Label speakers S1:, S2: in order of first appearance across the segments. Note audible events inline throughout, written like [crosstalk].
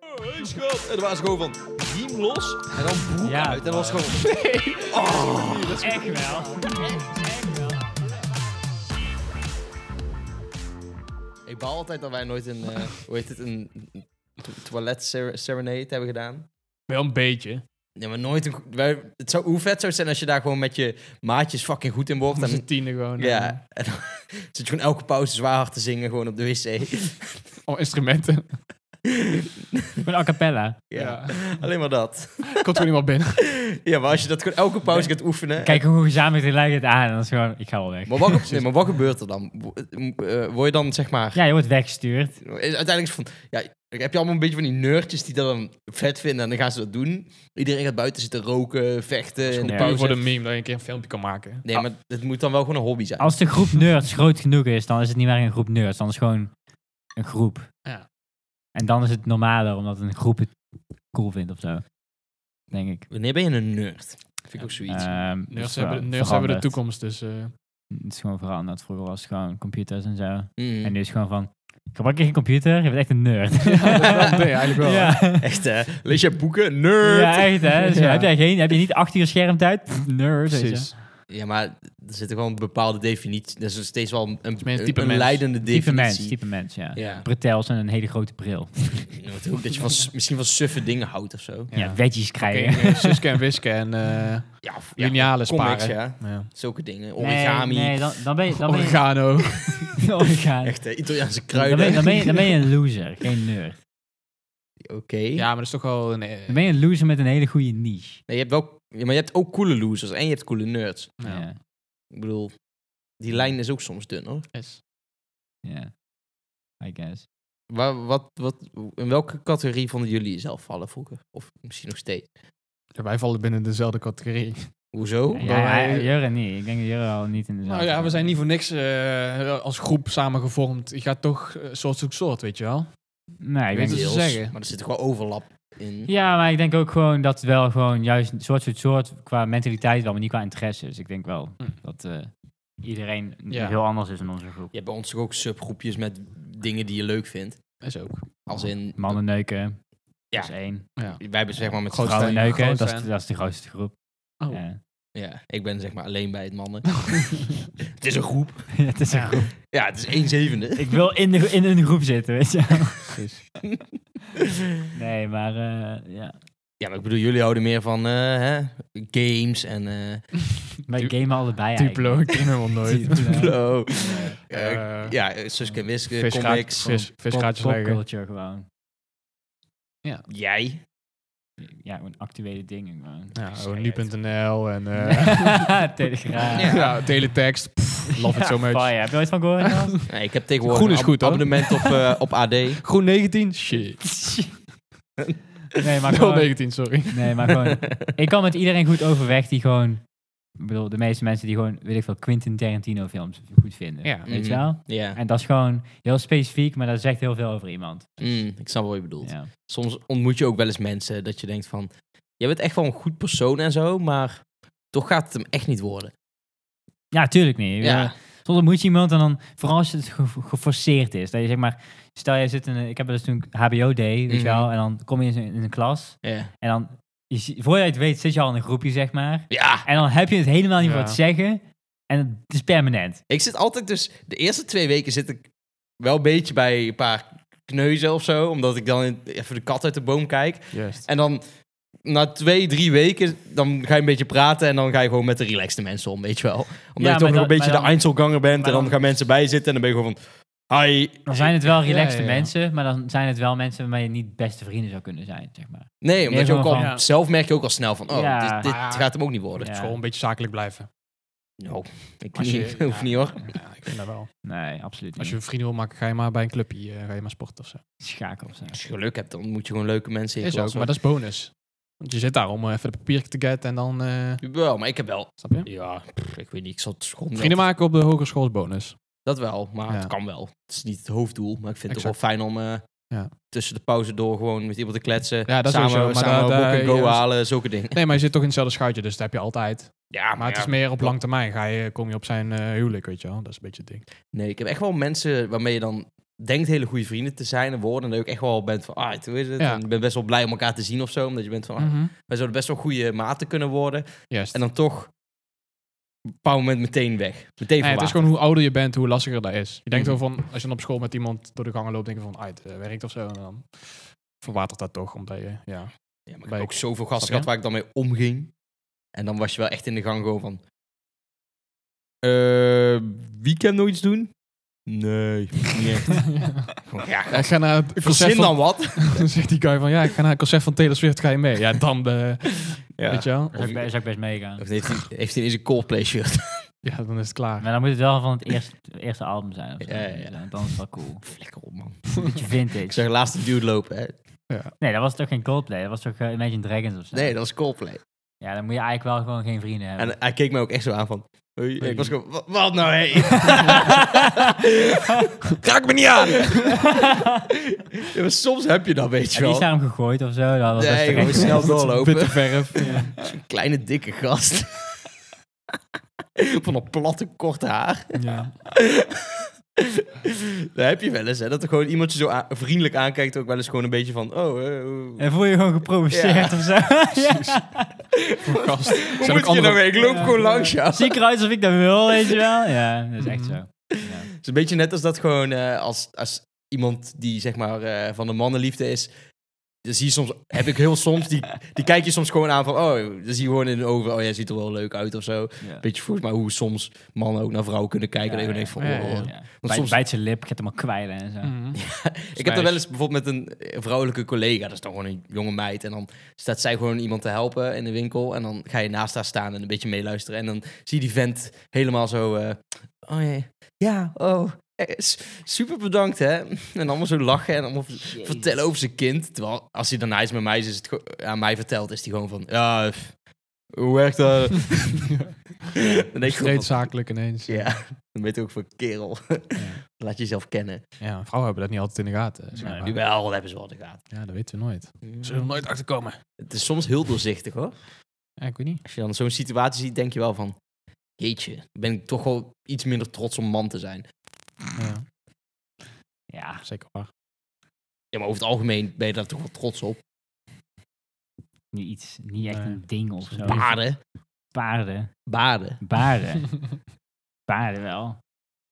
S1: hey, schat. En er was gewoon van, riem los en dan broek
S2: Ja,
S1: uit. En dat was gewoon...
S2: Echt wel.
S3: Ik baal altijd dat wij nooit een, eh, hoe heet het, een to- toilet ser- serenade hebben gedaan.
S2: Wel een beetje.
S3: Ja, maar nooit een... go- Wij, het zou, hoe vet zou het zijn als je daar gewoon met je maatjes fucking goed in wordt.
S2: Dat is
S3: En,
S2: een tiende gewoon.
S3: Mhm.
S2: eh,
S3: ja, en dan [laughs] zit je gewoon elke pauze zwaar hard te zingen gewoon op de wc.
S2: Oh, instrumenten. Met a cappella.
S3: Ja. Alleen maar dat.
S2: Komt gewoon iemand [laughs] binnen.
S3: Ja, maar als je dat gewoon elke pauze gaat oefenen...
S4: Kijk hoe gezamenlijk die lijkt het aan. En dan is gewoon, ik ga wel weg.
S3: Maar wat, ge- nee, maar wat gebeurt er dan? Wo- eh, Word je dan, zeg maar...
S4: Ja, je wordt weggestuurd.
S3: Is uiteindelijk van, ja, heb je allemaal een beetje van die nerdjes die dat dan vet vinden en dan gaan ze dat doen. Iedereen gaat buiten zitten roken, vechten in de
S4: Ja.
S2: Puur
S3: pauze.
S2: voor de meme dat je een keer een filmpje kan maken.
S3: Nee, maar het moet dan wel gewoon een hobby zijn.
S4: Als de groep nerds groot genoeg is, dan is het niet meer een groep nerds. Dan is het gewoon een groep.
S2: Ja.
S4: En dan is het normaler, omdat een groep het cool vindt of zo. Denk ik.
S3: Wanneer ben je een nerd? Vind ik ook zoiets.
S4: Ehm, het
S2: Nerds,
S4: is
S2: hebben,
S4: wel
S2: nerds hebben de
S4: veranderd.
S2: toekomst, dus... eh,
S4: Het is gewoon veranderd. Vroeger was het gewoon computers en zo.
S3: Mm.
S4: eh, En nu is het gewoon van, gebruik je geen computer? Je bent echt een nerd. Ja,
S2: dat is wel een ding, eigenlijk wel.
S4: [laughs] Ja.
S3: Echt, hè? Lees je boeken? Nerd! Ja,
S4: Ja, echt hè. Dus
S2: Ja.
S4: Heb, jij geen, heb je niet acht uur schermtijd? Pff, Nerd, weet je.
S2: precies.
S3: maar er zit gewoon een bepaalde definitie. Er is nog steeds wel een,
S2: meer een
S3: een,
S2: type
S3: een
S2: mens.
S3: leidende
S4: Type mens,
S3: definitie.
S4: type mens, ja.
S3: Ja.
S4: Pretels en een hele grote bril.
S3: Ja, maar ook dat je van, s- misschien van suffe dingen houdt of zo.
S4: Ja, wedgies krijgen.
S2: Oké, eh, Suske en Wiske en eh
S3: Ja, of, ja,
S2: linealen
S3: comics,
S2: sparen.
S3: ja.
S2: Ja.
S3: Zulke dingen. Origami.
S4: Nee, nee, dan, dan ben je... Dan ben je
S2: Oregano.
S4: [laughs] origami.
S3: Echt, hè? Italiaanse
S4: Dan
S3: kruiden.
S4: ben, je, dan, ben je, dan ben je een loser, geen nerd.
S3: [laughs] Oké.
S2: Ja, maar dat is toch wel een... eh,
S4: Dan ben je een loser met een hele goede niche.
S3: Nee, je hebt wel, ja, maar je hebt ook coole losers en je hebt coole nerds.
S2: ja,
S4: Ja.
S3: Ik bedoel, die lijn is ook soms dun, hoor.
S2: is-
S4: ja. I guess.
S3: Waar, wat, wat, in welke categorie vonden jullie jezelf vallen vroeger? Of misschien nog steeds?
S2: Ja, wij vallen binnen dezelfde categorie.
S3: Hoezo?
S4: Ja,
S2: dan
S4: ja,
S2: wij-
S4: Jurre niet. Ik denk dat Jurre al niet in de
S2: Nou ja, we zijn niet voor niks eh, als groep samengevormd. Je gaat toch eh, soort zoek soort, weet je wel?
S4: Nee,
S2: Weet
S4: ik denk...
S2: het.
S3: Deels,
S2: zeggen.
S3: Maar er zit toch wel overlap in.
S4: Ja, maar ik denk ook gewoon dat wel gewoon juist een soort soort soort qua mentaliteit wel, maar niet qua interesse. Dus ik denk wel
S2: Hm.
S4: dat eh, iedereen
S2: Ja.
S4: heel anders is in onze groep.
S3: Je hebt bij ons toch ook subgroepjes met dingen die je leuk vindt.
S2: Is ook.
S3: Als in,
S4: Mannen neuken,
S3: Ja.
S4: dat is één.
S2: Ja.
S3: wij hebben zeg maar met
S2: Groot
S4: Vrouwen
S2: fan,
S4: neuken,
S2: groot
S4: dat is,
S2: fan.
S4: dat is de grootste groep.
S2: Oh.
S4: [laughs] Ja.
S3: Ja, ik ben zeg maar alleen bij het
S4: [laughs]
S3: mannen. [laughs] het is een groep.
S4: Ja, het is een groep.
S3: Ja, het is één
S4: [laughs]
S3: zevende.
S4: Ik wil in, de, in een groep zitten, weet je. wel.
S2: Precies.
S4: Nee, maar eh, ja.
S3: Ja, maar ik bedoel, jullie houden meer van eh, hè, games en... eh,
S4: Wij
S2: Du-
S4: gamen allebei
S2: Duplo, ik ken hem al nooit.
S3: [laughs] Bro.
S4: Duplo.
S3: Eh,
S2: Eh,
S3: ja, eh, Suske en Wiske,
S2: Visgaat-
S3: comics.
S2: vis- Visgaatjes
S4: Pop-
S2: leggen.
S4: popculture gewoon.
S3: Jij?
S4: Ja, gewoon actuele dingen gewoon.
S2: Ja,
S3: Zeg
S2: oh,
S3: het.
S2: nu.nl en... eh
S3: [laughs]
S4: [laughs] Telegraaf.
S2: ja. teletext. Pff, love it so much.
S4: Fire. Heb je ooit van gehoord? Hans?
S3: Nee, ik heb tegenwoordig
S2: Groen is
S3: een ab-
S2: goed, hoor.
S3: abonnement op,
S2: [laughs]
S3: eh, op AD.
S2: Groen 19? Shit.
S4: nee, maar
S2: Nul
S4: gewoon,
S2: 19, sorry.
S4: nee, maar gewoon... [laughs] Ik kan met iedereen goed overweg die gewoon... Ik bedoel, de meeste mensen die gewoon, weet ik veel, Quentin Tarantino films goed vinden.
S2: Ja.
S4: Weet je wel?
S3: Ja,
S4: En dat is gewoon heel specifiek, maar dat zegt heel veel over iemand.
S3: Mm, ik snap wat je bedoelt.
S4: Ja.
S3: Soms ontmoet je ook wel eens mensen dat je denkt van... Jij bent echt wel een goed persoon en zo, maar toch gaat het hem echt niet worden.
S4: ja, tuurlijk niet. Ik bedoel,
S3: Ja,
S4: Soms ontmoet je iemand en dan, vooral als het ge- geforceerd is. Dat je zeg maar, stel jij zit in een, ik heb dus toen HBO deed, weet je
S3: Mhm.
S4: wel, en dan kom je in, zo'n- in een klas
S3: ja.
S4: en dan, je, zie- voor je het weet zit je al in een groepje zeg maar.
S3: ja.
S4: En dan heb je het helemaal niet
S2: Ja.
S4: voor het zeggen en het is permanent.
S3: Ik zit altijd dus... De eerste twee weken zit ik wel een beetje bij een paar kneuzen of zo. Omdat ik dan in- even de kat uit de boom kijk.
S2: Juist.
S3: En dan na twee, drie weken, dan ga je een beetje praten en dan ga je gewoon met de relaxte mensen om, weet je wel. Omdat
S4: maar
S3: je toch nog
S4: dan-
S3: een beetje
S4: maar dan-
S3: de Einzelganger bent en
S4: maar
S3: dan,
S4: dan-
S3: gaan mensen bij je zitten en dan ben je gewoon van, hi.
S4: Dan zijn het wel relaxte
S2: ja, ja.
S4: mensen, maar dan zijn het wel mensen waarmee je niet beste vrienden zou kunnen zijn, zeg maar.
S3: Nee, omdat je
S4: gewoon
S3: ook al,
S4: van-
S2: Ja.
S3: zelf merk je ook al snel van, oh,
S4: Ja.
S3: dit, dit
S2: Maar ja.
S3: gaat hem ook niet worden.
S4: Ja.
S2: Gewoon een beetje zakelijk blijven.
S3: Nou, ik
S2: Als je-
S3: niet, [laughs] hoef
S2: ja.
S3: niet hoor.
S2: Ja, ik vind dat
S3: [laughs]
S2: wel.
S4: Nee, absoluut niet.
S2: Als je vrienden wil maken, ga je maar bij een clubje, eh, ga je maar sporten of zo.
S4: schaken of zo.
S3: Als je geluk hebt, dan moet je gewoon leuke mensen in je
S2: Is
S3: klas
S2: ook, maar dat is bonus. Want je zit daar om eh, even de papier te get en dan... eh,
S3: hebben. Wel, maar ik heb wel,
S2: snap je?
S3: ja, pff, ik weet niet, ik zat school
S2: Vrienden maken op de hogeschool is bonus.
S3: Dat wel, maar
S2: Ja.
S3: het kan wel. Het is niet het hoofddoel, maar ik vind het
S2: Exact.
S3: toch wel fijn om eh,
S2: Ja.
S3: tussen de pauze door gewoon met iemand te kletsen.
S2: Ja, dat
S3: samen,
S2: sowieso, maar
S3: samen
S2: dat,
S3: walk
S2: eh,
S3: and go
S2: juist.
S3: halen, zulke dingen. [laughs]
S2: Nee, maar je zit toch in hetzelfde schuitje, dus dat heb je altijd.
S3: Ja,
S2: Ah, Maar het is meer op lang termijn. Ga je, kom je op zijn eh, huwelijk, weet je wel. Dat is een beetje het ding.
S3: Nee, ik heb echt wel mensen waarmee je dan denkt hele goede vrienden te zijn en worden. En dat je ook echt wel bent van, ah, hoe is het?
S2: Ja.
S3: En je bent best wel blij om elkaar te zien of zo. Omdat je bent van, ah,
S2: Mhm.
S3: wij zouden best wel goede maten kunnen worden.
S2: Juist.
S3: En dan toch op een bepaald moment meteen weg. Meteen
S2: Nee,
S3: van
S2: het is
S3: water.
S2: gewoon hoe ouder je bent, hoe lastiger dat is. Je denkt wel van, als je dan op school met iemand door de gangen loopt, denk je van, ah, het eh, werkt of zo. En dan verwatert dat toch, omdat je, ja.
S3: Ja, maar ik
S2: bij-
S3: heb ook zoveel gasten
S2: Snap
S3: gehad
S2: je?
S3: waar ik dan mee omging. En dan was je wel echt in de gang gewoon van... eh weekend nog iets doen? Nee, niet echt.
S2: [laughs]
S3: Gewoon, ja,
S2: Ja, ik ga naar het concert
S3: verzin
S2: van,
S3: dan wat.
S2: [laughs] dan zegt die guy van, ja, ik ga naar het concert van Taylor Swift, ga je mee? Ja, dan, eh,
S3: Ja.
S2: weet je wel.
S4: Daar zou ik
S3: Of-
S4: be- zou ik best meegaan.
S3: Of heeft hij, heeft hij in zijn Coldplay shirt? [laughs]
S2: Ja, dan is het klaar.
S4: Maar dan moet het wel van het eerste, eerste album zijn. Of zo.
S3: Ja, ja, ja.
S4: Want Dan is het wel cool.
S3: Lekker op, man.
S4: Een beetje
S3: Ik
S4: vintage.
S3: zag laatst een dude lopen, hè.
S4: Nee, dat was toch geen Coldplay? Dat was toch eh, Imagine Dragons of zo?
S3: Nee, dat is Coldplay.
S4: Ja, dan moet je eigenlijk wel gewoon geen vrienden hebben.
S3: En eh, hij keek me ook echt zo aan van... "Oei." Ik was gewoon, "Wa- wat nou,
S2: [laughs]
S3: hé?
S1: Raak me niet
S2: [laughs]
S1: aan!
S3: Ja, maar soms heb je dat, weet je
S4: En die is
S3: wel.
S4: naar hem gegooid of zo. Dat was best
S3: Nee,
S4: terecht
S3: gewoon
S4: geweest. [laughs]
S3: snel doorlopen.
S2: Witte verf. [laughs]
S3: Kleine, dikke gast. [laughs] Van een platte, korte haar.
S2: ja.
S3: Dat heb je wel eens, hè. Dat er gewoon iemand je zo aan- vriendelijk aankijkt. Ook wel eens gewoon een beetje van... Oh, eh, hoe-
S4: En voel je gewoon geprovoceerd of zo. [laughs]
S3: [laughs]
S4: ja.
S2: Voor gast.
S3: hoe
S2: Zijn
S3: moet
S2: ook
S3: je nou
S2: andere...
S3: mee? Ik loop
S4: Ja,
S3: gewoon
S4: ja.
S3: langs jou.
S4: Zie ik eruit alsof ik dat wil, weet je wel. Ja, dat is echt
S2: Mhm.
S4: zo. Ja.
S3: Het is een beetje net als dat gewoon eh, als, als iemand die zeg maar eh, van de mannenliefde is. Dan zie je soms, heb ik heel soms, die, die kijk je soms gewoon aan van, oh, dan zie je gewoon in de ogen, oh, jij ziet er wel leuk uit of zo.
S4: Ja.
S3: Beetje volgens mij hoe soms mannen ook naar vrouwen kunnen kijken.
S4: Ja,
S3: en
S4: ja,
S3: ik van,
S2: ja,
S3: oh.
S2: ja.
S4: Ja. Bijt,
S3: soms-
S4: bijt zijn lip, gaat hem al kwijlen en zo.
S2: Mhm.
S3: Ik heb er wel eens bijvoorbeeld met een eh, vrouwelijke collega, dat is dan gewoon een jonge meid. En dan staat zij gewoon iemand te helpen in de winkel. En dan ga je naast haar staan en een beetje meeluisteren. En dan zie je die vent helemaal zo... eh, oh jee, ja, oh, eh, s- super bedankt hè. [laughs] En allemaal zo lachen en allemaal v- vertellen over zijn kind. Terwijl als hij daarna iets met mij is, is het gewoon- aan mij vertelt, is hij gewoon van... Ja, pff, hoe werkt
S2: [laughs]
S3: dat? dan denk ik gewoon
S2: Reed
S3: van,
S2: zakelijk ineens. Ja.
S3: Ja, dan weet je ook van kerel. [laughs] Laat jezelf kennen.
S2: vrouwen hebben dat niet altijd in de gaten. zeg
S4: Nee,
S2: maar.
S3: Nu wel, dat hebben ze wel in de gaten.
S2: Ja, dat weten we nooit. Zullen we nooit achterkomen?
S3: Het is soms heel doorzichtig hoor.
S2: Ja, ik weet niet.
S3: Als je dan zo'n situatie ziet, denk je wel van... Jeetje, ben ik toch wel iets minder trots om man te zijn.
S2: Ja,
S4: Ja,
S2: zeker waar.
S3: Ja, maar over het algemeen ben je daar toch wel trots op.
S4: niet iets, niet echt
S2: Nee.
S4: een ding of zo.
S3: Baarden.
S4: Paarden.
S3: Baarden. [laughs]
S4: Baarden. Baarden wel.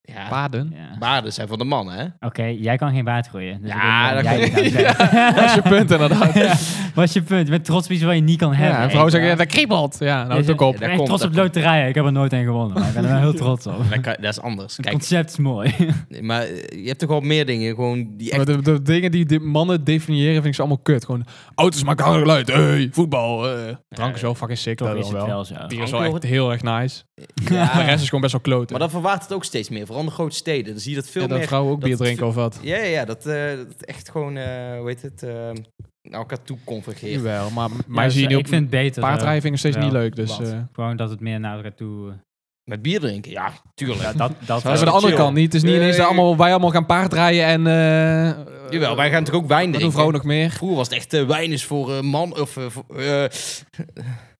S3: Ja,
S2: [laughs] Paden.
S4: Ja.
S3: baarden zijn van de man, hè?
S4: Oké, jij kan geen baard groeien. Dus
S3: Ja,
S4: ik
S3: dat
S4: weet niet
S3: kan-
S4: wat
S3: [laughs]
S4: jij kan zeggen.
S2: Dat is je punt [laughs] inderdaad.
S4: Ja, Wat is je punt? Met trots op iets wat je niet kan hebben.
S2: Ja, en vrouwen zeggen, ja, dat kriebelt. Ja, nou, het ook op.
S3: daar
S4: Ik ben echt
S3: komt-
S4: trots
S3: daar
S4: op loterijen. Ik heb er nooit een gewonnen. Maar ik ben er
S2: [laughs]
S4: wel heel trots op.
S3: Dat, kan- dat is anders.
S4: Het
S3: Kijk,
S4: concept is mooi.
S3: nee, maar eh, je hebt toch wel meer dingen gewoon die
S2: [laughs]
S3: echt...
S2: Maar de, de dingen die de mannen definiëren, vind ik ze allemaal kut. Gewoon, auto's maken harde geluid, hey, voetbal, eh drank is wel fucking sick.
S4: Toch
S2: Dat
S4: is
S2: is
S4: het
S2: wel.
S4: wel zo.
S2: Bier is wel echt heel erg nice.
S3: Ja.
S2: De rest is gewoon best wel kloten.
S3: Maar dan verwaart het ook steeds meer. Vooral in de grote steden. Dan zie je dat veel
S2: Ja, dat
S3: meer...
S2: vrouwen ook
S3: dat
S2: bier
S3: het
S2: drinken of wat.
S3: Ja, ja, ja, dat, eh, dat echt gewoon, eh, hoe heet het, eh, naar elkaar toe convergeert.
S2: Jawel, maar
S4: Ja,
S2: mij
S4: dus,
S2: zie je
S4: eh,
S2: niet op
S4: Ik vind het beter. eh,
S2: paardrijving is steeds
S4: wel.
S2: niet leuk. Dus,
S3: Wat?
S2: eh.
S4: Gewoon dat het meer naar elkaar toe...
S3: Met bier drinken, ja, tuurlijk.
S2: [laughs]
S4: Ja, dat,
S2: Maar
S4: dat
S2: dat is aan de
S3: wel
S2: andere
S3: chill.
S2: kant niet. Het is niet
S3: Nee.
S2: ineens dat allemaal, wij allemaal gaan paardrijden en... eh
S3: Jawel, wij gaan toch ook wijn
S2: Wat doen
S3: drinken?
S2: vrouwen nog meer?
S3: Vroeger was het echt eh, wijn is voor eh, man of eh, voor, eh,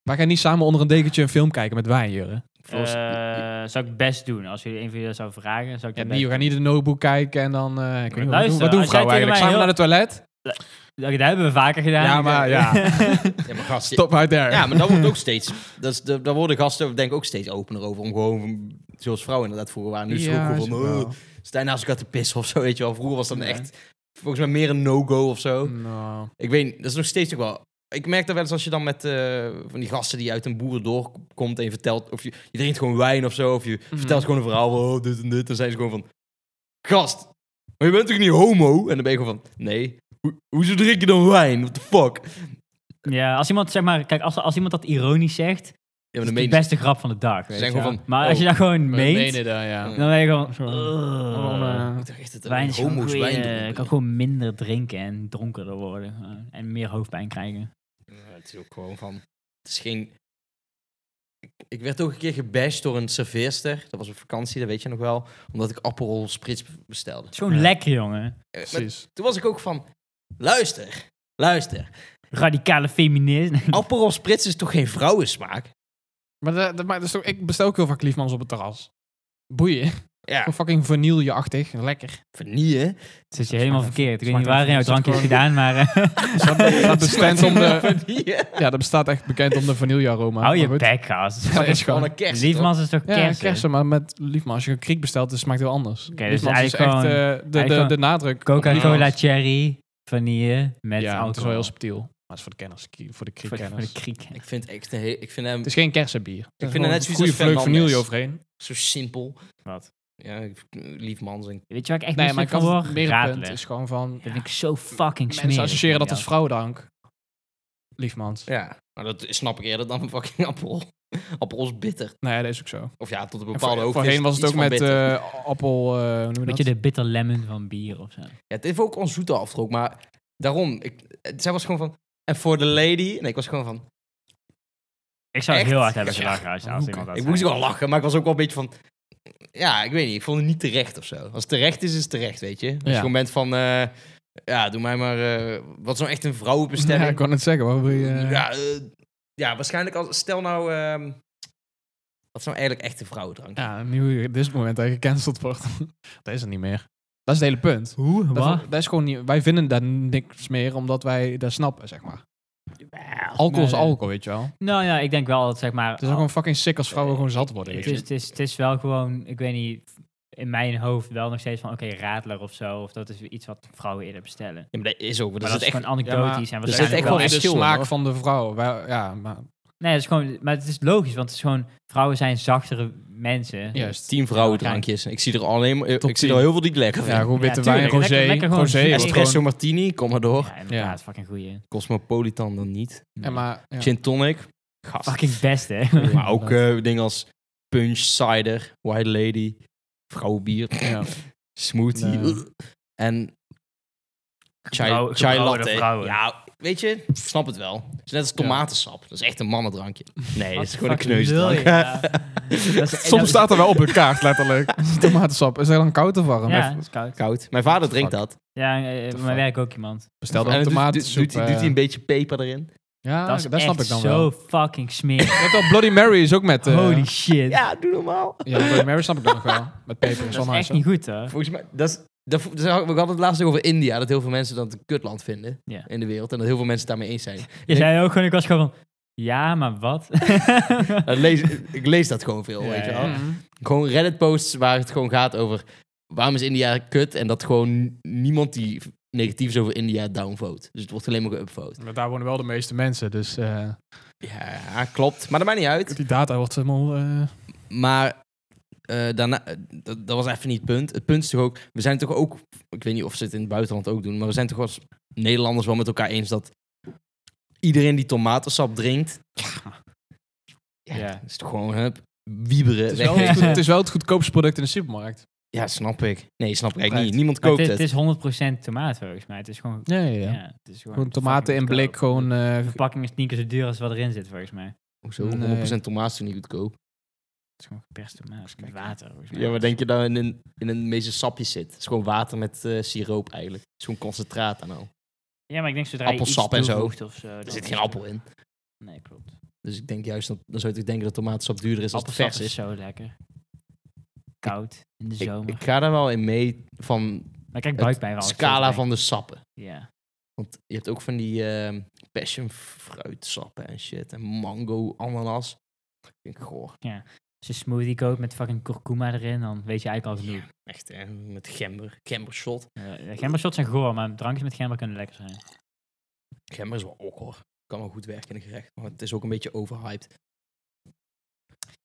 S2: Wij gaan niet samen onder een dekentje een film kijken met wijn, Jurre.
S3: voor-
S4: Eh, zou ik best doen. Als jullie een van jullie dat zou vragen, zou ik
S2: Ja,
S4: dat
S2: nee, we
S4: best
S2: gaan niet de notebook kijken en dan... eh, ik weet niet, wat doen,
S4: Luister,
S2: wat doen
S4: als jij
S2: vrouwen eigenlijk?
S4: tegen mij
S2: Samen
S4: heel-
S2: naar het toilet?
S4: doen. Dat hebben we vaker gedaan.
S2: Ja, maar ja. [laughs]
S3: ja, maar gast,
S2: Stop uit daar.
S3: Ja, maar dat wordt ook steeds. Dat is de, daar worden gasten denk ik ook steeds opener over. Om gewoon, zoals vrouwen inderdaad vroeger waren. Nu is het ook gewoon van, oh, sta je naast elkaar te pissen of zo, weet je wel. Vroeger was dat
S4: Ja.
S3: echt, volgens mij meer een no-go of zo.
S2: Nou,
S3: Ik weet, dat is nog steeds ook wel... Ik merk dat wel eens als je dan met eh, van die gasten die uit een boeren doorkomt en je vertelt... Of je, je drinkt gewoon wijn of zo, of je
S2: Mhm.
S3: vertelt gewoon een verhaal van oh, dit en dit. Dan zijn ze gewoon van, gast, maar je bent toch niet homo? En dan ben je gewoon van, nee, hoe hoezo drink je dan wijn? What the fuck?
S4: Ja, als iemand, zeg maar, kijk, als, als iemand dat ironisch zegt,
S3: Ja, maar
S4: is
S3: dan
S4: het
S3: meen
S4: de
S3: je-
S4: beste grap van de dag. Weet
S3: zijn
S4: je
S3: gewoon
S4: wel.
S3: van,
S4: maar als je
S3: oh,
S4: dat gewoon
S2: we
S4: [laughs] meent,
S2: menen dat, ja.
S4: dan ben je gewoon...
S2: Zo.
S4: "Ugh,
S2: Gewoon, eh,
S3: Oh, Ik dacht echt dat er
S4: wijn is gewoon
S3: homo's
S4: goeie,
S3: wijn
S4: eh,
S3: drinken.
S4: Ik kan gewoon minder drinken en dronkerder worden. eh, en meer hoofdpijn krijgen.
S3: Ja, het is ook gewoon van. Het is geen. Ik, ik werd ook een keer gebashed door een serveerster. Dat was op vakantie, dat weet je nog wel. Omdat ik Aperol Spritz bestelde.
S4: Het is gewoon
S2: Ja.
S4: lekker, jongen.
S3: Eh, maar
S2: Precies.
S3: toen was ik ook van. Luister, luister.
S4: Radicale feminist.
S3: Aperol Spritz is toch geen vrouwensmaak?
S2: Maar, dat, dat- maar dat is toch, ik bestel ook heel vaak liefmans op het terras. Boeien.
S3: Ja,
S2: Gewoon
S3: [laughs]
S2: fucking vanille-achtig. Lekker.
S3: vernieuwen.
S4: [laughs] zit je helemaal
S2: smaakt-
S4: verkeerd. Ik weet
S2: smaakt
S4: niet waar in jouw
S2: even-
S4: drankje is
S2: smaakt
S4: gedaan, maar... eh,
S2: Dus dat, dat, bestaat om de,
S3: Vernieuwen.
S2: ja, dat bestaat echt bekend om de vanille-aroma.
S4: Hou je
S2: Maar goed.
S4: bek, gast.
S2: Ja, dat is
S3: [laughs] Gewoon
S2: gewoon...
S3: een kerst. toch?
S4: Liefmans is toch
S2: Ja,
S4: kersen?
S2: kersen, maar met liefman. Als je een kriek bestelt, dan smaakt het heel anders.
S4: Oké, dus
S2: Liefmans is echt
S4: eigenlijk
S2: eh,
S4: gewoon-
S2: de, de,
S4: gewoon
S2: de nadruk. op
S4: Coca-Cola
S2: Liefmans.
S4: cherry, vanille, met
S2: ja, het is wel
S4: alcohol.
S2: heel subtiel. Maar het is voor de kenners, ki- voor de
S4: Voor de- voor
S2: kriekkenners.
S4: de kriek.
S3: Ik vind, echt een he- ik vind hem
S2: Het is geen kersenbier. Ik
S3: vind het net zoiets
S2: goede
S3: als
S2: vleug
S3: Fernandez.
S2: vanille overheen.
S3: zo simpel.
S4: Wat?
S3: Ja, ik- Liefmans en...
S4: Weet je waar ik echt
S2: Nee,
S4: nee,
S2: maar ik
S4: van
S2: had
S4: word?
S2: het meerpunt
S4: Radler.
S2: is gewoon van...
S4: Dat vind ik zo fucking smerig.
S2: Mensen associëren dat als
S4: inderdaad.
S2: vrouwdrank. Liefmans.
S3: Ja, maar dat snap ik eerder dan [laughs] een fucking appel. Appel is bitter.
S2: Nee, Nou dat is ook zo.
S3: Of ja, tot een
S2: En
S3: bepaalde
S2: voor-
S3: hoogte is het
S2: Voorheen was het
S3: iets
S2: ook
S3: van
S2: met
S3: bitter.
S2: eh, appel... eh, hoe noem je
S4: Een
S2: dat?
S4: beetje de bitter lemon van bier of zo.
S3: Ja, het heeft ook een zoete afdruk, maar daarom... Ik, eh, zij was gewoon van... En voor de lady... En ik was gewoon van...
S4: Ik zou het
S3: Echt?
S4: heel hard hebben
S3: Ja,
S4: gelachen als, als iemand dat
S3: ik
S4: zei.
S3: moest wel lachen, maar ik was ook wel een beetje van... Ja, ik weet niet. Ik vond het niet terecht of zo. Als het terecht is, is het terecht, weet je. Als
S2: Ja.
S3: je gewoon bent van... eh, ja, doe mij maar... eh, wat is nou echt een
S2: [laughs] [laughs] Ja,
S3: vrouwenbestemming?
S2: ik kon het zeggen. Waar wil je... eh,
S3: Ja, eh, ja, waarschijnlijk als... Stel nou... ehm, wat is nou eigenlijk echt een vrouwendrank?
S2: Ja, nu op dit moment dat je gecanceld wordt. [laughs] dat is het niet meer. Dat is het hele punt.
S4: Hoe?
S2: Dat, dat is gewoon niet, wij vinden daar niks meer omdat wij dat snappen, zeg maar. Alcohol is
S4: Nee.
S2: alcohol, weet je wel.
S4: Nou ja, ik denk wel dat zeg maar...
S2: Het is ook gewoon fucking sick als vrouwen
S4: Eh,
S2: gewoon zat worden. Weet
S4: Het
S2: je.
S4: is, het, is, het is wel gewoon, ik weet niet, in mijn hoofd wel nog steeds van, oké, radler of zo. Of dat is iets wat vrouwen eerder bestellen. Maar
S3: Ja, maar dat is ook... Dat,
S4: dat,
S3: is
S4: is
S3: echt...
S4: gewoon anekdotisch. en
S3: er zit
S4: waarschijnlijk
S3: echt
S4: wel
S3: wel
S2: in
S3: een
S2: de
S3: verschil in,
S2: smaak
S3: hoor.
S2: van de vrouw. Wij- ja, maar
S4: Nee, dat is gewoon, maar het is logisch, want het is gewoon, vrouwen zijn zachtere mensen.
S2: juist.
S3: Tien vrouwendrankjes. Ik zie er alleen maar... Ik
S2: Tot
S3: zie er
S2: tien.
S3: heel veel die ik lekker
S2: Ja,
S3: vind.
S2: gewoon
S4: Ja,
S2: witte
S4: tuurlijk.
S2: wijn, rosé.
S4: Lekker- lekker gewoon
S2: rosé
S4: zin.
S2: is
S3: Espresso
S2: gewoon...
S3: martini, kom maar door.
S4: Ja, inderdaad, fucking goeie.
S3: Cosmopolitan dan niet.
S2: Ja, maar, ja.
S3: Gin tonic. Gast.
S4: Fucking best, hè.
S3: [laughs] Maar ook eh, dingen als punch, cider, white lady, vrouwenbier, [laughs]
S2: Ja.
S3: smoothie
S2: Nee.
S3: ugh. en chai,
S4: Gebrouwen-
S3: chai
S4: gebrouwen
S3: latte.
S4: door [laughs] vrouwen.
S3: Ja, weet je, ik snap het wel. Het is net als tomatensap. Dat is echt een mannendrankje. Nee, dat is gewoon een kneusdrank. [laughs]
S2: Soms staat er wel op een kaart, [laughs] letterlijk. Tomatensap. Is dat dan koud of warm?
S4: Ja, dat is koud.
S3: Koud. Mijn vader drinkt dat.
S4: Ja, eh, bij
S2: fuck?
S4: mijn werk ook iemand.
S2: Bestel
S3: en
S2: dan
S3: doet-
S2: tomaten.
S3: doet, doet, hij- doet hij een beetje peper erin.
S2: eh. Ja,
S4: dat is
S2: dat snap
S4: echt
S2: ik dan
S4: zo
S2: wel.
S4: fucking smerig.
S2: Je hebt wel Bloody Mary is ook met... eh,
S4: Holy shit.
S3: [laughs] Ja, doe normaal.
S2: Ja, Bloody Mary snap ik dan nog
S4: [laughs]
S2: wel. Met peper en
S4: dat is
S2: zo'n
S4: echt niet goed, hoor.
S3: Volgens mij, dat is, dat, dat- we hadden het laatst ook over India. Dat heel veel mensen dat een kutland vinden
S4: Ja.
S3: in de wereld. En dat heel veel mensen het daarmee eens zijn. [laughs]
S4: Je zei ook gewoon, ik was gewoon van, ja, maar wat?
S3: Dat lees, ik lees dat gewoon veel,
S4: Ja,
S3: weet je
S4: ja.
S3: wel. Gewoon Reddit-posts waar het gewoon gaat over... waarom is India kut? En dat gewoon niemand die negatief is over India downvote. Dus het wordt alleen maar geupvote.
S2: Maar daar wonen wel de meeste mensen, dus eh,
S3: Ja, klopt. Maar dat maakt niet uit.
S2: die data wordt helemaal... eh,
S3: Maar eh, daarna, eh, dat, dat was even niet het punt. Het punt is toch ook, we zijn toch ook, ik weet niet of ze het in het buitenland ook doen, maar we zijn toch als Nederlanders wel met elkaar eens dat iedereen die tomatensap drinkt, ja,
S4: Ja.
S3: dat is toch gewoon hup, wieberen.
S2: het, is
S3: weg. [laughs]
S2: wel
S4: [laughs]
S2: het, goed- het is wel het goedkoopste product in de supermarkt.
S3: Ja, snap ik. Nee, snap ik eigenlijk
S2: Right.
S3: niet. Niemand
S4: Maar
S3: koopt
S4: het,
S3: het.
S4: is- het is 100% tomaat, volgens mij. Het is gewoon...
S2: Ja, ja,
S4: Ja,
S2: ja.
S4: het is gewoon,
S2: Gewoon tomaten in
S4: fucking
S2: blik,
S4: goedkoop.
S2: gewoon... eh,
S4: De verpakking is niet keer zo duur als wat erin zit, volgens mij. Het
S3: Hoezo?
S2: Nee.
S3: 100% tomaat is toch niet goedkoop?
S4: is gewoon geperst tomaat met water, volgens mij.
S3: Ja, maar denk je dat in een, in een meeste sapje zit? Het is gewoon water met eh, siroop eigenlijk. Het is gewoon concentraat aan al.
S4: Ja, maar ik denk zodra je iets
S3: Appelsap en zo.
S4: toevoegt of zo...
S3: Er zit geen appel in.
S4: Nee, klopt.
S3: Dus ik denk juist, dat, dan zou je toch denken dat tomatensap duurder is als het
S4: Appelsap
S3: vers
S4: is
S3: is.
S4: zo lekker. Koud, in de
S3: Ik,
S4: zomer.
S3: ik ga daar wel in mee van
S4: maar ik
S3: het
S4: krijg buikpijn van. als ik zo
S3: scala
S4: drink.
S3: van de sappen.
S4: Ja.
S3: Want je hebt ook van die ehm passion fruitsappen en shit. En mango, ananas. Vind ik goor.
S4: Als je smoothie koopt met fucking kurkuma erin, dan weet je eigenlijk al genoeg.
S3: Echt, hè? Met gember. Gembershot.
S4: Eh, gembershots zijn goor, maar drankjes met gember kunnen lekker zijn.
S3: Gember is wel ook hoor. Kan wel goed werken in een gerecht. Maar het is ook een beetje overhyped.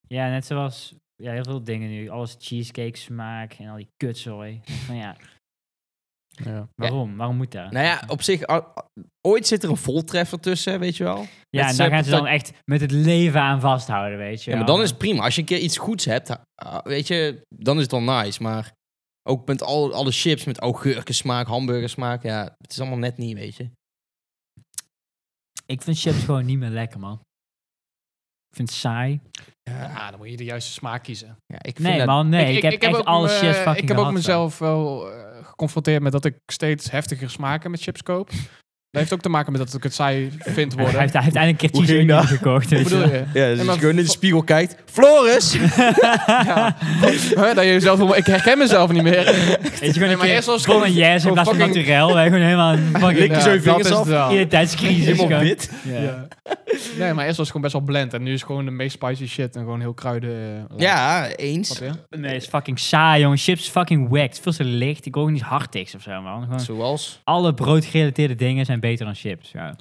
S4: Ja, net zoals ja, heel veel dingen nu. Alles cheesecake smaak en al die kutzooi. Van ja,
S2: ja.
S4: waarom? Waarom moet dat?
S3: Nou ja, op zich, a- a- ooit zit er een voltreffer tussen, weet je wel. Ja,
S4: ja, en
S3: is,
S4: daar
S3: eh,
S4: gaan ze
S3: dat-
S4: dan echt met het leven aan vasthouden, weet je.
S3: maar
S4: wel.
S3: dan is het prima. Als je een keer iets goeds hebt, ha- ah, weet je, dan is het wel nice. Maar ook met al, alle chips, met augurkensmaak, hamburgersmaak. Ja, het is allemaal net niet, weet je.
S4: Ik vind chips gewoon niet meer lekker, man. Ik vind het saai.
S2: Ja, ah, dan moet je de juiste smaak kiezen.
S3: Ja, ik vind
S4: Nee,
S3: dat-
S4: man, nee. Ik, heb echt
S2: ook,
S4: alle
S2: eh,
S4: chips fucking
S2: Ik heb ook
S4: gehad, man. [laughs]
S2: mezelf wel eh, geconfronteerd met dat ik steeds heftiger smaken met chips koop. heeft ook te maken met dat ik het saai vind
S4: Hij
S2: worden.
S4: heeft, hij heeft eindelijk een keer
S3: Hoe
S4: cheese
S3: ging
S4: onion
S3: dat?
S4: gekocht.
S2: Wat
S4: weet je
S2: [laughs] bedoel je?
S4: wel. [laughs]
S3: Ja, dus
S2: Nee,
S3: als
S2: maar-
S3: je gewoon in de spiegel kijkt. Floris!
S2: Ja. Hè, dat je jezelf helemaal- ik herken
S4: [laughs]
S2: mezelf niet meer.
S4: Weet je, gewoon
S2: Nee,
S4: een
S2: maar
S4: keer
S2: eerst
S4: [laughs]
S2: was ik
S4: Bon en
S2: gewoon-
S4: yes in
S2: gewoon
S4: plaats van
S2: fucking-
S4: naturel. Wij gewoon helemaal een fucking
S3: Lik je zo je
S2: Ja, dat
S3: vingers
S2: is
S3: af?
S2: het wel.
S4: identiteitscrisis.
S3: Helemaal
S4: gewoon.
S3: wit.
S4: Ja.
S2: Ja. Nee, maar eerst was het gewoon best wel blend. En nu is het gewoon de meest spicy shit. En gewoon heel kruiden. eh,
S3: Ja, eens.
S2: Snap je?
S4: Nee, is fucking saai, jongen. Chips fucking wacked. Veel te licht. Ik wil ook niet hartigs of zo, man. Gewoon
S3: Zoals?
S4: alle broodgerelateerde dingen zijn beter dan chips. Ja.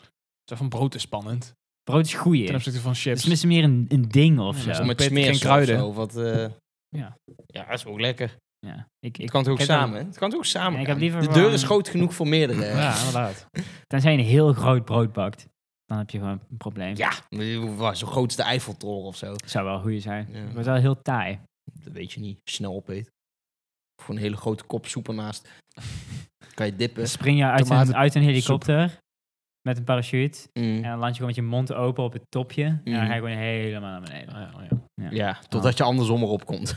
S2: Zo van brood is spannend.
S4: Brood is goeie.
S2: Ten
S4: Het
S2: opzichte van
S4: is
S2: chips.
S4: tenminste meer een, een ding of
S2: Ja,
S4: zo.
S2: maar
S3: Zo met
S2: Peter, geen
S3: smeer
S2: kruiden.
S3: kruiden. Of wat, eh,
S4: Ja.
S3: ja, dat is ook lekker.
S4: Ja. Ik,
S3: Het
S4: ik,
S3: kan toch ook
S4: heb
S3: samen? hè? Het kan toch ook samen?
S4: Ja, ik
S3: gaan?
S4: heb liever
S3: de
S4: wel
S3: deur is
S4: een-
S3: groot genoeg voor meerdere. hè?
S2: Ja, [laughs] inderdaad.
S4: tenzij je een heel groot brood bakt, dan heb je gewoon een probleem.
S3: Ja, maar zo'n grootste Eiffeltoren of zo.
S4: Dat zou wel een goeie zijn.
S3: Ja.
S4: Het wordt wel heel taai.
S3: Dat weet je niet. Snel opeet. Of een hele grote kop soep [laughs] ernaast. kan je dippen.
S4: Dan spring je uit een,
S2: Tomaten-
S4: uit een helikopter met een parachute.
S3: Mm.
S4: En dan land je gewoon met je mond open op het topje. En dan
S3: Mhm.
S4: ga je gewoon helemaal naar beneden.
S2: Ah, ja, oh ja.
S3: Ja, totdat je andersom erop [laughs] komt.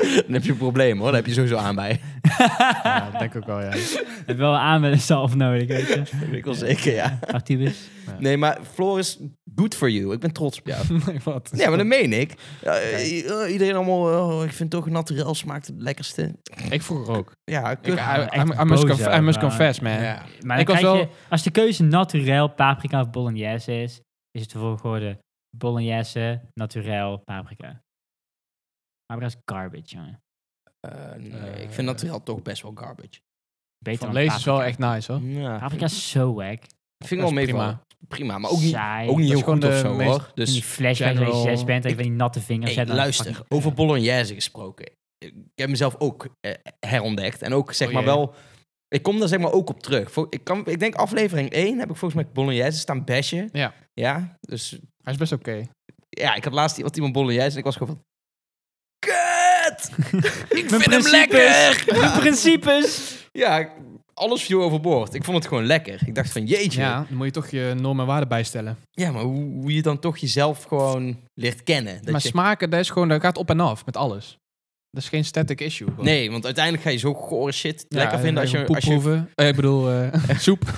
S3: Dan heb je een probleem hoor. Dan heb je sowieso aan bij.
S2: Ja, dat denk ik ook wel, ja.
S4: Ik heb wel aan met een zalf nodig, weet je.
S3: Dat weet ik wel zeker, ja.
S4: Artibus.
S3: Nee, maar Floris, good for you. Ik ben trots op jou.
S2: [laughs] nee, wat?
S3: Ja, maar dat meen ik. Ja, eh, eh, iedereen allemaal, eh, oh, ik vind toch naturel smaakt het lekkerste.
S2: Ik vroeger ook.
S3: Ja,
S2: Ik, I,
S3: kut.
S2: I, I
S4: echt
S2: must
S4: boos
S2: conf- I
S4: ook,
S2: must
S4: maar-
S2: confess, man.
S3: Ja.
S4: Maar dan
S2: Ik was
S4: krijg
S2: wel-
S4: je, als de keuze naturel, paprika of bolognese is, is het de volgorde bolognese, naturel, paprika. Paprika is garbage, jongen.
S3: Eh, nee, ik vind naturel toch best wel garbage.
S4: Beter
S2: Van
S4: dan
S2: lezen is wel
S4: paprika.
S2: echt nice, hoor.
S3: Ja,
S4: Paprika is zo wack.
S3: vind ik wel
S2: Dat is
S3: meevallen.
S2: prima.
S3: Prima, maar ook niet,
S4: Saai.
S3: ook niet
S2: Dat
S3: heel
S2: is gewoon
S3: goed of
S2: de
S3: zo
S2: meest-
S3: hoor.
S4: In die
S3: Dus
S4: flashback dat je
S2: general-
S4: zes bent, dat je van die natte vingers
S3: hey,
S4: hebt. dan
S3: luister,
S4: fucking-
S2: eh,
S3: over Bolognese gesproken. Ik heb mezelf ook eh, herontdekt. En ook zeg
S2: Oh,
S3: maar
S2: jee.
S3: wel... Ik kom daar zeg maar ook op terug. Vol- Ik, kan, ik denk aflevering 1 heb ik volgens mij Bolognese staan bashen.
S2: Ja.
S3: Ja, dus
S2: Hij is best oké.
S3: ja, ik had laatst wat iemand Bolognese en ik was gewoon van...
S2: [laughs]
S3: Kut! ik
S4: Mijn
S3: vind hem
S4: principes.
S3: lekker!
S4: De principes!
S3: Ja, ik- alles viel overboord. Ik vond het gewoon lekker. Ik dacht van jeetje.
S2: Ja, dan moet je toch je normen en waarden bijstellen.
S3: Ja, maar hoe, hoe je dan toch jezelf gewoon leert kennen. Dat
S2: maar
S3: je-
S2: smaken, dat, is gewoon, dat gaat op en af met alles. Dat is geen static issue. gewoon.
S3: Nee, want uiteindelijk ga je zo gore shit
S2: Ja,
S3: lekker
S2: en
S3: vinden als
S2: dan
S3: je...
S2: poep
S3: Als je
S2: proeven. Eh, ik
S3: [laughs]
S2: bedoel, eh, soep. [laughs]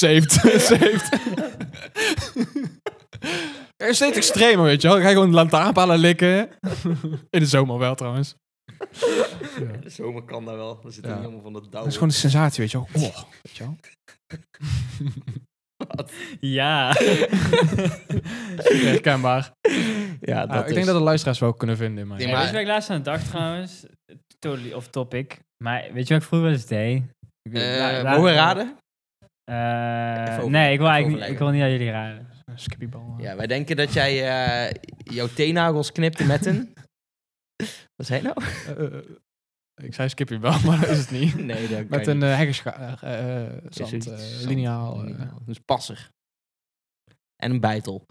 S2: saved, saved. Er is steeds extremer, weet je wel. Dan ga je gewoon lantaarnpalen likken. In de zomer wel,
S3: Oh.
S2: trouwens.
S3: de zomer kan daar wel. Dan zit er
S2: Ja.
S3: niet helemaal van de douw.
S2: Dat is gewoon een sensatie, weet je wel. Oh, weet je wel.
S4: [laughs]
S2: [laughs]
S4: Ja.
S2: Herkenbaar.
S3: Ja,
S2: Ah, ik denk dat de luisteraars wel kunnen vinden. Maar...
S3: Nee,
S4: Ja,
S3: maar-
S4: Weet je wat ik laatst aan de dag trouwens? Totally off topic. Maar weet je wat ik vroeger wel eens deed? Ik
S3: Eh,
S4: weet- la- la-
S3: mogen we raden?
S4: Eh,
S3: Even over-
S4: nee, ik wil,
S3: even
S4: eigenlijk, niet-
S3: overleggen.
S4: ik wil niet dat jullie raden.
S2: Skippybal.
S3: Ja, wij denken dat jij eh, jouw teennagels knipte met een... [laughs] Wat zei hij nou?
S2: Eh, eh, ik zei skippybal, [laughs] maar dat [laughs] is het niet.
S3: Nee, dat
S2: Met een eh heggeschaar, eh, eh, zand, eh, lineaal. eh.
S3: Dus passer. En een bijtel.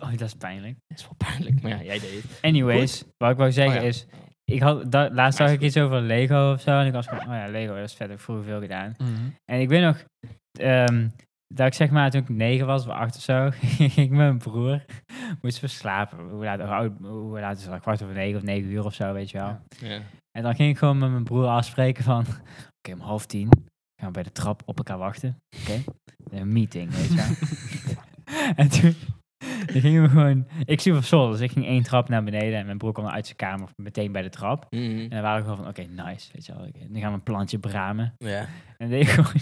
S4: Oh, dat is pijnlijk.
S3: Dat is wel pijnlijk, maar ja, jij deed het.
S4: Anyways, wat ik wou zeggen
S2: Oh ja.
S4: is... Ik had, da- laatst zag
S3: is
S4: ik iets over Lego of zo. En ik was van, oh ja, Lego, dat is vet. Ik vroeger veel gedaan.
S2: eh.
S4: En ik weet nog ehm, dat ik zeg maar toen ik negen was of acht of zo, [laughs] ging ik met mijn broer moest verslapen. Hoe laat, hoe, oud- hoe laat is het? Kwart over negen of negen uur of zo, weet je wel.
S2: Ja.
S3: Ja.
S4: En dan ging ik gewoon met mijn broer afspreken van, [laughs] oké, om half tien gaan we bij de trap op elkaar wachten. Oké, een meeting, weet je wel. en toen toen gingen we gewoon, ik zie op zolder, dus ik ging één trap naar beneden en mijn broer kwam uit zijn kamer meteen bij de trap.
S3: Mhm.
S4: En dan waren we gewoon van, oké, nice, weet je wel. Oké, nu gaan we een plantje bramen.
S3: ja.
S4: En deed ik gewoon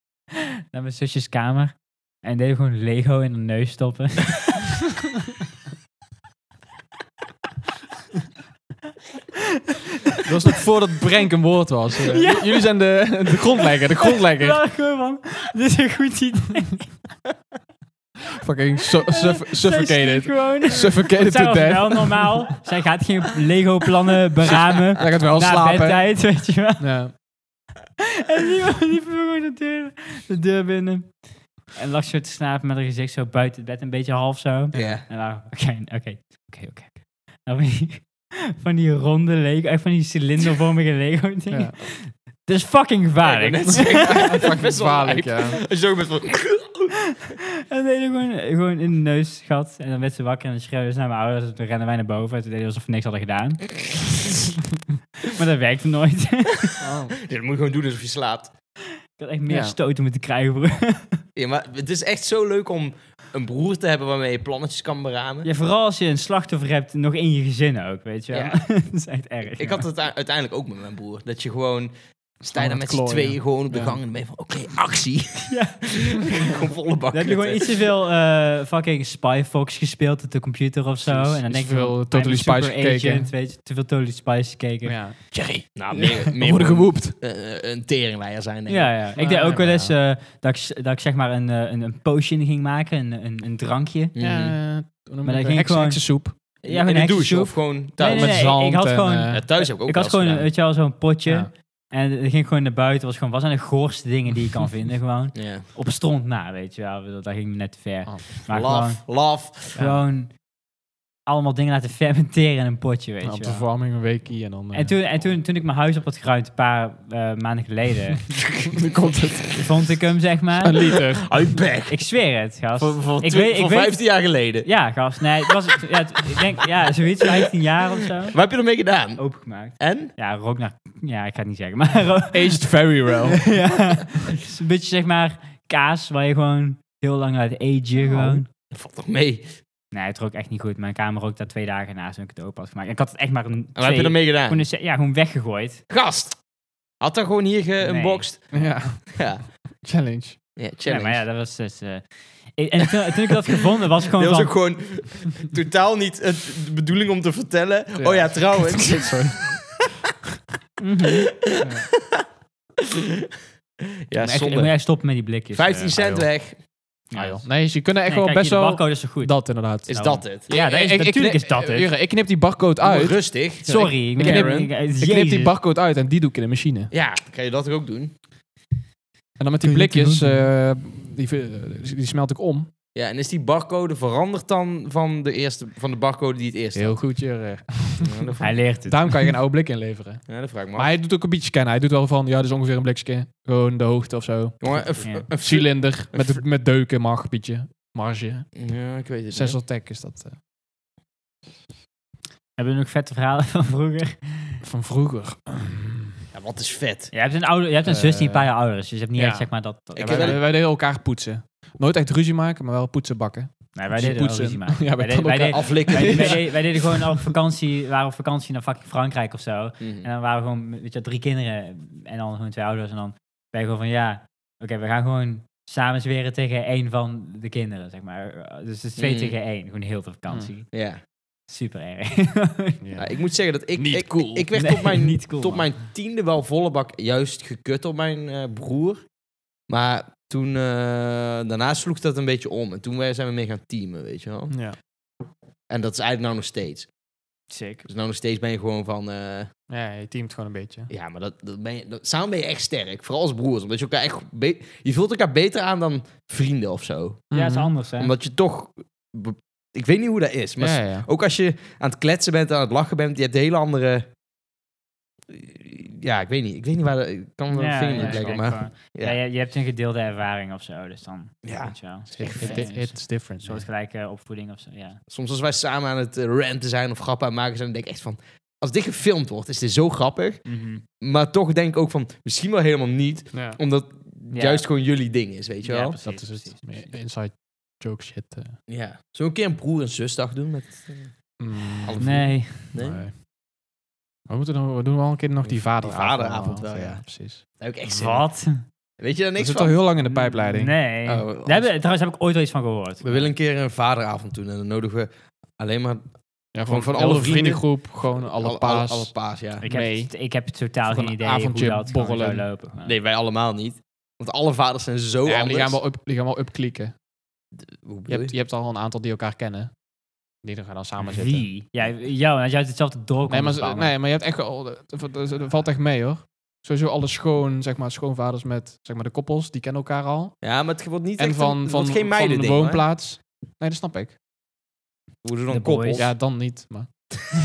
S4: [laughs] naar mijn zusjes kamer. En deed ik gewoon Lego in de neus stoppen. [laughs]
S2: Dat was nog voordat Brenk een woord
S3: [laughs]
S2: was. Eh,
S4: Ja.
S2: j- Jullie zijn de, de grondlegger, de
S4: Ik
S2: grondlegger.
S4: dacht gewoon van, dit is een goed idee.
S2: Fucking su- suff-
S4: Zij sliep
S2: suffocated. [laughs]
S4: Gewoon.
S2: Suffocated
S4: Zij
S2: to
S4: was wel
S2: death.
S4: normaal. Zij gaat geen Lego plannen beramen.
S2: Hij gaat wel
S4: na
S2: slapen.
S4: bedtijd, weet je wel.
S2: Ja.
S4: En die liep gewoon de deur, de deur binnen. En lag zo te slapen met haar gezicht zo buiten het bed. Een beetje half zo.
S3: Ja.
S4: En dan, oké, oké, oké, oké. Dan van die, van die ronde Lego, echt van die cilindervormige Lego dingen.
S3: [laughs]
S2: Ja.
S4: Dat is fucking gevaarlijk.
S2: Fucking
S3: Best wel
S2: gevaarlijk,
S3: lijp.
S2: ja.
S3: [laughs] Als je ook bent van...
S4: [laughs] en deed ik gewoon, gewoon in de neusgat. En dan werd ze wakker en dan schreeuwde ze naar mijn ouders. En toen rennen wij naar boven. En toen deden we alsof we niks hadden
S2: [laughs]
S4: gedaan. maar dat werkte nooit.
S2: Oh.
S3: Dit moet je gewoon doen alsof je slaapt.
S4: had echt meer
S2: Ja.
S4: stoten moeten krijgen, broer.
S3: Ja, maar het is echt zo leuk om een broer te hebben waarmee je plannetjes kan beramen.
S4: [laughs] Ja, vooral als je een slachtoffer hebt, nog in je gezin ook, weet je wel.
S3: Ja.
S4: [laughs] dat is echt erg.
S3: Ik had het ui- uiteindelijk ook met mijn broer. Dat je gewoon... Sta je daar
S2: aan
S3: met
S2: het
S3: z'n
S2: klooien.
S3: tweeën gewoon op de
S2: Ja.
S3: gang en ben je van... Oké, actie.
S4: Ja.
S3: [laughs] gewoon volle bak.
S4: Dan heb je gewoon
S3: kutten.
S4: iets te veel eh, fucking Spy Fox gespeeld op de computer of zo.
S2: Precies.
S4: En dan
S2: Iets
S4: denk je
S2: te veel
S4: van,
S2: Totally
S4: I'm a super
S2: Spies gekeken.
S4: agent, weet je, te veel Totally Spice gekeken. Ja,
S2: Ja.
S3: Jerry. Nou, meer,
S2: We
S3: meer
S2: worden
S3: gewoon
S2: gewoept.
S3: een, een teringleier zijn, denk ik.
S4: ja. Ik deed
S2: Ah,
S4: ook wel
S2: ja.
S4: eens eh, dat, ik, s- dat ik zeg maar een, eh, een, een potion ging maken, een, een, een drankje.
S3: Mhm.
S2: Eh, maar
S4: dat
S2: dan
S4: ging
S2: ging
S4: gewoon-
S2: gewoon... soep.
S4: Ja, gewoon
S3: in de
S4: heksensoep.
S3: douche of gewoon thuis.
S4: Nee, nee,
S2: met
S4: ik-
S2: zand
S4: ik had
S2: en,
S4: gewoon-
S2: eh,
S3: Ja, thuis heb ik ook
S4: ik had
S3: wel eens
S4: gewoon,
S3: gedaan.
S4: weet je wel, zo'n potje.
S2: Ja.
S4: En dat ging gewoon naar buiten. was gewoon, wat zijn de goorste dingen die je [laughs] kan vinden? Gewoon
S3: Ja.
S4: op stront na, weet je wel. Dat, dat ging me net te ver.
S2: Oh.
S4: Maar gewoon,
S3: Laf, laf.
S4: [laughs] gewoon allemaal dingen laten fermenteren in een potje, weet
S2: Nou, op
S4: je
S2: de
S4: wel.
S2: verwarming een weekje en dan... eh,
S4: En, toen, en toen, toen ik mijn huis op had geruimd een paar eh, maanden
S3: [laughs]
S4: geleden,
S3: komt het.
S4: vond ik hem, zeg
S2: Een
S4: maar.
S2: liter.
S3: Uit bek.
S4: Ik zweer het, gast.
S3: Voor, voor,
S4: Ik
S3: twi-
S4: weet- ik
S3: voor
S4: weet-
S3: 15 jaar geleden.
S4: Ja, gast. Nee, het was, ja, het- ik denk, ja, zoiets, 15 jaar of zo.
S3: Wat heb je ermee gedaan?
S4: Oh. Opengemaakt.
S3: En?
S4: Ja, rook naar... Ja, ik ga het niet zeggen, maar... [laughs] rook-
S2: Aged very well.
S4: [laughs] ja, het is een beetje, zeg maar, kaas waar je gewoon heel lang uit
S3: Oh.
S4: agen gewoon.
S3: Dat valt toch mee?
S4: Nee, het rook echt niet goed. Mijn kamer rook daar twee dagen na toen ik het open had gemaakt. En ik had het echt maar een...
S3: En wat heb je
S4: twee-
S3: ermee gedaan?
S4: gewoon een se- ja, gewoon weggegooid.
S3: Gast! Had dat gewoon hier geunboxed?
S2: [laughs] ja,
S3: Ja.
S2: challenge.
S3: Ja,
S4: Ja,
S3: challenge.
S4: maar ja, dat was dus... eh, ik- en toen, toen ik dat gevonden
S3: [laughs]
S4: was gewoon
S3: Dit was
S4: van...
S3: ook gewoon totaal niet het, de bedoeling om te vertellen.
S2: Ja.
S3: Oh ja, trouwens.
S2: [laughs] Sorry.
S4: mhm.
S3: ja,
S4: Echt, ik moet
S3: zonde.
S4: echt stoppen met die blikjes.
S3: 15
S4: eh.
S3: cent
S2: joh.
S3: weg.
S4: Ja,
S2: Ah, joh.
S4: dat is-
S2: Nee, ze kunnen echt
S4: Nee,
S2: wel
S4: kijk,
S2: best
S4: hier, de
S2: wel...
S4: barcode is zo goed.
S2: Dat inderdaad.
S3: Is
S4: Nou,
S3: dat het?
S4: ja, dat is- natuurlijk is dat het.
S2: Jure, ik knip die barcode uit.
S3: Rustig.
S4: Sorry, ik,
S2: knip-
S4: ben-
S2: Ik knip die
S4: Jezus.
S2: barcode uit en die doe ik in de machine.
S3: Ja, kan je dat ook doen?
S2: En dan met die
S4: Kun je dat
S2: blikjes,
S4: doen?
S2: eh, die, eh, die smelt ik om.
S3: Ja, en is die barcode veranderd dan van de, eerste, van de barcode die het eerst
S2: Heel goed, Jure.
S3: had? Ja, dat vraag-
S4: Hij leert het.
S2: Daarom kan je geen oude blik inleveren.
S3: Ja, dat vraag ik me
S2: Maar
S3: af.
S2: hij doet ook een beetje kennen. Hij doet wel van, ja, dit is ongeveer een blikje. Gewoon de hoogte of zo.
S3: Jongen, een, f-
S4: Ja.
S3: een f-
S2: Cilinder, met, met deuken, mag, beetje. Marge.
S3: Ja, ik weet het niet.
S2: Sensor Tech is dat eh,
S4: Hebben we nog vette verhalen van vroeger?
S2: van vroeger.
S3: Ja, wat is vet.
S4: Ja, je hebt een, ouder, je hebt een
S2: Eh,
S4: zus die een paar jaar ouder is, dus je hebt niet
S2: ja.
S4: echt zeg maar dat... dat
S3: Ik
S2: Ja,
S3: heb
S2: wij,
S3: wel-
S2: wij deden elkaar poetsen. Nooit echt ruzie maken, maar wel poetsen [laughs] bakken.
S4: nee, wij
S2: Ze
S4: deden wel
S2: poetsen.
S4: ruzie maken.
S2: Ja,
S4: wij,
S2: wij
S4: deden, wij,
S2: konden
S4: deden,
S3: Aflikken.
S4: wij, wij deden, wij deden gewoon op vakantie, waren op vakantie naar fucking Frankrijk of zo.
S3: Mhm.
S4: En dan waren we gewoon, weet je, wel, drie kinderen en dan gewoon twee ouders. En dan ben je gewoon van, ja, oké, we gaan gewoon samen zweren tegen één van de kinderen, zeg maar. Dus het is twee
S3: Mm.
S4: tegen één, gewoon heel de vakantie.
S3: Ja.
S4: Super erg.
S3: Ja, Nou, ik moet zeggen dat ik...
S2: Niet
S3: ik,
S2: cool.
S3: Ik, ik werd
S4: Nee,
S3: tot, mijn,
S4: niet cool,
S3: tot
S4: man.
S3: mijn tiende wel volle bak juist gekut op mijn eh, broer. Maar toen... eh, daarna sloeg dat een beetje om. En toen wij- zijn we mee gaan teamen, weet je wel.
S2: Ja.
S3: En dat is eigenlijk nou nog steeds.
S4: Sick.
S3: Dus nou nog steeds ben je gewoon van... eh,
S2: Ja, je teamt gewoon een beetje.
S3: ja, maar dat, dat ben je, dat- samen ben je echt sterk. Vooral als broers. Omdat je elkaar echt... be- je voelt elkaar beter aan dan vrienden of zo.
S4: Ja, is
S2: Mhm.
S4: anders, hè?
S3: Omdat je toch... be- Ik weet niet hoe dat is, maar
S2: Ja, ja.
S3: Ook als je aan het kletsen bent, aan het lachen bent, je hebt hele andere. Ja, ik weet niet. Ik weet niet waar. de- Ik kan wel
S4: Ja,
S3: een vinger
S4: ja,
S3: niet leggen,
S4: ik
S3: maar.
S4: gewoon-
S3: ja.
S4: ja, je, je hebt een gedeelde ervaring of zo, dus dan
S3: Ja,
S4: weet je wel.
S3: echt
S2: It-
S3: vet.
S2: it- It's different.
S4: Een soortgelijke opvoeding of zo, ja.
S3: Soms als wij samen aan het eh, ranten zijn of grappen aan het maken zijn, dan denk ik echt van. Als dit gefilmd wordt, is dit zo grappig.
S4: Mhm.
S3: Maar toch denk ik ook van. Misschien wel helemaal niet.
S2: Ja.
S3: Omdat
S4: Ja.
S3: juist gewoon jullie ding is, weet je
S4: Ja,
S3: wel?
S4: precies,
S2: Dat is het.
S4: precies, precies.
S2: Inside joke shit. eh.
S3: Ja. Zullen we een keer een broer- en zusdag doen? Met, eh,
S2: Mm,
S3: Alle
S4: Nee,
S3: nee?
S2: nee. We, moeten nog, we doen wel een keer nog die vaderavond.
S3: vaderavond wel, ja.
S2: precies.
S3: Daar heb ik echt zin in.
S4: wat?
S3: Weet je daar
S2: Ik
S3: niks
S2: zit
S3: van?
S2: al heel lang in de pijpleiding.
S4: Nee.
S3: Oh,
S4: Daar
S3: als-
S4: hebben, trouwens heb ik ooit wel iets van gehoord.
S3: We willen een keer een vaderavond doen en dan nodigen we alleen maar
S2: Ja,
S3: Gewoon
S2: gewoon
S3: van
S2: van
S3: alle
S2: alle
S3: vrienden.
S2: vriendengroep, gewoon alle, paas.
S3: Alle, paas, ja.
S4: Ik heb,
S2: Nee.
S4: het- ik heb totaal
S2: Gewoon
S4: geen
S2: een
S4: idee
S2: avondje
S4: hoe dat gewoon
S2: borrelen.
S4: zou lopen. maar-
S3: Nee, wij allemaal niet. Want alle vaders zijn zo
S2: Ja, maar
S3: anders.
S2: Oh, die gaan wel, up, die gaan wel upklikken.
S3: Hoe
S2: Je
S3: bedoel
S2: hebt, je hebt al een aantal die elkaar kennen. Die er gaan dan samen zitten.
S4: Wie? Ja, jou, want jij uit hetzelfde dorp.
S2: Nee, maar,
S4: komt,
S2: ze-
S4: Bouwen.
S2: nee, maar je hebt echt al... Dat dat- dat valt echt mee, hoor. Sowieso alle schoon, zeg maar, schoonvaders met zeg maar, de koppels, die kennen elkaar al.
S3: Ja, maar het wordt niet
S2: En
S3: echt een,
S2: van,
S3: het
S2: van,
S3: wordt geen
S2: van
S3: meiden
S2: de woonplaats. Nee, dat snap ik.
S3: Hoe doen
S4: De
S3: dan
S4: boys.
S3: koppels?
S2: [laughs] Ja, dan niet, maar...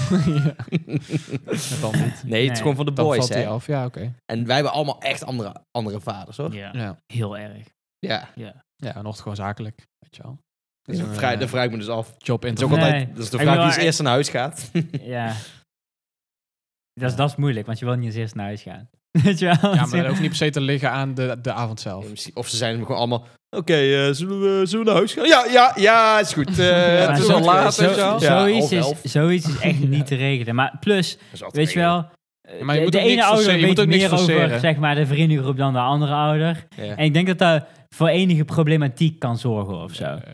S2: ja, dan
S3: [laughs]
S2: niet.
S3: nee, het
S4: Nee.
S3: is gewoon van de
S2: Dan
S3: boys,
S2: valt
S3: hè.
S2: hij af. Ja, oké.
S3: En wij hebben allemaal echt andere, andere vaders, hoor.
S4: Ja,
S2: Ja.
S4: heel erg.
S3: Ja.
S2: ja, en wordt gewoon zakelijk. Weet je wel.
S3: Dat is
S2: Ja.
S3: een vrij, daar vraag ik me dus af.
S2: Job
S3: Het is ook
S2: interview.
S4: Nee.
S3: altijd, dat is de
S4: Ik
S3: vraag
S4: wil-
S3: wie als eerst naar huis gaat.
S4: [laughs] Ja. Dat is, dat is moeilijk, want je wil niet als eerst naar huis gaan. [laughs] Weet je wel? [laughs]
S2: Ja, maar dat hoeft niet per se te liggen aan de, de avond zelf.
S3: Of ze zijn gewoon allemaal... Oké, eh, zullen, we, zullen we naar huis gaan? Ja, ja, ja, is
S4: [laughs]
S3: goed. Eh,
S4: Ja,
S3: het is
S4: zo-
S3: al laat.
S4: zo-
S3: weet je wel. Ja,
S4: zoiets,
S3: half elf.
S4: is, zoiets
S2: [laughs]
S4: is echt niet te regelen. Maar plus,
S3: Dat is altijd
S4: weet je wel...
S2: Ja, maar je
S4: de-
S2: moet
S4: de
S2: ook niks
S4: ene ouder
S2: forceren, je moet
S4: weet
S2: ook niks
S4: meer over
S2: forceren.
S4: zeg maar, de vriendengroep dan de andere ouder.
S3: Ja.
S4: En ik denk dat dat voor enige problematiek kan zorgen of zo.
S2: Eh,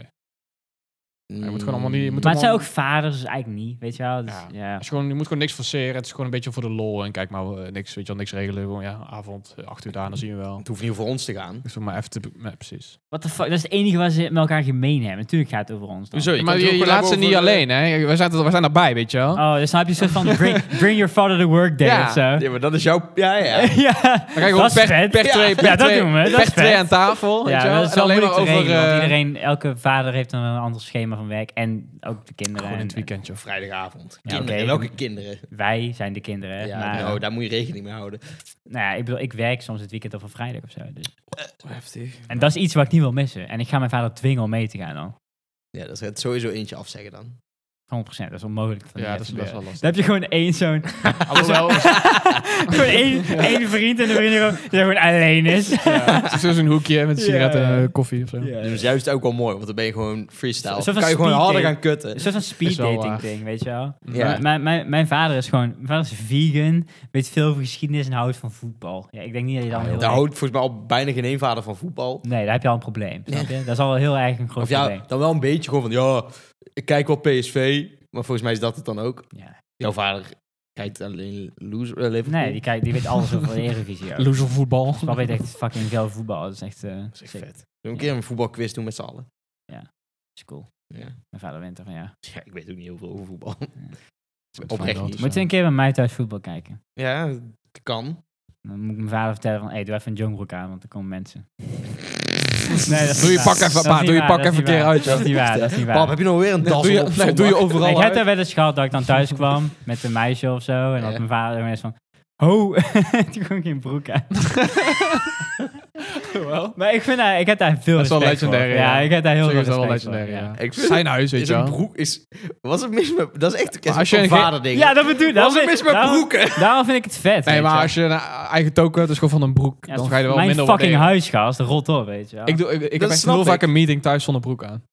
S2: je moet gewoon allemaal niet- je
S3: Mm.
S2: moet
S4: maar
S2: allemaal-
S4: het zijn ook vaders, dus eigenlijk niet, weet je wel. Dus,
S2: Ja.
S4: ja.
S2: als je, gewoon, je moet gewoon niks forceren. Het is gewoon een beetje voor de lol. En kijk maar, eh, niks, weet je wel, niks regelen. Gewoon, ja, avond, eh, acht uur daarna zien we wel.
S3: Het hoeft niet voor ons te gaan.
S2: Dus maar even te... be- nee, precies.
S4: What the fuck, dat is het enige wat ze met elkaar gemeen hebben. Natuurlijk gaat het over ons dan.
S3: Hoezo? Je
S2: maar
S3: kan het
S2: je,
S3: ook
S2: je
S3: gewoon
S2: laat ze
S3: hebben
S2: niet
S3: over, eh,
S2: alleen, hè. We zijn, er- we zijn erbij, weet je wel.
S4: Oh, dus dan heb je een soort van bring, bring your father to work day
S2: Ja,
S4: of [laughs] zo.
S3: Ja, maar dat is jouw... Ja,
S4: [laughs]
S3: ja.
S4: ja,
S2: Dan ga je
S4: dat
S2: gewoon
S4: is
S2: per,
S4: vet.
S2: per twee, per
S4: Ja, dat
S2: twee-
S4: doen we, dat is
S2: per twee
S4: vet.
S2: aan tafel. weet je
S4: Ja,
S2: wel.
S4: dat is
S2: en
S4: wel
S2: alleen maar
S4: moeilijk te
S2: over
S4: regelen, want
S2: eh,
S4: iedereen, elke vader heeft een ander schema van werk en ook de kinderen.
S2: gewoon in
S4: en-
S2: het weekendje. Of
S3: Vrijdagavond.
S4: Ja,
S3: Kinderen.
S4: oké.
S3: Welke kinderen?
S4: en Wij zijn de kinderen, hè,
S3: Ja,
S4: maar eh,
S3: nou, daar moet je rekening mee houden.
S4: nou ja, ik bedoel, ik werk soms het weekend of een vrijdag of zo. Dus.
S3: Heftig.
S4: En dat is iets wat ik niet wil missen. En ik ga mijn vader dwingen om mee te gaan dan.
S3: Ja, dat gaat sowieso eentje afzeggen dan.
S4: 100%, dat is onmogelijk.
S2: Ja, dat is best wel
S4: Dan
S2: lastig.
S4: heb je gewoon één zo'n...
S2: Alhoewel,
S4: [laughs] gewoon één, één vriend en de vriendin gewoon, die gewoon alleen is.
S2: ja, het is dus een hoekje met een
S4: Ja.
S2: sigaret en eh, koffie of zo.
S3: Dus dat is juist ook wel mooi, want dan ben je gewoon freestyle.
S4: Zo- zo van
S3: kan je gewoon
S4: speed
S3: harder
S4: dating.
S3: gaan kutten.
S4: Een soort van speed
S2: Is wel
S4: dating
S2: waar.
S4: ding, weet je wel?
S3: Ja.
S4: Mijn- Mijn, mijn, mijn vader is gewoon... Mijn vader is vegan, weet veel over geschiedenis en houdt van voetbal. Ja, ik denk niet dat je dan heel
S3: Daar
S4: erg-
S3: houdt volgens mij al bijna geen een vader van voetbal.
S4: Nee, daar heb je al een probleem, snap je? Dat is al heel erg een groot
S3: Of ja,
S4: probleem.
S3: dan wel een beetje gewoon van, ja, ik kijk wel PSV, maar volgens mij is dat het dan ook.
S4: Ja.
S3: Jouw vader kijkt alleen loser, eh, Liverpool.
S4: Nee, die, kijkt, die weet alles over de Eredivisie ook.
S2: Loser voetbal.
S4: Mijn weet echt fucking veel over voetbal. Dat is echt... eh,
S3: Dat is echt
S4: sick.
S3: vet. Zullen we een keer een voetbalquiz doen met z'n allen?
S4: Dat is cool.
S3: Ja.
S4: Mijn vader wint ervan, ja.
S3: ja, ik weet ook niet heel veel over voetbal.
S2: Met
S3: Oprecht
S2: Feyenoord.
S3: niet.
S4: Moet je een keer bij mij thuis voetbal kijken?
S3: Ja, dat kan.
S4: Dan moet ik mijn vader vertellen van, hey, doe even een jongbroek aan, want er komen
S2: [laughs]
S4: mensen. Nee, dat is
S2: Doe je
S4: niet
S2: pak
S4: waar.
S2: even,
S4: Dat is
S2: pa,
S4: niet
S2: doe je
S4: waar,
S2: pak
S4: dat is
S2: even een
S4: niet
S2: keer
S4: waar.
S2: uit,
S4: Dat is
S2: joh.
S4: niet waar,
S2: [laughs]
S4: dat is niet waar.
S3: Pap, heb je nog weer een
S2: Nee,
S3: das
S2: doe
S3: op
S2: je, nee, doe je
S3: zondag?
S2: overal
S4: ik heb
S2: uit.
S4: daar wel eens gehad dat ik dan
S2: [laughs]
S4: thuis kwam met een meisje of zo. En dat
S3: Ja.
S4: mijn vader gewoon eens van, ho, [laughs] toen gewoon geen
S2: [laughs]
S4: broek aan. Maar ik vind daar, ik heb daar veel
S2: Dat is wel
S4: respect voor.
S2: legendair,
S4: ja.
S2: ja.
S4: ik heb daar heel
S2: Op
S4: veel
S2: zich is dat
S4: respect
S2: wel
S4: voor,
S2: legendair, ja.
S3: Ik vind
S2: Zijn huis, weet
S3: is
S2: je
S3: een
S2: wel.
S3: broek is... Was het mis met... Dat is echt is
S2: als je
S3: een
S2: een ge-
S3: vaderding.
S4: Ja, dat bedoel ik.
S3: was het
S4: daarom
S3: mis
S4: vind-
S3: met
S4: daarom-
S3: broeken?
S4: Daarom vind ik het vet.
S2: Nee,
S4: weet
S2: maar
S4: je.
S2: als je een eh, eigen token hebt, dus gewoon van een broek,
S4: Ja,
S2: dan ga je er wel
S4: Mijn
S2: minder op
S4: fucking
S2: delen.
S4: huisgast, rot op, weet je wel.
S2: Ik, doe, ik, ik
S3: Dat
S2: heb echt
S3: snap
S2: heel vaak
S3: ik.
S2: een meeting thuis zonder broek aan.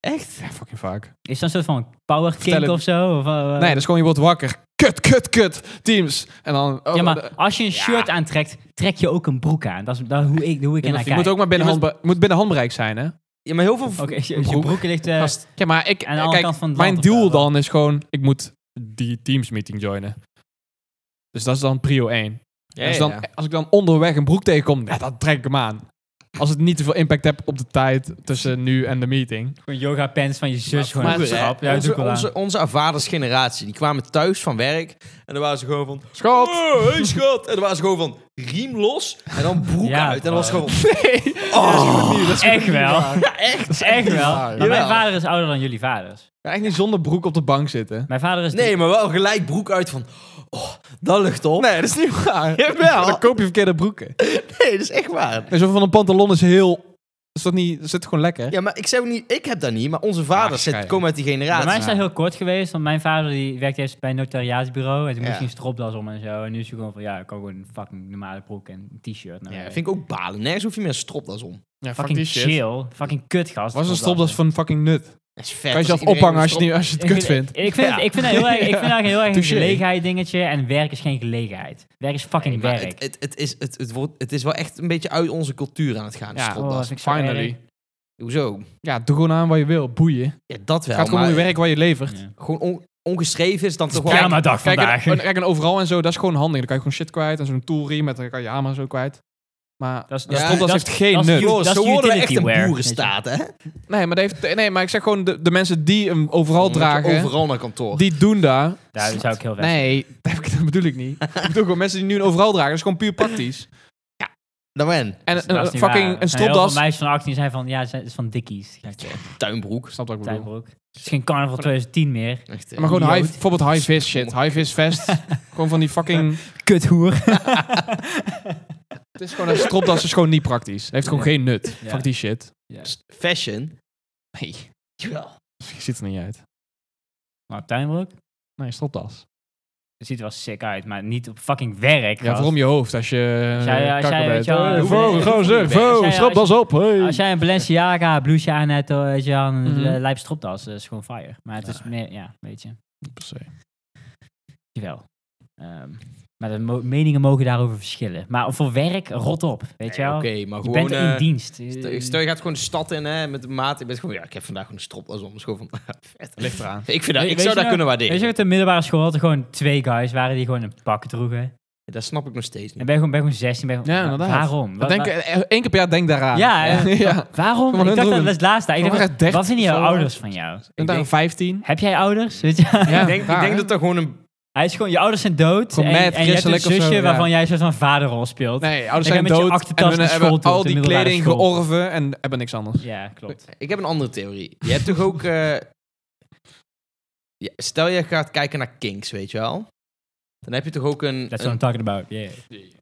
S3: Echt?
S2: Ja, fucking vaak.
S4: Is dat een soort van power
S2: Vertel
S4: kink
S2: het-
S4: of zo? Of, eh,
S2: Nee, dat is gewoon, je wordt wakker. Kut, kut, kut. Teams. En dan... oh,
S4: ja,
S2: eh,
S4: maar als je een shirt aantrekt, trek je ook een broek aan. Dat is dat, hoe ik, hoe ik
S2: je
S4: ernaar
S2: moet- je
S4: kijk.
S2: moet ook maar binnen,
S3: Je
S2: handbe- je moet binnen handbereik zijn, hè?
S3: Ja, maar heel veel...
S4: Oké, je,
S2: een
S4: [laughs] je
S2: broek.
S4: broek ligt... eh,
S2: Gast. Ja, maar ik...
S4: aan de andere
S2: kijk,
S4: kant van het
S2: mijn
S4: land of
S2: doel
S4: zo.
S2: dan is gewoon, ik moet die Teams meeting joinen. Dus dat is dan prio 1.
S3: Ja,
S2: dus
S3: ja,
S2: dan,
S3: ja.
S2: Als ik dan onderweg een broek tegenkom, ja, dan trek ik hem aan. Als het niet te veel impact hebt op de tijd tussen nu en de meeting.
S4: Gewoon yoga pants van je zus,
S3: Maar
S4: gewoon een
S3: vroeger, hè,
S4: schrap. Ja,
S3: onze,
S4: doe ik wel aan.
S3: onze, onze vadersgeneratie, die kwamen thuis van werk en dan waren ze gewoon van...
S2: Schot!
S3: Oh, hey schat! En dan waren ze gewoon van riem los en dan broek
S4: Ja,
S3: uit. En dan was het
S4: man.
S3: gewoon van... [laughs] Oh,
S4: Echt wel.
S3: ja, echt.
S4: Echt, wel.
S2: waar,
S4: Maar mijn
S3: jawel.
S4: vader is ouder dan jullie vaders.
S2: Ja, echt niet zonder broek op de bank zitten.
S4: Mijn vader is...
S3: Nee, maar wel gelijk broek uit van... Oh, dat lucht op. Nee, dat is niet [laughs] waar. Jawel.
S2: Dan koop je verkeerde broeken.
S3: Nee, dat is echt waar.
S2: En zo van een pantalon is heel... Is dat niet... Zit gewoon lekker?
S3: Ja, maar ik zeg ook niet... Ik heb dat niet, maar onze vaders
S2: Maar
S3: zitten, komen uit die
S4: Bij
S3: generatie.
S4: mij is dat
S2: Ja.
S4: heel kort geweest, want mijn vader die werkte eerst bij een notariaatsbureau. En toen moest
S3: Ja.
S4: hij een stropdas om en zo. En nu is hij gewoon van, ja, ik kan gewoon een fucking normale broek en een t-shirt. naar
S3: Ja,
S4: werk.
S3: dat vind ik ook balen. Nergens hoef je meer een stropdas om.
S2: Ja, fuck die
S4: fucking
S2: shit.
S4: chill. Fucking kutgast.
S2: Was een stropdas van fucking nut.
S3: Dat is vet.
S2: Kan je
S3: als
S2: zelf
S3: iedereen
S2: ophangen
S3: een
S2: als je,
S3: strop-
S2: niet- als je het
S4: Ik
S2: kut
S4: vind- [laughs]
S2: vindt.
S4: Ik vind,
S3: Ja.
S4: ik vind dat heel erg, ik vind dat heel erg een
S2: Touché.
S4: gelegenheid dingetje. En werk is geen gelegenheid. Werk is fucking
S3: Maar
S4: werk.
S3: het, het, het, is, het, het, wordt, het is wel echt een beetje uit onze cultuur aan het gaan,
S2: Ja.
S3: ja.
S4: Oh, dat
S3: stropdas.
S4: vind ik zo erg.
S2: Finally.
S3: Hoezo?
S2: Ja, doe gewoon aan wat je wil. Boeien.
S3: Ja, dat wel.
S2: Gaat gewoon
S3: maar
S2: om je werk wat je levert.
S4: Ja.
S3: Gewoon on- ongeschreven is dan toch wel...
S4: Ja, maar dag
S2: Kijk, oh,
S4: vandaag.
S2: en, en- kijk, en overal en zo, dat is gewoon handig. Dan kan je gewoon shit kwijt. En zo'n toolriem met dan kan je hamer en zo kwijt. Maar
S4: Dat is-
S2: dat
S3: ja,
S2: stropdas
S4: dat is-
S2: heeft geen
S4: dat is
S2: nut.
S4: util-
S3: Joh,
S4: dat is
S3: zo worden we echt
S4: utility
S3: een
S4: wear,
S3: boerenstaat, hè?
S2: Nee, maar, dat heeft, nee, maar ik zeg gewoon, de, de mensen die hem overal
S3: Omdat je
S2: dragen,
S3: Overal naar kantoor.
S2: die doen daar.
S4: Daar zou ik heel vet
S2: Nee, [laughs] dat, heb ik- dat bedoel ik niet. ik bedoel gewoon mensen die nu een overal dragen. Dat is gewoon puur praktisch.
S3: Dan ben
S2: En
S4: Dat
S2: een, een
S4: is niet
S2: fucking
S4: waar.
S2: een
S4: Er zijn heel veel
S2: stropdas...
S4: meisjes van 18 zijn van, ja, ze- het is van Dickies. Ja,
S3: tuinbroek.
S2: Snap wat ik bedoel.
S4: tuinbroek. Het is geen carnaval 2010 meer.
S3: Echt, eh,
S2: Maar gewoon high,
S4: Idioot.
S2: bijvoorbeeld high vis shit. High vis
S4: [laughs]
S2: vest. gewoon van die fucking...
S3: [laughs]
S4: Kuthoer. [laughs]
S2: Het is gewoon een stropdas is gewoon niet praktisch. Het heeft gewoon
S4: Ja.
S2: geen nut.
S4: Ja.
S2: Fuck die shit.
S3: s- fashion.
S2: Nee.
S3: Jawel.
S2: Je ziet er niet uit.
S4: Maar tuinbroek?
S2: Nee, stropdas.
S4: Het ziet er wel sick uit, maar niet op fucking werk.
S2: Ja,
S4: gast.
S2: voor om je hoofd als je
S4: Als jij-
S2: eh,
S4: als jij,
S2: kakker
S4: weet
S2: bent.
S4: je wel,
S2: Hey,
S4: als
S2: Vrouw,
S4: jij-
S2: gozer,
S3: als
S2: vrouw,
S4: jij-
S2: schrap
S4: als
S2: dat op. hey.
S4: Als jij een Balenciaga blouseje aan hebt, eh, weet je wel, een
S2: Mhm.
S4: eh, lijp stropdas, dat is gewoon fire. Maar het is meer, ja, weet je.
S2: Niet per se.
S4: Jawel. Ehm, maar de mo- meningen mogen daarover verschillen. Maar voor werk, rot op, weet je
S3: Nee,
S4: wel.
S3: Oké, maar
S4: Je
S3: gewoon...
S4: bent in
S3: eh,
S4: dienst.
S3: stel- Stel, je gaat gewoon de stad in hè, met de maat. Je bent gewoon, ja, ik heb vandaag gewoon een stropdas om. Dat is gewoon van, [laughs] vet.
S2: Ligt eraan.
S3: Ik, vind dat,
S4: Weet-
S3: ik
S4: weet je
S3: zou dat
S4: nou-
S3: kunnen
S4: Weet
S3: waarderen.
S4: je, op de middelbare school hadden gewoon twee guys waren die gewoon een pak droegen.
S3: Dat snap ik nog steeds
S4: En
S3: niet.
S4: ben je gewoon, ben je gewoon 16, ben je gewoon,
S2: Ja,
S4: wa-
S2: inderdaad.
S4: waarom? Wa-
S2: Ik Denk,
S4: wa-
S2: eh, één keer per jaar denk daaraan.
S4: Ja,
S2: [laughs] ja.
S4: eh,
S2: ja. Gewoon
S4: waarom? Ik
S2: hun
S4: dacht dat
S2: droegen.
S4: dat het laatste. Ik
S2: Gewoon
S4: dacht,
S2: echt 30
S4: wat vinden jouw
S2: zo.
S4: ouders van jou?
S2: Ik denk
S4: [laughs]
S2: 15.
S4: Heb jij ouders? Weet je?
S2: Ja,
S3: ik denk, ik
S2: raar,
S3: denk
S2: hè?
S3: dat er gewoon een
S4: Hij is gewoon, je ouders zijn dood.
S2: Gewoon
S4: En,
S2: mad
S4: en je hebt een
S2: christelijk of zo,
S4: zusje
S2: ja.
S4: waarvan jij een soort van vaderrol speelt.
S2: Nee, ouders
S4: Ik
S2: zijn
S4: heb met je
S2: dood en
S4: achtertas
S2: hun
S4: naar school
S2: hebben
S4: toe op
S2: al
S4: de
S2: die
S4: middelbare
S2: kleding
S4: school.
S2: georven en hebben niks anders.
S4: Ja, klopt.
S3: Ik heb een andere theorie. Je hebt toch ook... eh, ja, stel je gaat kijken naar Kinks, weet je wel. Dan heb je toch ook een...
S4: That's what I'm
S3: een-
S4: talking about. Yeah.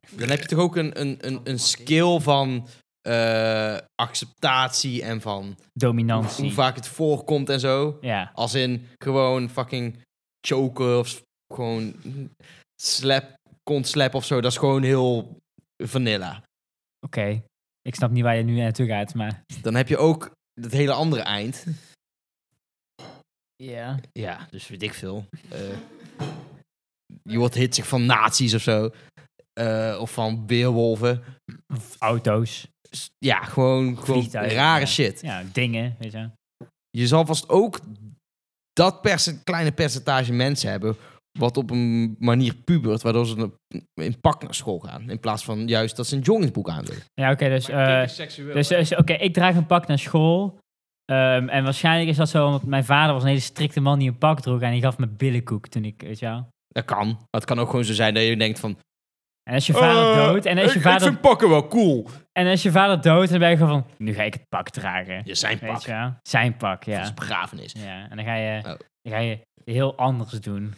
S3: dan heb je toch ook een, een, een, een skill van eh, acceptatie en van hoe,
S4: Dominantie.
S3: hoe vaak het voorkomt en zo.
S4: ja.
S3: Als in gewoon fucking choken of s- gewoon slap, kont slap of zo. Dat is gewoon heel vanilla.
S4: Oké. Ik snap niet waar je nu naartoe gaat, maar...
S3: Dan heb je ook dat hele andere eind.
S4: Ja.
S3: Ja, dus weet ik veel. Eh, je wordt hitsig van nazi's of zo. Eh, of van weerwolven.
S4: Auto's.
S3: S- Ja, gewoon, gewoon
S4: Vliegtuigen,
S3: rare
S4: ja.
S3: shit.
S4: Ja, dingen, weet je.
S3: Je zal vast ook dat perce- kleine percentage mensen hebben... wat op een manier pubert... waardoor ze een- in pak naar school gaan. In plaats van juist dat ze een jongensboek aan willen.
S4: Ja, oké, dus... eh, Dus, dus oké, ik draag een pak naar school. Ehm, en waarschijnlijk is dat zo, omdat mijn vader was een hele strikte man die een pak droeg. En die gaf me billenkoek toen ik, weet je wel.
S3: Dat kan. Maar het kan ook gewoon zo zijn dat je denkt van...
S4: En als je
S2: Oh,
S4: vader
S3: eh,
S4: dood, en als je
S3: ik,
S4: vader,
S3: ik vind pakken wel cool.
S4: en als je vader dood, dan ben je gewoon van, nu ga ik het pak dragen.
S3: Je zijn pak.
S4: Weet je wel? Zijn pak,
S3: Dat is
S4: ja.
S3: begrafenis.
S4: ja. En dan ga, je,
S3: Oh.
S4: dan ga je heel anders doen.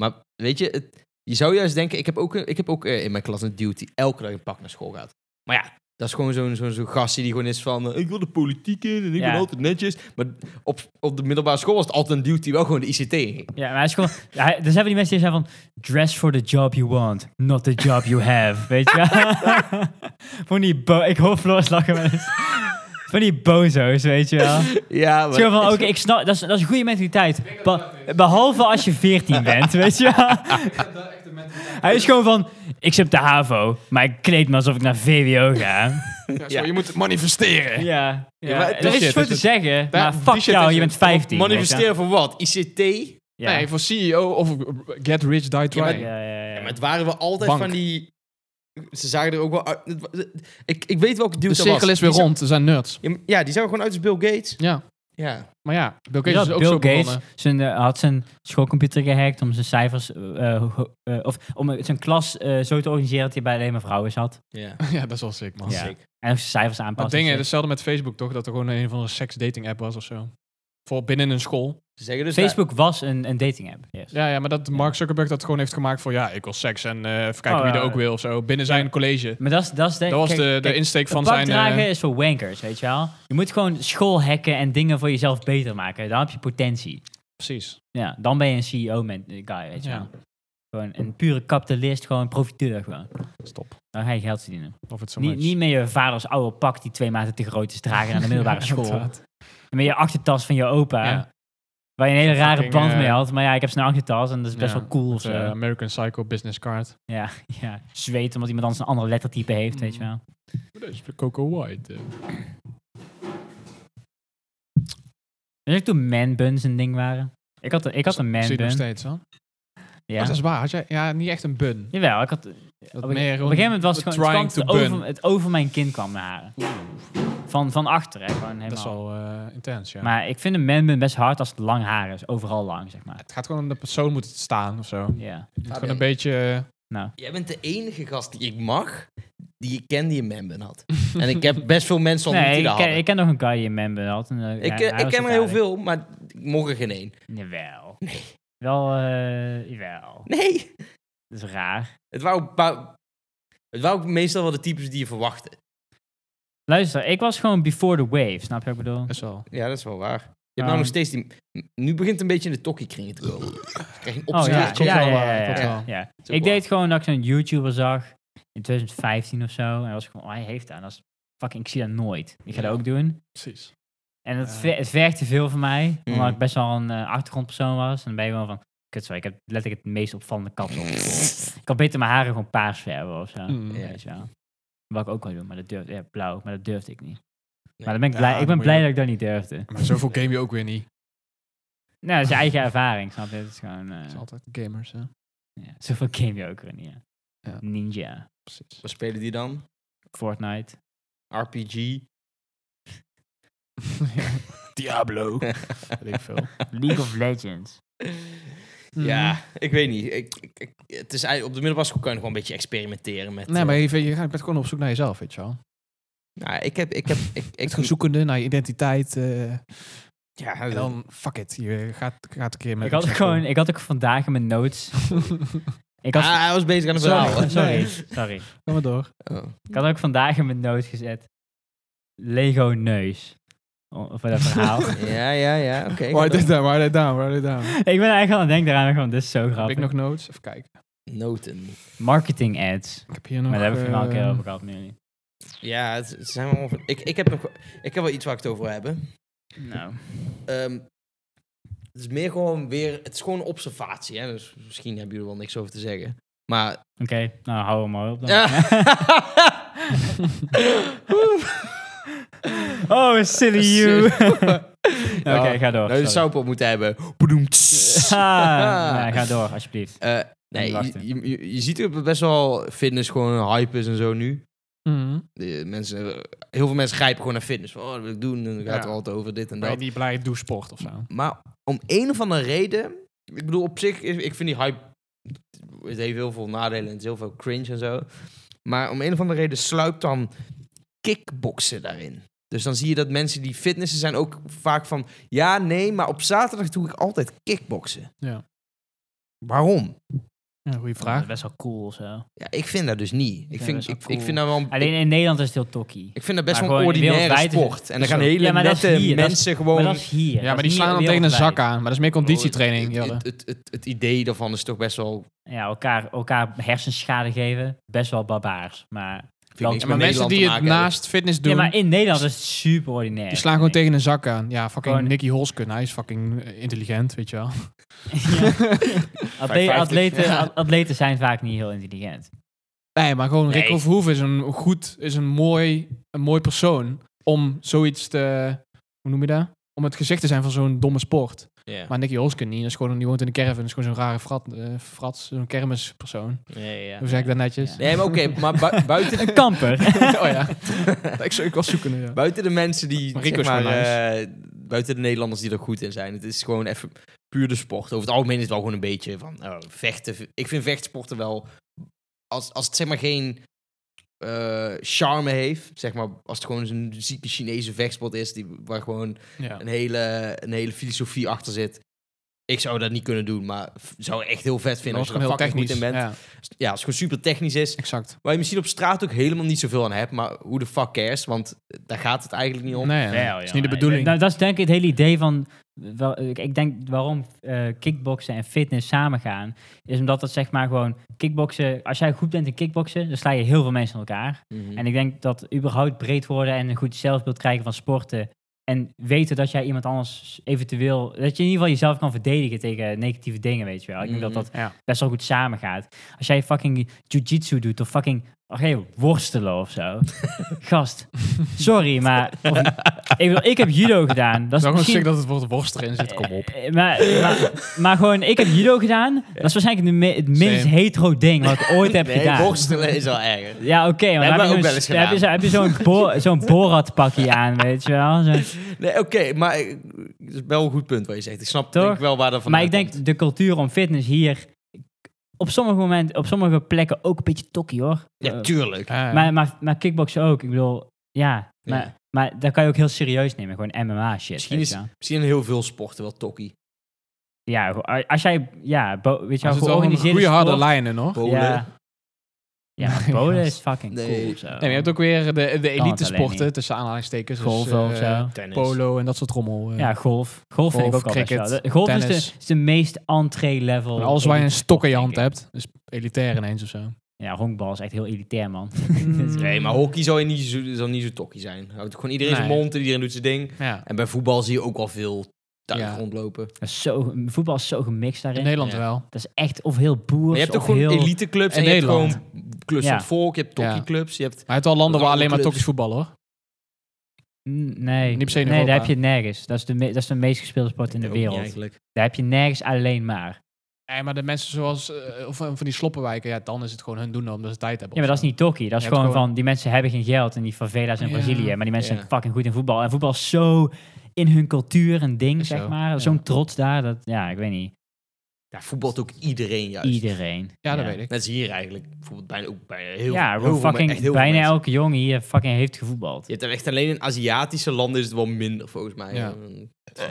S3: Maar weet je, het- je zou juist denken, ik heb ook, ik heb ook eh, in mijn klas een dude die elke dag een pak naar school gaat. Maar ja, dat is gewoon zo'n zo'n zo'n gastje die gewoon is van, eh, ik wil de politiek in en ik
S4: Ja.
S3: ben altijd netjes. Maar op, op de middelbare school was het altijd een dude die wel gewoon de ICT in ging.
S4: Ja, maar hij is gewoon... [laughs] ja, hij- dus hebben die mensen die zeggen van... Dress for the job you want, not the job you have. Weet je wel? [laughs] Van die bo... Ik hoor Floris lachen wel eens. Van die bozo's, weet je
S3: [laughs]
S4: wel?
S3: Ja, maar...
S4: Het is gewoon van, oké, ik snap, dat is, dat is een goede mentaliteit. Be- behalve als je 14 bent, weet je wel. Hij is gewoon van, ik zit op de HAVO, maar ik kleed me alsof ik naar VWO ga.
S2: Ja, zo, Je moet het manifesteren.
S4: Ja,
S2: maar
S4: ja.
S2: die
S4: er is
S2: shit
S4: iets voor
S2: is
S4: te
S2: het-
S4: zeggen, maar
S2: die
S4: fuck
S2: shit
S4: jou,
S2: is
S4: je
S2: het.
S4: bent 15. weet je wel.
S3: Manifesteren voor wat? ICT?
S4: Ja.
S2: Nee, voor CEO of eh, get rich, die
S3: maar-
S2: trying.
S4: Ja, ja, ja.
S3: Ja, maar het waren we altijd
S2: Bank.
S3: van die... Ze zagen er ook wel uit... het wa- Ik, ik weet welke dude
S2: De
S3: dat was.
S2: cirkel is weer
S3: Die zag-
S2: rond, ze zijn nerds.
S3: Ja, maar- Ja, die zagen er gewoon uit als Bill Gates.
S2: Ja,
S3: Ja.
S2: maar ja, Bill
S4: Weet
S2: Gates
S4: je
S2: is
S4: dat
S2: ook
S4: Bill
S2: zo
S4: Gates
S2: begonnen.
S4: zijn, eh, had zijn schoolcomputer gehackt om zijn cijfers, eh, eh, ho- eh, of om eh, zijn klas eh, zo te organiseren dat hij bij alleen maar vrouwen zat.
S3: Ja.
S2: [laughs] Ja, dat is wel sick, man.
S4: Ja.
S3: Sick.
S4: En zijn cijfers aanpassen.
S2: Maar het ding is hetzelfde met Facebook, toch? Dat er gewoon een van de seksdating app was of zo. Voor binnen een school.
S3: Ze zeggen dus...
S4: Facebook was een, een dating app. Yes.
S2: Ja, ja, maar dat Mark Zuckerberg dat gewoon heeft gemaakt voor... Ja, ik wil seks en eh, even kijken
S4: Oh,
S2: wie er
S4: ja.
S2: ook wil of zo. Binnen zijn college.
S4: Maar dat is, dat is de,
S2: Dat was
S4: kijk,
S2: de, de
S4: kijk,
S2: insteek
S4: een
S2: van
S4: pak
S2: zijn... eh,
S4: dragen is voor wankers, weet je wel. Je moet gewoon school hacken en dingen voor jezelf beter maken. Dan heb je potentie.
S2: precies.
S4: Ja, dan ben je een E CEO man, guy, weet je
S2: Ja.
S4: wel. Gewoon een pure kapitalist, gewoon een profiteur gewoon.
S2: Stop.
S4: Dan ga je geld verdienen.
S2: Of het zo
S4: Niet, niet met je vaders oude pak die twee maten te groot is dragen naar de
S2: [laughs]
S4: middelbare school. En met je achtertas van je opa.
S2: Ja.
S4: Waar je een hele
S2: Zo'n
S4: rare
S2: fucking,
S4: band
S2: eh,
S4: mee had. Maar ja, ik heb zijn achtertas en dat is best
S2: ja,
S4: wel cool of eh, zo.
S2: eh, American Psycho Business Card.
S4: ja, [laughs] ja, zweet omdat iemand anders een andere lettertype heeft,
S2: Mm.
S4: weet je wel.
S2: Deze is Coco White. eh.
S4: Weet je ook toen manbuns een ding waren? Ik had, een- ik had een
S2: Zie je nog
S4: manbun.
S2: steeds, hè? Ja.
S4: Ja.
S2: dat is waar. Had jij, ja, niet echt een bun.
S4: Jawel, ik had, op,
S2: Dat
S4: een- op een
S2: meer
S4: gegeven moment was het gewoon het,
S2: trying
S4: kwam
S2: to
S4: het
S2: bun.
S4: over, het over mijn kin kwam mijn haren. Van, van achter, hè, gewoon helemaal.
S2: Dat is wel eh, intens, ja.
S4: Maar ik vind een manbun best hard als het lang haar is, overal lang, zeg maar.
S2: het gaat gewoon om de persoon moet het staan of zo. Het
S4: Ja.
S2: moet gewoon een beetje... eh,
S3: Jij bent de enige gast die ik mag, die ik ken die een memben had. en ik heb best veel mensen ontmoet
S4: Nee,
S3: die
S4: ik
S3: dat
S4: ken,
S3: hadden.
S4: ik
S3: Ik,
S4: ken nog een guy die een manbun had. en, eh, hij-
S3: eh,
S4: hij
S3: ik
S4: was
S3: ken
S4: ook
S3: er heel
S4: aardig.
S3: veel, maar morgen geen één.
S4: Jawel. Wel, eh, jawel.
S3: Nee,
S4: Dat is raar.
S3: het waren, ook pa- het waren ook meestal wel de types die je verwachtte.
S4: Luister, ik was gewoon before the wave, snap je wat ik bedoel?
S2: is wel.
S3: Ja, dat is wel waar. hebt nou nog
S4: Ehm.
S3: steeds die... Nu begint het een beetje in de tokkiekringen te komen. Ik krijg een
S4: Oh ja,
S3: opschriftje.
S2: klopt
S4: ja,
S2: wel,
S4: ja,
S2: eh,
S4: ja,
S2: klopt
S4: ja,
S2: wel.
S4: ja.
S3: ook
S4: Ik
S3: wel.
S4: deed gewoon dat ik zo'n YouTuber zag in 2015 of zo. En dan was ik gewoon, oh, hij heeft dat. En dat is fucking, ik zie dat nooit. Ik ga dat ook doen.
S2: Precies.
S4: En het,
S2: Ja.
S4: ver, het vergt te veel van mij, omdat
S3: Mm.
S4: ik best wel een eh, achtergrondpersoon was. En dan ben je gewoon van, kut zo, ik heb letterlijk het meest opvallende kapsel.
S3: Mm.
S4: ik kan beter mijn haren gewoon paars verven of zo.
S2: Mm.
S3: Ja.
S4: Weet je wel. Wat ik ook wel doen, maar dat durfde, ja, blauw, maar dat durfde ik niet.
S3: Nee.
S4: Maar dan ben ik
S2: Ja,
S4: blij,
S2: dan
S4: ik ben
S2: moet je-
S4: blij dat ik dat niet durfde.
S2: Maar zoveel game je ook weer niet.
S4: Nou, dat is je eigen ervaring, snap je? Het is gewoon, eh,
S2: Dat is altijd gamers, hè.
S4: ja, zoveel game je ook weer niet. hè.
S2: Ja.
S4: Ninja.
S3: [laughs]
S2: Precies.
S3: Wat spelen die dan?
S4: Fortnite. [laughs]
S3: RPG?
S2: Diablo. Weet ik veel.
S4: League of Legends.
S2: Mhm.
S3: Ja, ik weet niet. Ik, ik, ik- het is eigenlijk, op de middelbare school kan je nog wel een beetje experimenteren met...
S2: Nee,
S3: eh,
S2: maar je, weet- je gaat je bent gewoon op zoek naar jezelf, weet je wel.
S3: nou, ik heb... Ik heb ik, ik,
S2: Ik ben zoekende naar je identiteit. eh,
S3: ja,
S2: en
S3: dat-
S2: dan, fuck it, je gaat, gaat een keer met...
S4: Ik had, ook gewoon,
S2: [laughs]
S4: ik had ook vandaag in mijn notes. Ik had,
S3: Ah, hij was bezig aan een
S2: Sorry.
S3: verhaal.
S4: sorry,
S2: nee.
S4: sorry.
S2: Kom maar door.
S3: Oh.
S4: Ik had ook vandaag in mijn notes gezet. Lego neus. O- Voor dat
S2: [laughs]
S4: verhaal.
S3: Ja, ja, ja. Oké.
S2: Write it down, write it down, write it down.
S4: ik ben eigenlijk aan het denken daaraan. Gewoon, dit is zo
S2: Heb
S4: grappig.
S2: ik nog notes? Even kijken.
S3: Noten.
S4: Marketing ads.
S2: Ik heb hier nog...
S4: Maar daar heb ik
S2: eh,
S4: wel een keer over gehad. maar jullie-
S3: Ja, het, het zijn allemaal van- ik, ik, heb nog, ik heb wel iets waar ik het over wil hebben.
S4: Nou,
S3: Ehm, het is meer gewoon weer... Het is gewoon een observatie, hè. Dus misschien hebben jullie er wel niks over te zeggen. Maar...
S4: oké. Nou, hou hem maar op dan. [laughs]
S3: [laughs]
S2: [laughs]
S4: Oh, silly you. [laughs] Oké,
S3: [laughs]
S4: ga door.
S3: Nou, je
S4: sorry.
S3: zou op moeten hebben. Boedoemts.
S2: [laughs]
S4: Ah,
S3: [laughs]
S4: nou, ga door, alsjeblieft.
S3: Eh, nee,
S4: Wachten.
S3: je, je, je ziet ook best wel fitness gewoon een hype is en zo nu.
S2: mhm.
S3: De mensen, heel veel mensen grijpen gewoon naar fitness. Van, oh, dat wil ik doen. En dan gaat het
S2: Ja.
S3: altijd over dit en
S2: Ben je
S3: dat.
S2: niet blij, doe sport of zo.
S3: Maar om een of andere reden... Ik bedoel, op zich, is- ik vind die hype... Het heeft heel veel nadelen en het is heel veel cringe en zo. Maar om een of andere reden sluipt dan kickboksen daarin. Dus dan zie je dat mensen die fitnessen zijn ook vaak van... Ja, nee, maar op zaterdag doe ik altijd kickboksen.
S2: Ja.
S3: Waarom?
S2: Ja, goeie
S4: Dat is
S2: vraag.
S4: best wel cool of zo.
S3: Ja, ik vind dat dus niet. Ik
S4: Ja,
S3: vind,
S4: dat is wel
S3: ik,
S4: cool.
S3: ik vind dat wel... een-
S4: Alleen in Nederland is het heel tokkie.
S3: Ik vind dat best
S4: Maar
S3: wel een
S4: gewoon
S3: ordinaire
S4: wereldwijd is het-
S3: sport. En dan gaan
S4: Ja,
S3: hele
S4: maar dat is
S3: nette
S4: hier, dat is-
S3: mensen
S4: Maar
S3: gewoon...
S4: dat is hier.
S2: Ja, maar die slaan dan tegen een zak aan. Maar dat is meer conditietraining,
S3: Het,
S2: Jelle.
S3: het, het, het, het idee daarvan is toch best wel...
S4: Ja, elkaar, elkaar hersenschade geven. Best wel barbaars. Maar,
S3: Vind ik niks
S4: Ja,
S2: Maar
S3: met
S2: mensen
S3: Nederland
S2: die
S3: te
S2: het
S3: maken hebben.
S2: naast fitness
S4: ja,
S2: doen...
S4: maar in Nederland is het super ordinair.
S2: Die slaan gewoon tegen een zak aan. Ja, fucking
S4: Gewoon-
S2: Nicky Holsken. Hij is fucking eh, intelligent, weet je
S4: [laughs]
S2: wel. [laughs]
S4: Atle-
S3: 5,50.
S4: atleten,
S3: Ja.
S4: at- atleten zijn vaak niet heel intelligent.
S2: Nee, maar gewoon Rick
S3: Nee.
S2: Overhoeven is een goed, is een mooi, een mooi persoon om zoiets te, hoe noem je dat? Om het gezicht te zijn van zo'n domme sport.
S3: Ja.
S2: Maar Nicky Holsken niet. Dat is gewoon, die woont in een caravan. Dat is gewoon zo'n rare frat, eh, frats, zo'n kermispersoon. Hoe zeg ik dat netjes?
S3: Nee, maar oké, maar bui- buiten,
S4: Een kamper.
S2: [laughs] Oh
S3: [laughs]
S2: ja. [laughs] ik, zou- ik was zoekende, ja.
S3: buiten de mensen die,
S2: Maar Rico
S3: zeg
S2: is
S3: maar,
S2: gewoon
S3: eh, buiten de Nederlanders die er goed in zijn. Het is gewoon even puur de sport. Over het algemeen is het wel gewoon een beetje van oh, vechten. Ik vind vechtsporten wel, als, als het zeg maar geen eh, charme heeft, zeg maar, als het gewoon zo'n zieke Chinese vechtsport is, die, waar gewoon
S2: ja.
S3: een hele, een hele filosofie achter zit. Ik zou dat niet kunnen doen, maar f- zou echt heel vet vinden als je er
S2: heel
S3: fucking goed
S2: technisch.
S3: in bent. Ja.
S2: Ja,
S3: als het gewoon super technisch is.
S2: exact.
S3: Waar je misschien op straat ook helemaal niet zoveel aan hebt, maar hoe de fuck cares? Want daar gaat het eigenlijk niet om.
S2: Nee, ja. dat is niet de bedoeling.
S4: Nou, dat is denk ik het hele idee van... wel- ik- ik denk waarom eh kickboksen en fitness samengaan... is omdat dat zeg maar gewoon... Kickboksen, als jij goed bent in kickboksen... dan sla je heel veel mensen aan elkaar.
S3: Mhm.
S2: Hm.
S4: En ik denk dat überhaupt breed worden en een goed zelfbeeld krijgen van sporten. En weten dat jij iemand anders eventueel. Dat je in ieder geval jezelf kan verdedigen tegen negatieve dingen, weet je wel. Ik denk dat dat
S2: Mhm, ja.
S4: best wel goed samengaat. Als jij fucking jujitsu doet of fucking. Oké, worstelen of
S2: [laughs]
S4: zo. Gast, sorry, maar. of- ik, bedoel, ik heb judo gedaan. Dat
S2: Het is
S4: is
S2: wel gewoon
S4: misschien,
S2: sick dat het woord worst erin zit.
S4: [laughs]
S2: Kom op.
S4: eh, Maar, maar, maar gewoon, ik heb judo gedaan. Dat is waarschijnlijk de me- het minst
S2: Same.
S4: hetero ding wat ik ooit
S3: [laughs]
S4: heb
S3: Nee,
S4: gedaan.
S3: worstelen is wel erg.
S4: Ja, oké. maar
S3: hebben we
S4: dan
S3: ook
S4: heb,
S3: wel
S4: je
S3: eens
S4: zo'n- dan heb je zo- heb je zo'n
S3: [laughs]
S4: bo zo'n Borat-pakje aan, weet je wel. Zo-
S3: Nee, oké, maar eh, het is wel een goed punt wat je zegt. Ik snap
S4: Toch?
S3: denk ik wel waar dat vandaan
S4: Maar ik
S3: komt.
S4: denk de cultuur om fitness hier op sommige momenten, op sommige plekken ook een beetje tokkie hoor.
S3: Ja,
S4: Eh,
S3: tuurlijk.
S2: Ja, ja.
S4: maar, maar, maar kickboksen ook. Ik bedoel, ja. Maar,
S3: Ja.
S4: maar dat kan je ook heel serieus nemen. Gewoon MMA shit.
S3: Misschien
S4: weet
S3: is-
S4: je wel.
S3: Misschien heel veel sporten wel tokkie.
S4: Ja, als jij. Ja, bo- weet je
S2: er
S4: wel,
S2: zit wel een
S4: georganiseerde
S2: goede harde
S4: sport-
S2: lijnen, hoor.
S3: Bowlen.
S4: Ja. Ja, maar Polen is fucking
S3: Nee.
S4: cool. Zo. Nee,
S2: Nee, maar je hebt ook weer de, de elite
S4: alleen
S2: sporten,
S4: niet.
S2: tussen aanhalingstekens.
S4: Golf
S2: dus,
S4: of
S2: eh,
S4: zo.
S3: Tennis.
S2: Polo en dat soort rommel. eh.
S4: Ja, golf. Golf vind ik
S2: Golf,
S4: ook al best
S2: cricket,
S4: wel. De- Golf is
S2: tennis.
S4: de, is de meest entree-level.
S2: Maar alles waar je een
S4: elite
S2: stok in je hand
S4: sport, denk
S2: hebt, is elitair ineens of zo.
S4: ik. Ja, honkbal is echt heel
S2: [laughs]
S4: elitair, man. [laughs]
S3: Nee, maar hockey zal, je niet zo, zal niet zo tokkie zijn. Houdt Gewoon iedereen zijn
S2: Nee.
S3: mond en iedereen doet zijn ding.
S2: Ja.
S3: En bij voetbal zie je ook al veel tuig
S2: Ja.
S3: rondlopen. Maar
S4: Dat is zo, voetbal is zo gemixt daarin.
S2: In Nederland
S3: Ja.
S2: wel.
S4: Dat is echt of heel boers
S3: je hebt
S4: of
S3: ook gewoon
S4: heel...
S3: eliteclubs en
S2: In
S3: je hebt
S2: Nederland.
S3: gewoon clubs
S4: Ja.
S3: van het volk. Je hebt
S2: Ja.
S3: tokkieclubs. Je hebt...
S2: Maar je hebt wel landen waar
S3: Andere
S2: alleen maar
S3: clubs.
S2: tokkies voetballen hoor.
S4: Mm, Nee,
S2: Niet per se in
S4: nee daar
S2: Europa.
S4: heb je het nergens. Dat is, de me- dat is de meest gespeelde sport in de
S3: Ook niet
S4: wereld.
S3: Eigenlijk.
S4: Daar heb je nergens alleen maar.
S2: Nee, maar de mensen zoals, eh, of van van die sloppenwijken, ja, dan is het gewoon hun doen omdat ze tijd hebben.
S4: Ja, maar dat
S2: of
S4: is niet tokkie. Dat is
S2: Je hebt
S4: gewoon
S2: gewoon-
S4: van, die mensen hebben geen geld in die favelas in
S2: Ja.
S4: Brazilië. Maar die mensen
S3: Ja.
S4: zijn fucking goed in voetbal. En voetbal is zo in hun cultuur een ding,
S2: Is
S4: zeg
S2: zo,
S4: maar.
S2: ja.
S4: Zo'n trots daar. Dat, ja, ik weet niet.
S3: Daar voetbalt ook iedereen juist.
S4: Iedereen.
S2: zo. Ja, dat weet ik.
S3: Net als hier eigenlijk. Bijvoorbeeld bijna, ook bij heel,
S4: ja,
S3: heel
S4: gewoon
S3: veel,
S4: fucking,
S3: echt heel veel
S4: bijna
S3: mensen.
S4: elke jongen hier fucking heeft gevoetbald.
S3: Je hebt er echt alleen in Aziatische landen is het wel minder volgens mij. Ehm,
S2: Ja.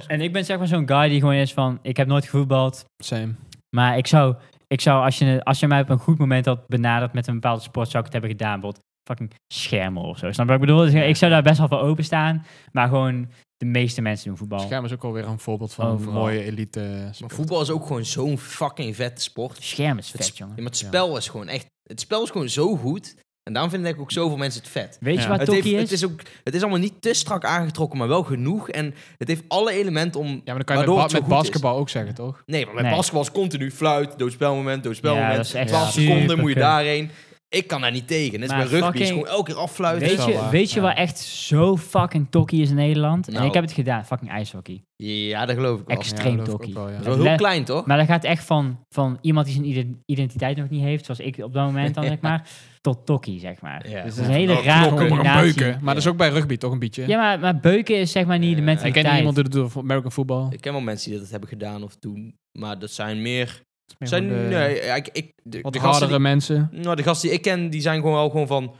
S4: En ik ben zeg maar zo'n guy die gewoon is van, ik heb nooit gevoetbald.
S2: Same.
S4: Maar ik zou, ik zou als, je, als je mij op een goed moment had benaderd met een bepaalde sport, zou ik het hebben gedaan. Bijvoorbeeld fucking schermen of zo. Snap je wat ik bedoel? Dus ik zou daar best wel voor openstaan. Maar gewoon, de meeste mensen doen voetbal.
S2: Scherm is ook alweer een voorbeeld van een
S4: Overal.
S2: mooie elite.
S3: Maar
S2: sport.
S3: voetbal is ook gewoon zo'n fucking vette sport.
S4: Schermen is
S3: Het
S4: vet,
S3: sp- Ja,
S4: jongen.
S3: maar het spel is gewoon echt... Het spel is gewoon zo goed. En daarom vinden denk ik ook zoveel mensen het vet.
S4: Weet
S2: Ja.
S4: je wat
S3: Het, heeft,
S4: Tokkie
S3: het,
S4: is?
S3: is ook, het is allemaal niet te strak aangetrokken, maar wel genoeg. En het heeft alle elementen om...
S2: Ja, maar dan kan je
S3: waardoor
S2: met,
S3: het zo
S2: ba- met
S3: goed is.
S2: basketbal ook zeggen, toch?
S3: Nee, maar bij
S4: Nee.
S3: basketbal is continu fluit, doodspelmoment,
S4: Ja,
S3: doodspelmoment.
S4: dat is echt
S3: 12
S4: super
S3: seconden moet je
S4: kut.
S3: daarheen. Ik kan daar niet tegen. Net als bij
S4: Maar
S3: rugby is
S4: fucking-
S3: gewoon elke keer affluiten.
S4: Weet
S2: wel
S4: je,
S2: waar,
S4: weet je
S2: ja.
S4: wat echt zo fucking tokkie is in Nederland?
S3: Nou.
S4: En ik heb het gedaan. Fucking ijshockey.
S3: Ja, dat geloof ik wel.
S4: Extra-
S2: Ja,
S4: Extreem
S2: geloof ik
S4: tokkie.
S2: ook wel, ja.
S3: Dat is wel heel
S4: Le-
S3: klein, toch?
S4: Maar dat gaat echt van, van iemand die zijn ide- identiteit nog niet heeft, zoals ik op dat moment dan,
S2: [laughs]
S4: zeg maar, tot tokkie, zeg maar.
S3: Ja.
S4: Dus dat is
S3: Ja.
S4: een hele
S3: Nou,
S4: rare
S3: knokken, maar
S4: combinatie.
S2: Beuken. Maar dat is ook bij rugby toch een beetje.
S4: Ja, maar, maar beuken is zeg maar niet de
S3: Ja.
S2: ik
S4: mentaliteit.
S2: ken iemand
S4: [laughs]
S2: die dat doet voor American voetbal.
S3: Ik ken wel mensen die dat hebben gedaan of doen. Maar dat zijn meer...
S2: Meer
S3: Zijn,
S2: van de-
S3: nee, ja, ik, ik, de,
S2: Wat
S3: de gasten
S2: hardere
S3: die,
S2: mensen.
S3: nou, de gasten die ik ken, die zijn gewoon wel gewoon van...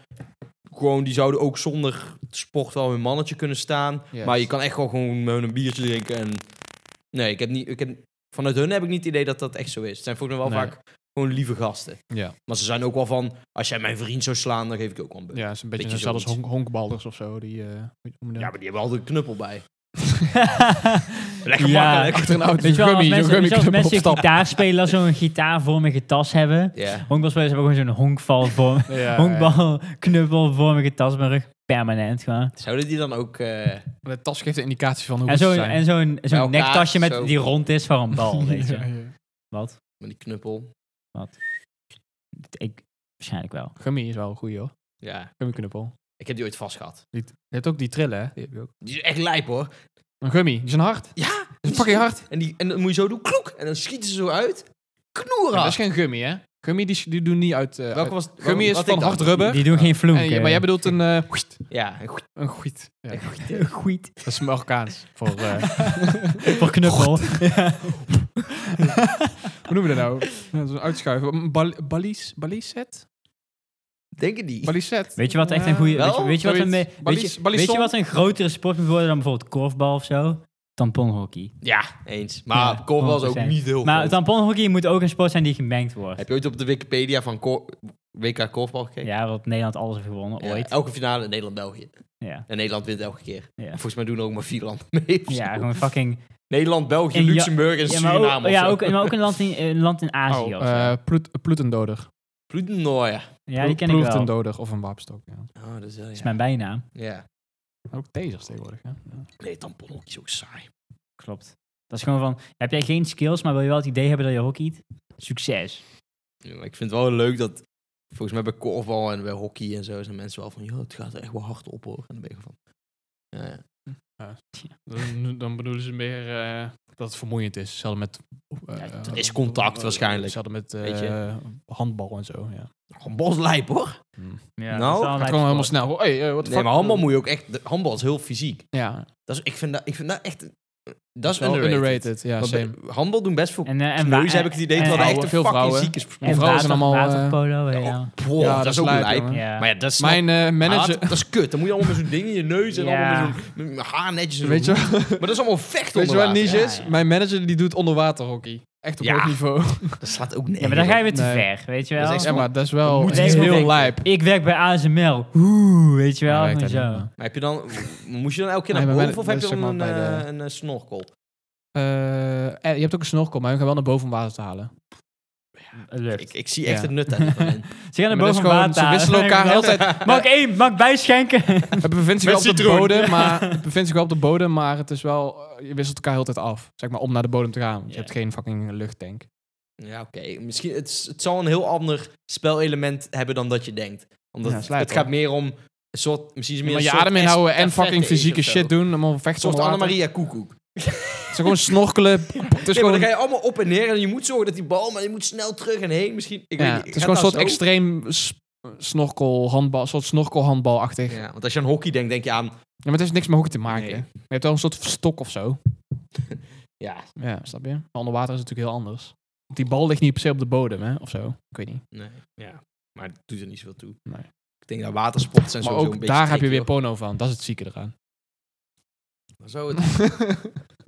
S3: Gewoon, die zouden ook zonder sport wel hun mannetje kunnen staan.
S2: Yes.
S3: Maar je kan echt wel gewoon met hun een biertje drinken. En... Nee, ik heb niet... Ik heb, vanuit hun heb ik niet het idee dat dat echt zo is. Het zijn volgens mij wel
S2: Nee.
S3: vaak gewoon lieve gasten.
S2: Ja,
S3: Maar ze zijn ook wel van... Als jij mijn vriend zou slaan, dan geef ik je ook wel een beuk. Ja.
S2: ja is een beetje
S3: Beetje
S2: hetzelfde als
S3: zoiets.
S2: honk- honkballers of zo. Die, eh, hoe noem je dat?
S3: maar die hebben altijd een knuppel bij.
S2: Oh,
S3: Lekker
S4: Ja.
S3: makkelijk.
S2: Achter een auto.
S4: Weet je wel, als
S2: Gummy, zo'n
S4: mensen, weet je wel, als
S2: gummiknuppel
S4: mensen
S2: opstappen.
S4: gitaar spelen, als zo'n gitaarvormige tas hebben.
S3: Ja.
S4: Honkbalspelers hebben gewoon zo'n honkvalvorm,
S2: [laughs] Ja, ja.
S4: honkbalknuppelvormige tas op mijn rug. Permanent gewoon.
S3: Zouden die dan ook... eh,
S2: De tas geeft een indicatie van hoe
S4: En
S2: goed ze
S4: zo'n
S2: zijn.
S4: en zo'n zo'n
S3: elkaar,
S4: nektasje met,
S3: zo.
S4: die rond is voor
S2: [laughs]
S4: een bal, weet
S2: Ja,
S4: je.
S2: ja.
S4: Wat?
S3: met die knuppel.
S4: Ik, waarschijnlijk wel.
S2: Gummy is wel een goeie hoor.
S3: Ja.
S2: Gummiknuppel.
S3: Ik heb die ooit vast gehad.
S2: Die- Je hebt ook die trillen, hè? Die heb je ook.
S3: Die is echt lijp, hoor.
S2: Een gummy. Die zijn hard.
S3: Ja.
S2: Die is fucking hard.
S3: En, die, en dan moet je zo doen, kloek. En dan schieten ze zo uit. Knoerhard.
S2: Ja, dat is geen gummy, hè? Gummy die, die doen niet uit... eh, uit-
S3: Welke was
S2: Gummy is
S3: wat
S2: van
S3: ik dan?
S2: hard rubber.
S4: Die doen geen vloek.
S2: En je- maar jij bedoelt een... eh, wst,
S3: Ja, een goed.
S2: een goed. Ja,
S4: [laughs] goed.
S2: dat is Marokkaans. Voor, eh,
S4: Voor knuppel.
S2: hoe noemen we dat nou? Dat is een uitschuiven. Een bal, balies, baliset?
S3: Denk het niet.
S2: Baliset.
S4: Weet je wat echt een goede...
S3: Wel,
S4: Weet je, weet je wat een,
S2: zoiets.
S4: me- weet,
S2: Balis-
S4: je,
S2: balisson?
S4: weet je wat een grotere sport moet worden dan bijvoorbeeld korfbal of zo? Tamponhockey.
S3: Ja, eens. Maar
S4: Ja,
S3: korfbal is ook
S4: 100%.
S3: niet heel
S4: Maar
S3: groot.
S4: tamponhockey moet ook een sport zijn die gemengd wordt.
S3: Heb je ooit op de Wikipedia van kor- WK korfbal gekeken?
S4: Ja, wat Nederland alles heeft gewonnen,
S3: Ja,
S4: ooit.
S3: elke finale in Nederland-België.
S4: Ja,
S3: En Nederland wint elke keer.
S4: ja.
S3: Volgens mij doen er ook maar vier landen mee. of
S4: ja
S3: zo.
S4: gewoon fucking...
S3: Nederland, België,
S4: En ja-
S3: Luxemburg en
S4: Ja, maar
S3: Suriname.
S4: ook,
S3: of
S4: ja,
S3: zo.
S4: ook,
S3: [laughs]
S4: maar ook een land in, een land in Azië
S2: Oh,
S4: of zo.
S2: eh, ploet- ploetendoder.
S3: Bloedennooien.
S4: ja, die ken ik wel. Dat
S2: Ploetendoder of een wapenstok, ja.
S3: Oh, dat is wel,
S4: is
S3: ja.
S4: mijn bijnaam.
S3: ja.
S2: Ook tasers tegenwoordig, hè? Ja.
S3: Nee, tamponhockey is ook saai.
S4: Klopt. Dat is gewoon van, heb jij geen skills, maar wil je wel het idee hebben dat je hockeyt? Succes.
S3: Ja, maar ik vind het wel leuk dat... Volgens mij bij korfbal en bij hockey en zo zijn mensen wel van... Joh, het gaat er echt wel hard op hoor. En dan ben ik van... Ja, ja.
S2: Dan, dan bedoelen ze meer eh, dat het vermoeiend is. Hetzelfde met... eh,
S3: Ja, het
S2: eh,
S3: is contact
S2: eh,
S3: waarschijnlijk.
S2: Hetzelfde met eh,
S3: Weet je?
S2: handbal en zo, ja.
S3: Gewoon boslijp hoor.
S4: Ja,
S3: Nou,
S4: dat is wel een
S2: Het
S4: lijp
S2: gaat gewoon Hmm. helemaal
S4: sport.
S2: snel. Hey, eh, what the
S3: Nee,
S2: fuck?
S3: maar handbal moet je ook echt... de- Handbal is heel fysiek.
S2: Ja,
S3: Dat is, ik, vind dat, ik vind dat echt... Dat is
S2: wel
S3: underrated.
S2: Ja,
S3: Want
S2: same.
S3: bij- handbal doen best veel
S4: En, eh, en
S3: kneuzen,
S4: wa-
S3: heb ik het idee.
S4: en-
S3: Terwijl
S2: vrouwen,
S3: de echte
S2: veel
S3: fucking
S2: vrouwen.
S3: ziek is.
S4: En
S2: vrouwen
S4: water,
S2: zijn allemaal, eh,
S4: waterpolo, ja.
S3: Oh,
S4: ja.
S3: wow,
S2: Ja,
S3: dat,
S2: dat
S3: is ook
S2: lijp,
S3: lijp.
S2: jongen.
S4: Ja.
S3: Maar ja, dat is Ah,
S2: Mijn eh, manager...
S3: dat is kut. Dan moet je allemaal met zo'n ding in je neus en
S4: Ja.
S3: allemaal met zo'n met haarnetjes. En
S2: [laughs] Weet je, [laughs]
S3: zo. Maar dat is allemaal vecht
S2: weet je
S3: onder
S2: wat niche
S3: water.
S4: Ja,
S2: is?
S4: ja.
S2: Mijn manager die doet onderwaterhockey. Echt op
S3: Ja.
S2: hoog niveau.
S3: Dat slaat ook nergens
S4: Ja, maar dan ga je
S3: op.
S4: weer te
S2: Nee.
S4: ver, weet je
S3: Dat is
S4: wel.
S3: echt
S2: Ja, Dus maar dat is wel
S4: Moet je iets
S2: heel
S4: bedenken.
S2: lijp.
S4: Ik werk bij ASML. Oeh, weet je wel.
S2: Ja, ik
S4: gewoon
S2: weet dat
S4: zo.
S2: niet,
S3: Maar heb je dan, moest je dan elke keer
S2: Nee,
S3: naar
S2: maar
S3: boven of
S2: bij-
S3: heb je
S2: dat is
S3: dan een,
S2: zeg maar bij
S3: eh,
S2: de-
S3: een eh, snorkel?
S2: Eh, en je hebt ook een snorkel, maar we gaan wel naar boven om water te halen.
S4: Lucht.
S3: Ik, ik zie echt
S2: Ja.
S3: het nut daarvan.
S4: Ze gaan er
S2: Maar dat
S4: boven
S2: is
S4: water
S2: gewoon- ze
S4: halen. [laughs]
S2: wisselen elkaar heel de tijd.
S4: Mag ik één? Mag ik bijschenken?
S2: [laughs] Het bevindt zich
S3: Met
S2: wel op de
S3: citroen. [laughs]
S2: bodem, maar het bevindt zich wel op de bodem, maar het is wel eh, je wisselt elkaar heel de tijd af, zeg maar om naar de bodem te gaan. Want
S4: Ja.
S2: Je hebt geen fucking luchttank.
S3: Ja, oké. Misschien, het, is- het zal een heel ander spelelement hebben dan dat je denkt. Omdat
S2: Ja,
S3: het-
S2: slijt,
S3: het gaat
S2: hoor.
S3: meer om een soort, misschien is het
S2: maar
S3: meer een
S2: je
S3: soort
S2: adem inhouden en
S3: estafette
S2: fucking
S3: is of
S2: fysieke
S3: zo.
S2: shit doen, allemaal
S3: Een
S2: vechten
S3: soort
S2: onder water.
S3: Annemaria Koekoek.
S2: Het is gewoon
S3: [laughs]
S2: snorkelen. Het is
S3: Nee, maar
S2: gewoon
S3: dan ga je allemaal op en neer en je moet zorgen dat die bal, maar je moet snel terug en heen. Misschien, ik weet
S2: ja,
S3: niet,
S2: het
S3: gaat
S2: is gewoon een
S3: dat
S2: soort
S3: zo?
S2: extreem s- snorkel handbal, soort snorkel handbalachtig. Ja.
S3: Ja, want als je aan hockey denkt, denk je aan...
S2: maar het heeft niks met hoogte te maken.
S3: Nee.
S2: hè. Je hebt wel een soort stok of zo.
S3: Ja,
S2: Ja, snap je? Maar onder water is het natuurlijk heel anders. Want die bal ligt niet per se op de bodem, hè, of zo. Ik weet niet.
S3: nee, ja. Maar het doet er niet zoveel toe.
S2: Nee.
S3: Ik denk dat watersport zijn
S2: Maar
S3: sowieso een
S2: ook
S3: beetje
S2: daar heb je weer
S3: tricky,
S2: porno van. Dat is het zieke eraan.
S3: hoor. Zo het...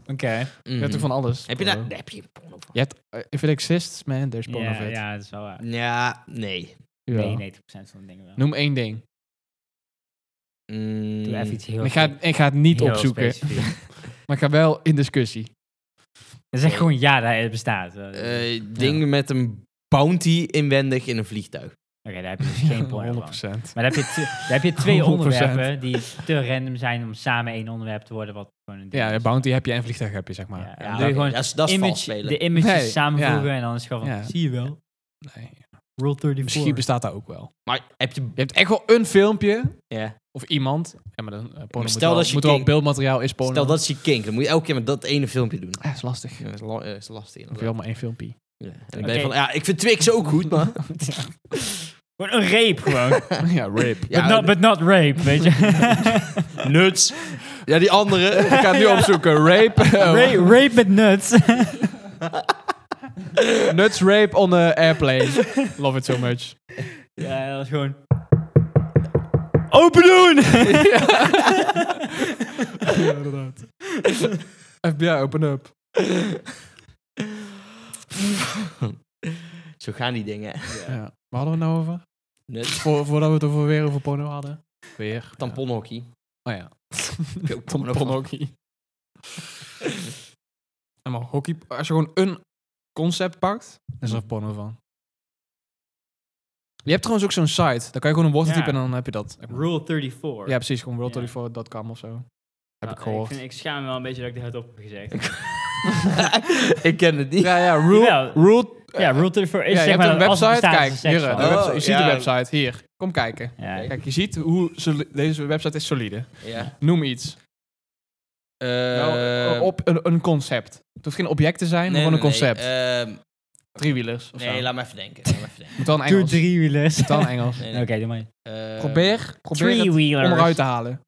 S4: Oké.
S2: [laughs] Je
S3: Mhm.
S2: hebt ook van alles.
S3: Heb je
S2: porno.
S3: daar... daar heb je een porno van?
S2: Je hebt, eh, if it exists, man, there's porno
S4: Ja,
S2: of it.
S4: ja, dat is wel waar.
S3: Ja, nee.
S2: Jawel.
S4: 99% van de dingen wel.
S2: Noem één ding.
S3: Mm.
S4: Doe even iets heel...
S2: En ik, ga, ik ga het niet
S4: heel
S2: opzoeken,
S4: specifiek. [laughs]
S2: maar ik ga wel in discussie.
S4: Dan zeg gewoon ja, dat het bestaat. Oké,
S3: Eh, dingen met een bounty inwendig in een vliegtuig.
S4: daar heb je
S2: [laughs]
S4: dus geen porno van.
S2: 100%.
S4: Maar dan heb je, tw- dan heb je
S2: [laughs]
S4: twee
S2: 100%.
S4: onderwerpen die te random zijn om samen één onderwerp te worden wat gewoon een ding
S2: Ja,
S4: is.
S2: de bounty heb je en vliegtuig heb je, zeg
S4: Ja,
S2: maar.
S4: ja,
S3: dat-
S4: doe je gewoon
S3: dat is- dat is vals
S4: image,
S3: spelen.
S4: de images
S2: Nee,
S4: samenvoegen
S2: ja.
S4: en dan is het gewoon van,
S2: Ja.
S4: zie je wel,
S2: Nee.
S4: Roll 34.
S2: Misschien bestaat dat ook wel.
S3: Maar heb je...
S2: Je hebt echt wel een filmpje
S3: Ja.
S2: of iemand. Ja, maar dan, eh, porno moet
S3: stel
S2: wel,
S3: dat je
S2: moet wel
S3: kink-
S2: beeldmateriaal is porno.
S3: Stel, dat is je kink. Dan moet je elke keer met dat ene filmpje doen.
S2: Ja, dat is lastig.
S3: Ja, dat is, la- eh, is lastig.
S2: Ik
S3: inderdaad.
S2: wil maar één
S3: [laughs]
S2: filmpje.
S3: Ja. En dan ben je
S4: Oké.
S3: van, ja, ik vind Twix ook goed, maar...
S4: Gewoon een rape
S2: [laughs]
S4: gewoon. but,
S2: ja, rape.
S3: Ja,
S4: not, but not rape,
S2: [laughs]
S4: weet je.
S3: nuts. Ja, die andere.
S2: Ik ga het nu opzoeken. [laughs] Rape. oh,
S4: Ra- rape met nuts. [laughs]
S2: Nuts rape on the airplane. Love it so much.
S4: ja, dat is gewoon... Open
S2: [laughs]
S4: doen!
S2: ja, inderdaad. FBI, open up.
S3: Zo gaan die dingen.
S2: Ja. Waar hadden we het nou over?
S3: Nuts.
S2: Voor, voordat we het over weer over porno hadden. Weer.
S3: Tamponhockey.
S2: Ja. Oh ja.
S3: Heb je ook porno van?
S2: Tamponhockey. Ja, maar hockey, als je gewoon een concept pakt, dan is er porno van. Je hebt trouwens ook zo'n site. Dan kan je gewoon een woord
S4: Ja.
S2: typen en dan heb je dat.
S4: Rule 34.
S2: Ja, precies. Gewoon world34.com of zo. Heb
S4: Nou,
S2: ik gehoord.
S4: vind- ik schaam me wel een beetje dat ik dit hardop heb gezegd.
S3: ik ken het niet.
S2: Ja, ja. Rule,
S4: Jawel.
S2: rule
S4: Ja, Rule 34 is
S2: ja, je
S4: zeg
S2: hebt
S4: maar
S2: een
S4: als het
S2: website.
S4: bestaat,
S2: Kijk,
S4: is het
S2: hier,
S4: seks
S2: de
S4: van.
S3: Oh,
S2: website. je ziet
S3: ja.
S2: de website. Hier, kom kijken.
S4: Ja,
S2: Kijk, je ziet hoe soli- deze website is solide.
S3: Ja.
S2: Noem iets. Nou,
S3: Eh,
S2: op een, een concept. Het hoeft geen object te zijn,
S3: nee,
S2: maar gewoon een
S3: nee,
S2: concept.
S3: nee, ehm,
S2: Driewielers of
S3: nee,
S2: zo.
S3: laat me even denken. Laat me even denken.
S2: Moet dan
S4: Doe
S2: Engels.
S4: driewielers.
S2: Moet
S3: [laughs]
S2: dan Engels.
S3: Nee,
S4: Oké,
S3: nee.
S4: doe maar.
S3: Ehm,
S2: Probeer, probeer het om
S4: Three-wheelers.
S2: eruit te halen.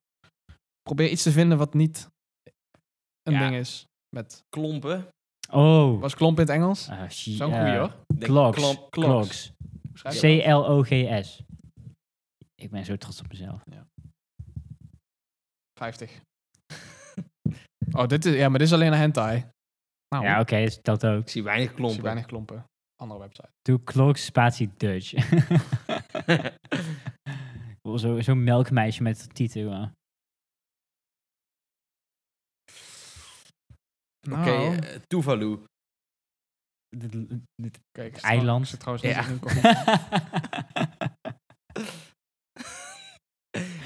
S2: Probeer iets te vinden wat niet een
S4: Ja.
S2: ding is. Met,
S3: klompen.
S4: Oh.
S2: was klomp in het Engels?
S4: Ah, shit.
S2: Zo'n
S4: Ja.
S2: goeie hoor.
S3: Denk-
S4: Clogs.
S3: klomp-
S4: Clogs.
S2: Schrijf het.
S4: C-L-O-G-S. Ik ben zo trots op mezelf.
S2: 50. [laughs] oh, dit is, ja, maar dit is alleen een hentai. Nou,
S4: Ja, oké, dus dat ook.
S3: Ik zie weinig
S2: ik zie
S3: klompen.
S2: weinig klompen. Andere website.
S4: Doe Clogs spatie
S3: [laughs]
S4: Dutch. Zo'n zo zo'n melkmeisje met tieten. gewoon.
S3: Oké,
S4: Oh.
S2: Nou,
S3: eh, Tuvalu.
S4: Dit- dit-
S2: kijk, ik
S4: eiland.
S2: zit trouwens niet
S3: Ja.
S2: in
S4: [laughs]
S2: een kom-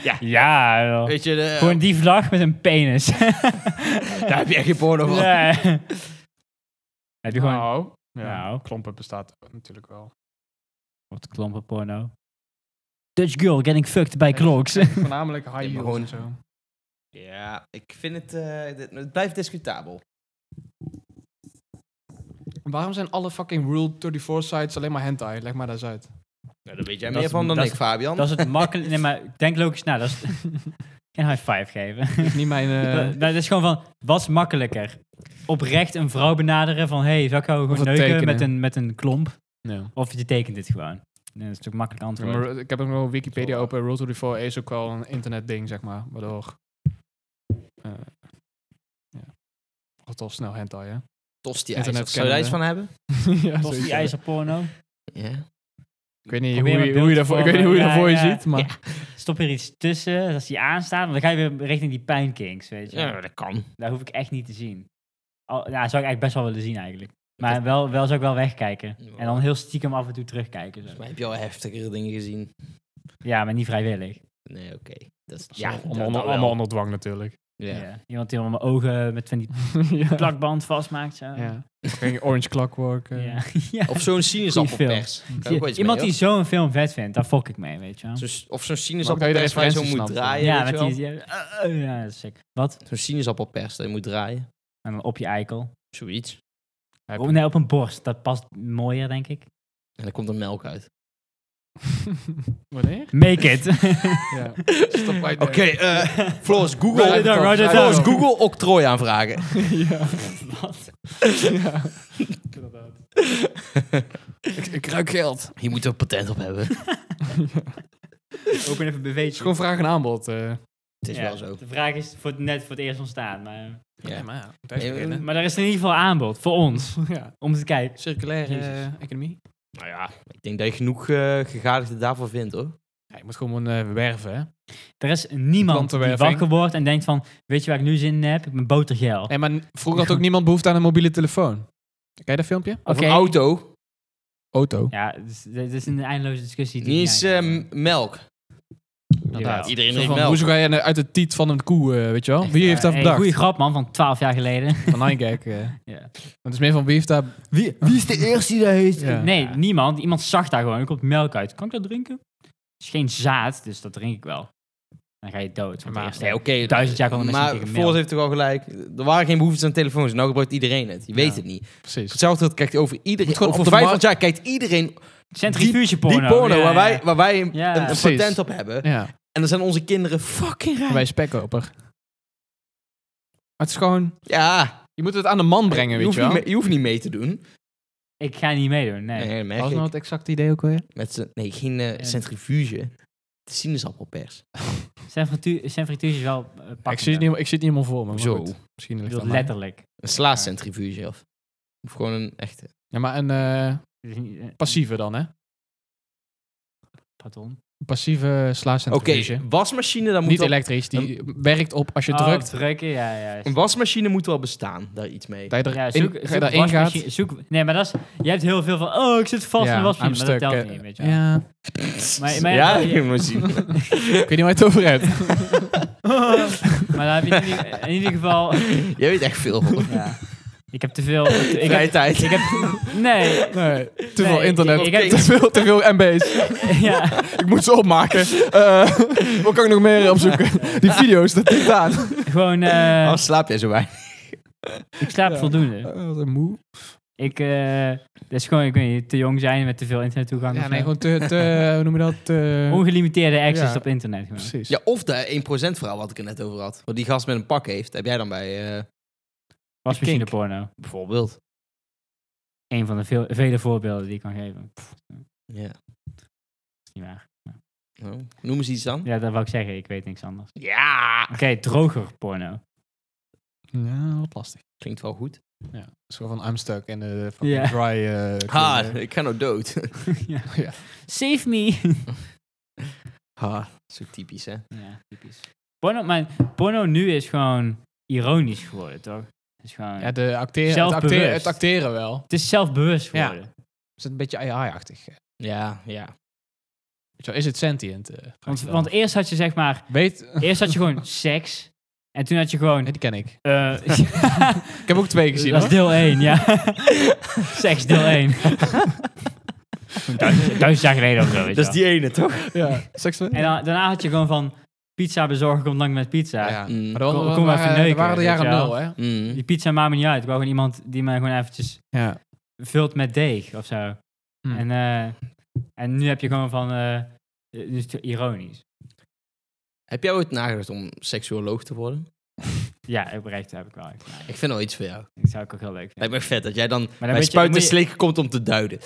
S3: Ja.
S4: ja, joh.
S3: Weet je, de, eh,
S4: gewoon die vlag met een penis.
S3: [laughs] daar heb je
S4: [laughs]
S3: echt geen porno van.
S4: Nee. Heb
S3: Oh.
S4: je gewoon
S2: Nou, ja.
S4: Nou.
S2: klompen bestaat natuurlijk wel.
S4: wat klompen porno? Dutch girl getting fucked by
S2: [laughs]
S4: clogs. [laughs]
S2: Voornamelijk high
S3: maar
S2: heels
S3: gewoon-
S2: en zo.
S3: Ja, ik vind het... eh, dit- het blijft discutabel.
S2: Waarom zijn alle fucking Rule 34 sites alleen maar hentai? Leg maar dat eens uit.
S3: Nou, daar weet jij
S4: Dat
S3: meer
S4: is-
S3: van dan
S4: dat
S3: ik,
S4: is-
S3: Fabian. [laughs]
S4: Dat is het makkelijk. Nee, maar denk logisch na. Dat is, een high five geven.
S2: is niet [laughs] mijn... eh,
S4: dat is gewoon van, wat is makkelijker? Oprecht een vrouw benaderen van, hey, zou ik jou
S2: Of
S4: gewoon
S2: het
S4: neuken
S2: tekenen.
S4: met een, met een klomp?
S2: ja.
S4: Of je tekent dit gewoon? Nee, dat is toch een makkelijk
S2: Ja,
S4: antwoord.
S2: maar ik heb ook nog Wikipedia open. Road to the Four is ook wel een internetding, zeg maar. Waardoor... eh ja. Wat al snel hentai, hè? [laughs]
S3: Tosti
S2: Internet
S3: ijzer. Zou je daar iets van
S2: kennen,
S3: hebben?
S2: ja,
S4: Tosti
S2: zoiets, hè.
S4: ijzerporno.
S3: Ja.
S2: Ik weet niet hoe
S4: Probeer maar
S2: je, hoe je
S4: beeld te
S2: daarvoor, ik weet niet hoe je,
S4: vormen.
S2: daarvoor
S4: Ja,
S2: je
S4: ja.
S2: ziet, maar...
S4: Stop er iets tussen, als die aanstaat, want dan ga je weer richting die pijnkinks, weet je.
S3: ja, dat kan.
S4: Dat hoef ik echt niet te zien. Al, nou, dat zou ik eigenlijk best wel willen zien eigenlijk. Maar wel, wel zou ik wel wegkijken.
S3: Ja.
S4: En dan heel stiekem af en toe terugkijken.
S3: Volgens
S4: Zo.
S3: mij heb je al heftigere dingen gezien.
S4: Ja, maar niet vrijwillig.
S3: Nee, oké. Dat is
S2: Ja,
S3: dat-
S2: allemaal,
S3: dat
S2: onder,
S3: wel.
S2: allemaal onder dwang natuurlijk.
S4: [laughs]
S3: Ja.
S4: Ja. Iemand die allemaal mijn ogen
S2: [laughs]
S4: met van die
S2: ja.
S4: plakband vastmaakt. Zo.
S2: Ja. Ging Orange Clockwork. eh.
S4: Ja. [laughs] Ja.
S3: Of zo'n sinaasappelpers. Kan ook wel iets
S4: Iemand
S3: dus mee,
S4: die zo'n film vet vindt, daar fok ik mee, weet je wel.
S3: hoor. Zo'n- Of zo'n
S2: Maar ook dat je
S3: sinaasappelpers
S2: de
S3: waar je zo moet
S2: referentie snapt,
S3: draaien.
S4: ja,
S3: weet je
S4: met
S3: wel.
S4: die... ja, eh, eh, ja, dat is sick. Wat?
S3: Zo'n sinaasappelpers dat je moet draaien.
S4: En dan op je eikel.
S3: Zoiets.
S2: Heb
S4: Oh,
S2: je-
S4: nee, op een borst. Dat past mooier, denk ik.
S3: En dan komt er melk
S4: [laughs]
S3: uit.
S2: [laughs] Wanneer?
S4: Make
S3: [laughs]
S4: it. [laughs]
S2: Ja.
S3: Oké, eh, Floris,
S2: Write
S3: Google.
S2: it down, write it down.
S3: Floris, Google octrooi aanvragen.
S2: ja.
S4: Wat?
S2: ja. Inderdaad. [laughs] ik, ik ruik geld. Het
S3: Je moet er patent op hebben.
S4: Open even
S2: is
S4: beweegje.
S2: gewoon vraag en aanbod. eh.
S3: Het is
S4: Ja,
S3: wel zo.
S4: De vraag is voor het, net voor het eerst ontstaan. Maar,
S3: Ja.
S2: maar ja. moet
S3: Nee,
S2: even beginnen.
S4: maar er is in ieder geval aanbod voor ons
S2: [laughs] ja.
S4: om te kijken.
S2: Circulaire
S4: Jezus.
S2: eh, economie.
S3: Nou ja, ik denk dat je genoeg eh gegadigden daarvoor vindt, hoor.
S2: Ja, je moet gewoon eh, werven, hè.
S4: Er is niemand die
S2: Plantenwerving.
S4: wakker wordt en denkt van, weet je waar ik nu zin in heb? Ik ben botergel.
S2: Nee, maar n- vroeger had ook niemand behoefte aan een mobiele telefoon. Ken je dat filmpje?
S3: Of
S4: Oké.
S3: een auto.
S2: Auto.
S4: Ja, het is, dit is een eindeloze discussie. die
S3: Niet
S4: niet
S3: eens
S4: eindigt.
S3: eh, melk.
S2: Inderdaad.
S3: Iedereen
S2: Zo
S3: drinkt
S2: van,
S3: melk.
S2: hoezo ga je eh, uit de tiet van een koe, eh, weet je wel? Wie heeft dat
S4: eh, Hey,
S2: bedacht?
S4: goeie grap, man, van 12 jaar [laughs] geleden.
S2: Van
S3: [laughs]
S2: Nijkerk. eh.
S4: Ja.
S2: Het is meer van wie heeft daar...
S3: Wie, wie is de eerste die dat heeft?
S2: Ja.
S4: Nee, niemand. Iemand zag daar gewoon. Er komt melk uit. Kan ik dat drinken? Het is geen zaad, dus dat drink ik wel. Dan ga je dood. want
S2: Maar-
S4: eerst-
S3: Nee, oké.
S4: Duizend jaar kan de mensen
S3: Maar
S4: niet tegen
S3: Floris
S4: melk.
S3: heeft toch wel gelijk. Er waren geen behoeftes aan telefoons. Nou gebruikt iedereen het. Je weet het niet.
S2: Precies.
S3: Hetzelfde dat kijkt over iedereen.
S2: Moet gewoon
S3: Over
S2: op de
S3: 500 jaar kijkt iedereen
S4: Centrifuge porno.
S3: die porno waar
S4: Ja,
S3: wij,
S4: ja.
S3: waar wij een,
S4: Ja.
S3: een
S4: Precies.
S3: patent op hebben.
S2: Ja.
S3: En dan zijn onze kinderen fucking rijk.
S2: Wij spekkoper. Maar het is gewoon...
S3: Ja,
S2: Je moet het aan de man brengen,
S3: je
S2: weet
S3: hoeft,
S2: je
S3: niet
S2: wel.
S3: mee, je hoeft niet mee te doen.
S4: Ik ga niet meedoen, nee.
S3: Nee, dat merk
S2: Wat was
S3: ik.
S2: nou het exacte idee ook alweer?
S3: Met z'n- nee, geen eh,
S4: Ja.
S3: centrifuge. Het is sinaasappelpers.
S4: Centrifuge centrifuge is wel eh, pakkender.
S2: Ik zie, het niet, ik zie het niet helemaal voor me. maar
S3: Zo.
S2: goed. Misschien ligt
S4: Ik bedoel,
S2: dat aan mij.
S4: letterlijk.
S3: Een slaascentrifuge of, of gewoon een echte.
S2: Ja, maar een eh,
S4: Het is niet, eh,
S2: passieve dan, hè?
S4: Pardon.
S2: Een passieve
S3: Oké,
S2: slaascentrifuge.
S3: wasmachine, dan moet
S2: Niet
S3: wel-
S2: elektrisch. Die werkt op als je
S4: Oh,
S2: drukt.
S4: drukken, ja, ja.
S3: een wasmachine moet wel bestaan, daar iets mee.
S2: Dat je
S4: Ja,
S2: erin
S4: zoek,
S2: dat je
S4: zoek
S2: daarin gaat.
S4: wasmachine- zoek- nee, maar dat is, je hebt heel veel van, oh, ik zit vast in de
S2: aan
S4: wasmachine,
S2: een
S4: maar dat
S2: stuk,
S4: telt
S2: eh,
S4: niet, weet je wel.
S2: ja.
S4: Maar, maar,
S3: ja,
S4: maar-
S3: je moet zien.
S2: Ik weet niet waar je het over hebt.
S4: maar dan heb je in ieder, in ieder geval,
S3: Jij weet echt veel. hoor. [laughs]
S4: ja, ik heb te
S2: [laughs]
S4: veel, ik
S3: Vrije
S4: heb,
S3: tijd. [laughs]
S4: ik heb, nee, [laughs]
S2: Nee, te veel
S4: ik-
S2: internet.
S4: ik heb-
S2: te, veel, te veel MB's.
S4: ja,
S2: ik moet ze opmaken. Eh, wat kan ik nog meer opzoeken? Die video's, dat is aan.
S4: gewoon, eh,
S3: Anders Oh, slaap jij zo weinig.
S4: ik slaap
S2: Ja.
S4: voldoende.
S2: Oh, Wat een moe.
S4: Ik, eh, dat is gewoon, ik weet niet, te jong zijn met te veel internettoegang.
S2: Ja,
S4: of
S2: nee,
S4: zo.
S2: gewoon te,
S4: eh,
S2: te- hoe noem je dat? Te-
S4: Ongelimiteerde access
S2: ja.
S4: op internet gewoon.
S2: Precies.
S3: Ja, of de 1% verhaal wat ik er net over had. Wat die gast met een pak heeft, heb jij dan bij eh,
S4: Wasmachine
S3: Kink.
S4: porno.
S3: bijvoorbeeld.
S4: Een van de veel, vele voorbeelden die ik kan geven. Pff,
S3: Ja.
S4: is niet waar.
S3: Nou, noem eens iets dan.
S4: Ja, dat wou ik zeggen. Ik weet niks anders.
S3: Ja.
S4: Oké, droger porno. [laughs]
S2: Ja, wat lastig.
S3: Klinkt wel goed.
S2: Zo van I'm stuck in de fucking
S4: Ja.
S2: dry... eh,
S3: Ha,
S2: cleaner.
S3: ik ga nou dood.
S4: ja.
S2: Ja.
S4: Save me.
S3: [laughs] Ha, zo typisch hè.
S4: ja, typisch. Porno, maar porno nu is gewoon ironisch geworden, toch? Het is gewoon...
S2: Ja, de acteren, het,
S4: Zelfbewust.
S2: acteren, het acteren wel.
S4: het is zelfbewust
S2: Ja.
S4: geworden.
S2: Is het een beetje eh. AI-achtig? Weet
S3: Ja, ja.
S2: je wel, Is het sentient? eh, vraag
S4: Want,
S2: je dan
S4: want
S2: af.
S4: eerst had je zeg
S2: [laughs]
S4: maar...
S2: Weet...
S4: Eerst had je gewoon seks. En toen had je gewoon...
S2: Nee, die ken ik. [laughs]
S4: eh, [laughs]
S2: Ik heb ook [laughs] twee gezien,
S4: dat is
S2: hoor.
S4: deel 1,
S2: [laughs]
S4: ja. seks, deel 1. duizend, duizend jaar geleden of zo,
S2: Dus
S4: weet je wel.
S3: ene toch?
S2: Ja. [laughs] Seks
S4: En dan, daarna had je gewoon van... Pizza bezorgen komt lang met pizza.
S2: Ja.
S3: Mm.
S2: Maar dat
S4: Kom-
S2: waren-
S4: kom even
S2: waren,
S4: neuken,
S2: waren de
S4: weet
S2: jaren
S4: je wel.
S2: nul, hè?
S3: Mm.
S4: Die pizza maakt me niet uit. Ik wou gewoon iemand die mij gewoon eventjes
S2: Ja.
S4: vult met deeg of zo.
S2: Hmm.
S4: En, eh, en nu heb je gewoon van... eh, eh, nu is het ironisch.
S3: Heb jij ooit nagedacht om seksuoloog te worden?
S4: Ja, ik bereikt heb ik wel. Ik, nou,
S3: Ik vind wel iets voor jou.
S4: dat zou ik ook heel leuk vinden.
S3: Lijkt me vet dat jij dan
S4: Maar
S3: bij
S4: weet je-
S3: spuiten en
S4: moet je-
S3: slikken komt om te duiden.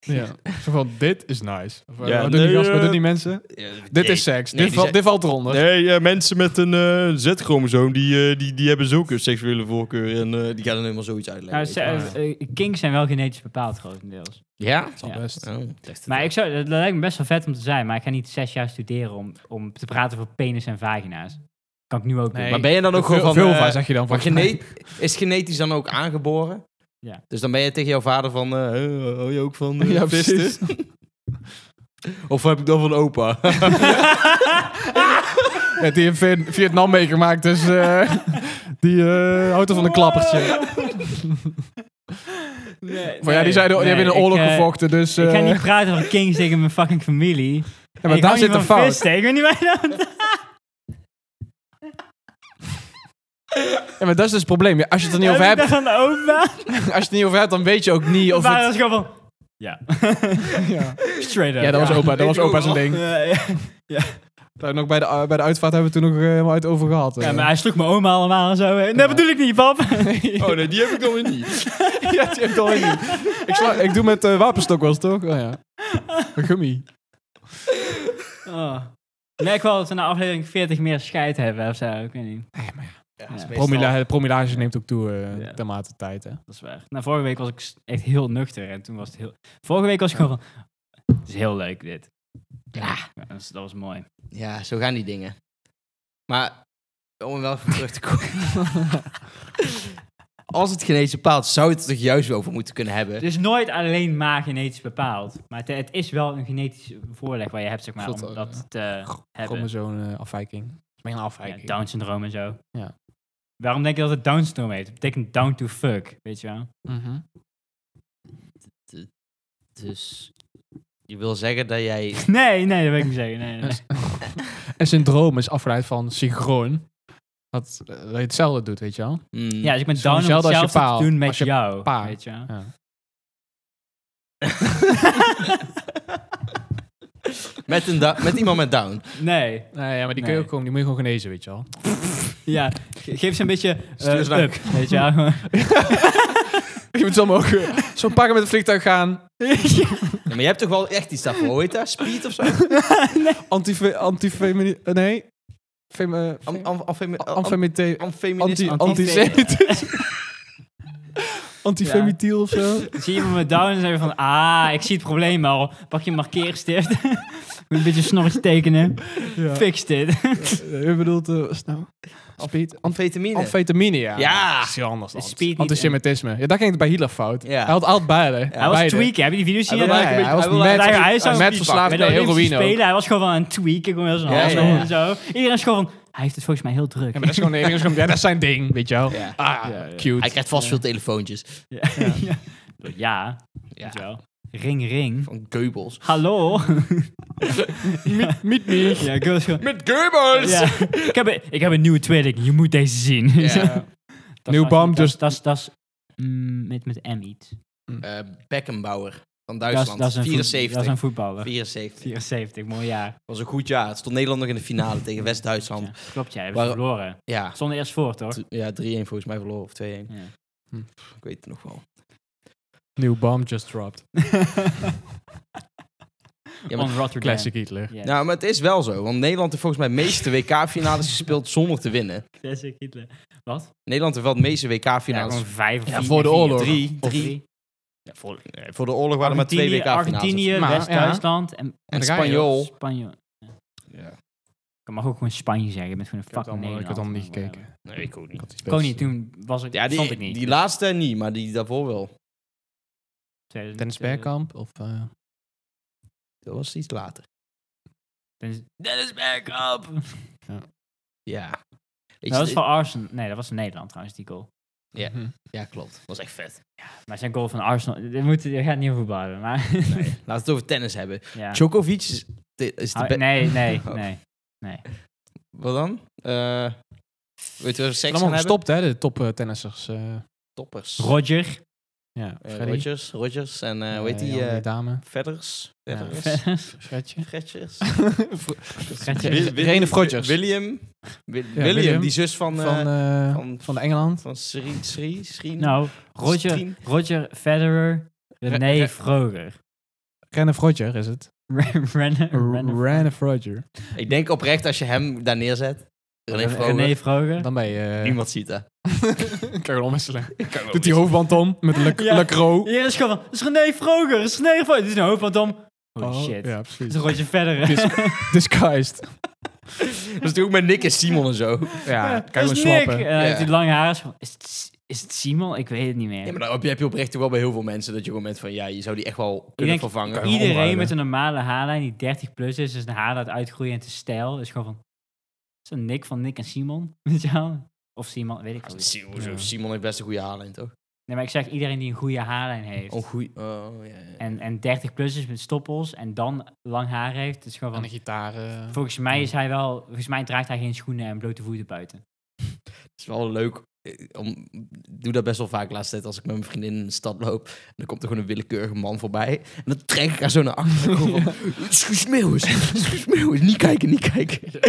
S2: Ja. Mm. [laughs] Zo van, dit is nice. Of, eh,
S1: Ja,
S2: wat, doen
S1: nee,
S2: die gasten, wat
S1: eh,
S2: doen die mensen? Dit is seks. dit, valt- dit valt eronder.
S1: Nee, eh, mensen met een eh, Z-chromosoom, die, eh, die, die hebben zulke seksuele voorkeur. En eh, die
S3: Die gaat dan helemaal zoiets uitleggen.
S4: Nou,
S3: weet
S4: ze-
S3: je wel.
S4: eh, eh, kinks zijn wel genetisch bepaald, grotendeels.
S3: ja?
S2: Dat is
S4: Ja.
S2: al best.
S3: Oh, ik dacht het
S4: Maar
S3: wel.
S4: ik zou, dat lijkt me best wel vet om te zijn, maar ik ga niet zes jaar studeren om, om te praten over penis en vagina's. Kan ik nu ook
S2: Nee.
S4: doen.
S3: maar ben je dan ook
S2: Vul-
S3: gewoon van...
S2: vulva,
S3: eh,
S2: zeg je dan.
S3: maar
S2: volgens mij.
S3: gene- is genetisch dan ook aangeboren?
S4: Ja.
S3: Dus dan ben je tegen jouw vader van... eh, eh, hou je ook van eh,
S2: Ja,
S3: visten?
S2: precies.
S3: [laughs] Of heb ik dan van opa?
S2: [laughs]
S3: [laughs]
S2: Ja, die heeft Vin- Vietnam meegemaakt, dus eh, [laughs] die eh, houdt er van een klappertje.
S4: Nee,
S2: Van, ja, die, zeiden, die
S4: nee,
S2: hebben in
S4: ik,
S2: een oorlog
S4: eh,
S2: gevochten, dus...
S4: [laughs] Ik ga
S2: eh,
S4: niet praten over kinks tegen mijn fucking familie.
S2: ja, maar daar zit een
S4: een
S2: fout.
S4: Ik weet niet waar je dat-
S2: Ja, maar dat is dus het probleem. Ja, Als je het er niet over
S4: Heb ik
S2: hebt,
S4: dat aan de opa?
S2: [laughs] als je het er niet over hebt, dan weet je ook niet of
S4: Of waren
S2: het... [laughs]
S4: was gewoon van... Ja. [laughs]
S2: Ja,
S4: Straight up.
S2: ja dat was opa,
S3: Weet
S2: dat was
S3: je
S2: opa zijn
S3: ook
S2: ding.
S4: Ja, ja.
S2: [laughs] Daar nog bij, de, bij de uitvaart hebben we het toen nog eh, helemaal uit over gehad. eh.
S4: Ja, maar hij sloeg mijn oma allemaal en zo. Nee, dat bedoel ik niet, [laughs] pap.
S1: Oh nee, die heb ik dan weer niet.
S2: [laughs] Ja, die heeft al niet. Ik, sla, ik doe met eh, wapenstok was het toch? Oh, ja. Een gummy.
S4: Oh. Ik merk wel dat we na aflevering 40 meer scheid hebben of zo. Ik weet niet.
S3: Ja, is
S4: Ja.
S3: meestal-
S2: Promila, promilage neemt ook toe eh
S4: Ja.
S2: naarmate tijd. Hè.
S4: Dat is waar. Nou, vorige week was ik s- echt heel nuchter. En toen was het heel... Vorige week was ik gewoon van... Het is heel leuk, dit. Ja. dat, was, dat was mooi.
S3: Ja, zo gaan die dingen. Maar om wel even terug te komen. [laughs] Als het genetisch bepaalt, zou je het er toch juist wel over moeten kunnen hebben.
S4: Het is nooit alleen maar genetisch bepaald. Maar het, het is wel een genetische voorleg waar je hebt, zeg maar,
S2: Zot,
S4: om
S2: eh,
S4: dat te hebben.
S2: Gewoon zo'n eh, afwijking. Het is Mijn
S4: Ja,
S2: afwijking.
S4: Down syndroom en zo.
S2: Ja.
S4: Waarom denk je dat het Down syndroom heet? Het betekent down to fuck, weet je wel? [laughs]
S2: Mhm.
S3: Dus je wil zeggen dat jij.
S4: Nee, nee, dat wil ik niet zeggen. Nee, nee, nee.
S2: En syndroom is afgeleid van synchroon. Dat, eh, dat je hetzelfde doet, weet je wel.
S3: Mm.
S4: Ja, dus ik ben
S2: Zo'n
S4: down om
S2: zelden als je
S4: hetzelfde te
S2: paal.
S4: doen met
S2: Als je
S4: jou,
S2: paal.
S4: weet je wel?
S2: Ja.
S3: met, een da- met iemand met down.
S4: Nee,
S2: Nee, ja, maar die, kun
S4: Nee.
S2: je ook gewoon, die moet je gewoon genezen, weet je wel.
S4: ja. Ge- Geef ze een beetje
S3: Stuur ze
S4: eh,
S3: naar-
S4: up, weet je wel? gewoon.
S2: [laughs] Je moet zo mogen. Zo eh, pakken met het vliegtuig gaan.
S3: Ja, maar je hebt toch wel echt iets daarvoor? Hoe heet dat? Speed of zo?
S2: Antife- Antifemini... eh, nee. Femi...
S3: Am- am- amfemi- am-
S2: Amfemite...
S3: amfeminist-
S2: Anti...
S3: anti-
S2: Antisemitisme. Antifemitiel of zo.
S4: Zie je me met down en zeg je van... Ah, ik zie het probleem al. Pak je een markeerstift. [laughs] Moet een beetje snorretje tekenen.
S2: Eh, Ja.
S4: Fix dit.
S2: Je bedoelt... eh, wat is het nou? Speed...
S3: Amfetamine.
S2: Amfetamine, ja.
S3: Ja.
S2: Dat is heel anders dan.
S4: Speed niet-
S2: Antisemitisme. Ja, daar ging het bij Hitler fout.
S3: Ja.
S2: Hij had altijd beide.
S3: Hij
S4: Hij was
S2: beide.
S4: tweaken. Heb je die video's
S3: Hij
S4: gezien?
S3: wil
S2: Ja,
S3: eigenlijk een
S2: ja, hij was
S3: beetje- hij wil
S2: met,
S4: eigenlijk- hij is zo'n
S2: met
S3: speedbak.
S2: verslaafd
S4: Met de
S2: bij
S4: Olympische
S2: heroïne ook.
S4: Spelen, hij was gewoon wel aan het tweaken, gewoon heel zijn
S3: Ja,
S4: hals
S3: ja,
S4: om
S3: ja.
S4: en zo. Iedereen is gewoon van, hij heeft het volgens mij heel
S2: Ja,
S4: druk.
S2: maar dat is gewoon de enige is gewoon- Ja, dat is zijn ding, weet je wel.
S3: Ja.
S2: Ah,
S4: Ja, ja.
S2: cute. [laughs]
S3: Hij krijgt vast veel telefoontjes.
S4: Ja, [laughs] ja. ja,
S3: Ja.
S4: weet je wel. Ring, ring.
S3: Van Goebbels.
S2: [laughs]
S4: Hallo.
S2: Meet, meet me.
S4: Ja, ik was gewoon-
S3: Met Goebbels!
S4: Ja. Ik, heb een, ik heb een nieuwe tweeling, je moet deze zien.
S3: Ja.
S4: [laughs] Dat is
S2: Nieuw
S4: nog-
S2: bam,
S4: dat is-
S2: dus-
S4: Dat is, dat is mm, met, met M iets.
S3: Eh, Beckenbauer van
S4: Dat is,
S3: Duitsland.
S4: dat is een voet-
S3: 74.
S4: Dat is een voetballer.
S3: 74.
S4: 74, mooi jaar.
S3: was een goed jaar. Het stond Nederland nog in de finale
S4: [laughs]
S3: tegen West-Duitsland.
S4: Ja,
S3: Ja.
S4: klopt, jij hebben
S3: Waar-
S4: ze verloren.
S3: Ja.
S4: Zonder eerst voor, toch?
S3: Ja, 3-1 volgens mij verloren of 2-1.
S4: Ja.
S2: [laughs]
S3: Ik weet het nog wel.
S2: Nieuw bomb just dropped.
S3: maar-
S4: On Rotterdam.
S2: Classic Hitler.
S4: Ja.
S3: Nou, maar het is wel zo. Want Nederland heeft volgens mij de meeste
S4: [laughs]
S3: WK-finales gespeeld zonder te winnen.
S4: Classic Hitler. Wat?
S3: Nederland heeft wel de meeste
S4: Ja,
S3: WK-finales.
S4: gewoon vijf of
S2: nou Ja,
S4: vier,
S2: voor de
S4: vier,
S2: oorlog.
S4: Drie.
S3: Of-
S4: drie.
S3: Ja, voor, eh, voor de oorlog waren er maar twee
S4: Argentinië,
S3: WK-finales.
S4: Argentinië,
S2: Maar, ja.
S4: West-Duitsland en
S3: En
S2: Daar ga je.
S3: Spanjool.
S4: Spanje.
S3: Ja.
S4: Ik mag ook gewoon Spanje zeggen. Je bent gewoon een
S2: Ik heb het
S4: fucking
S2: allemaal, ik heb het allemaal
S4: Nederlander.
S2: niet gekeken.
S3: Nee, ik ook niet.
S4: Ik ook niet, toen was ik,
S3: Ja, die,
S4: stond ik niet.
S3: die laatste niet, maar die daarvoor wel.
S2: Dennis
S4: 2000, eh,
S2: Bergkamp of... eh,
S3: Dat was iets later.
S4: Dennis- Dennis Bergkamp!
S3: Ja. Weet je,
S4: Dat was
S3: dit-
S4: van Arsenal. Nee, dat was Nederland trouwens, die goal.
S3: Ja.
S2: mhm.
S3: Ja, klopt. Dat was echt vet.
S4: Maar zijn goal van Arsenal... Dit moet, je gaat niet over voetbal hebben, maar... [laughs]
S3: Nee. Laten we het over tennis hebben.
S4: ja.
S3: Djokovic is de, is de
S4: Ah,
S3: be- [laughs]
S4: nee, nee,
S3: Oh.
S4: nee.
S3: Wat dan? Eh weet je waar we seks gaan
S2: Allemaal
S3: hebben?
S2: gestopt, hè, de top eh, tennissers. eh.
S3: Toppers.
S4: Roger.
S2: Ja,
S3: Eh,
S2: Freddy.
S3: Rogers, Rogers en eh hoe heet
S2: Eh,
S3: die?
S2: die andere
S3: eh,
S2: dame.
S3: Fedders?
S2: Ja,
S3: [laughs] Fedders?
S4: Fred-
S2: Fredje.
S3: Fretjes?
S4: Fredje.
S2: Wi- Wi- Rene Frotjers.
S3: William? Wi-
S2: Ja,
S3: William,
S2: William.
S3: die zus van...
S2: van,
S3: eh,
S2: eh,
S3: van-
S2: van, de Engeland.
S3: van Sri, Sri, Sri?
S4: Nou, Roger,
S3: Strien?
S4: Roger Federer,
S2: Re-
S4: René
S2: re-
S4: Froger. [laughs]
S2: Renne Frodger is het.
S4: Ren- Ren- Ren-
S2: Renne Frodger.
S3: Ik denk oprecht als je hem daar neerzet. René Vroger.
S4: René Froger.
S2: Dan ben je... eh,
S3: Niemand ziet dat.
S2: [laughs]
S4: [laughs]
S2: kan je wel omwisselen.
S3: Kan wel
S2: Doet die hoofdband om met Le,
S4: Ja.
S2: Le Croc.
S4: Hier is gewoon van, het is René Froger, het is René Froger. Dit is een hoofd van Tom. Holy
S2: Oh,
S4: shit.
S2: Ja,
S4: Het
S2: precies.
S4: is Roger
S2: [laughs]
S4: Federer. [laughs]
S2: Dis- Disguised.
S3: Dat is natuurlijk met Nick en Simon en zo.
S2: Ja, kan je
S4: Dat
S2: gewoon
S4: is Nick.
S2: swappen.
S4: En hij heeft
S3: Ja.
S4: die lange haren. is van, Is het, is het Simon? Ik weet het niet meer.
S3: Ja, maar dan heb je- heb je oprecht toch wel bij heel veel mensen dat je gewoon bent van... Ja, je zou die echt wel kunnen
S4: denk-
S3: vervangen.
S2: kan-
S4: Iedereen
S2: omruilen.
S4: met een normale haarlijn die 30 plus is, is een haar dat uitgroeien en te stijl. Is gewoon van, is dat Nick van Nick en Simon? [laughs] Weet je wel? Of Simon,
S2: Oh,
S4: weet ik wel. niet.
S3: Simon, zo-
S2: Ja.
S3: Simon heeft best een goede haarlijn, toch?
S4: Nee, maar ik zeg iedereen die een goede haarlijn heeft.
S3: Oh, goeie. Oh, ja, ja.
S4: En, en 30 plus is met stoppels en dan lang haar heeft. is gewoon
S2: Aan de
S4: van,
S2: gitaar. eh,
S4: volgens mij is hij wel, volgens mij draagt hij geen schoenen en blote voeten buiten.
S3: Het is wel leuk. eh, Om, ik doe dat best wel vaak de laatste tijd als ik met mijn vriendin in de stad loop. En dan komt er gewoon een willekeurige man voorbij. En dan trek ik haar zo naar achteren. en
S4: [laughs]
S3: gewoon van, Excuse me, jongens. Excuse me, jongens. Niet kijken, niet kijken.
S2: [laughs] Dat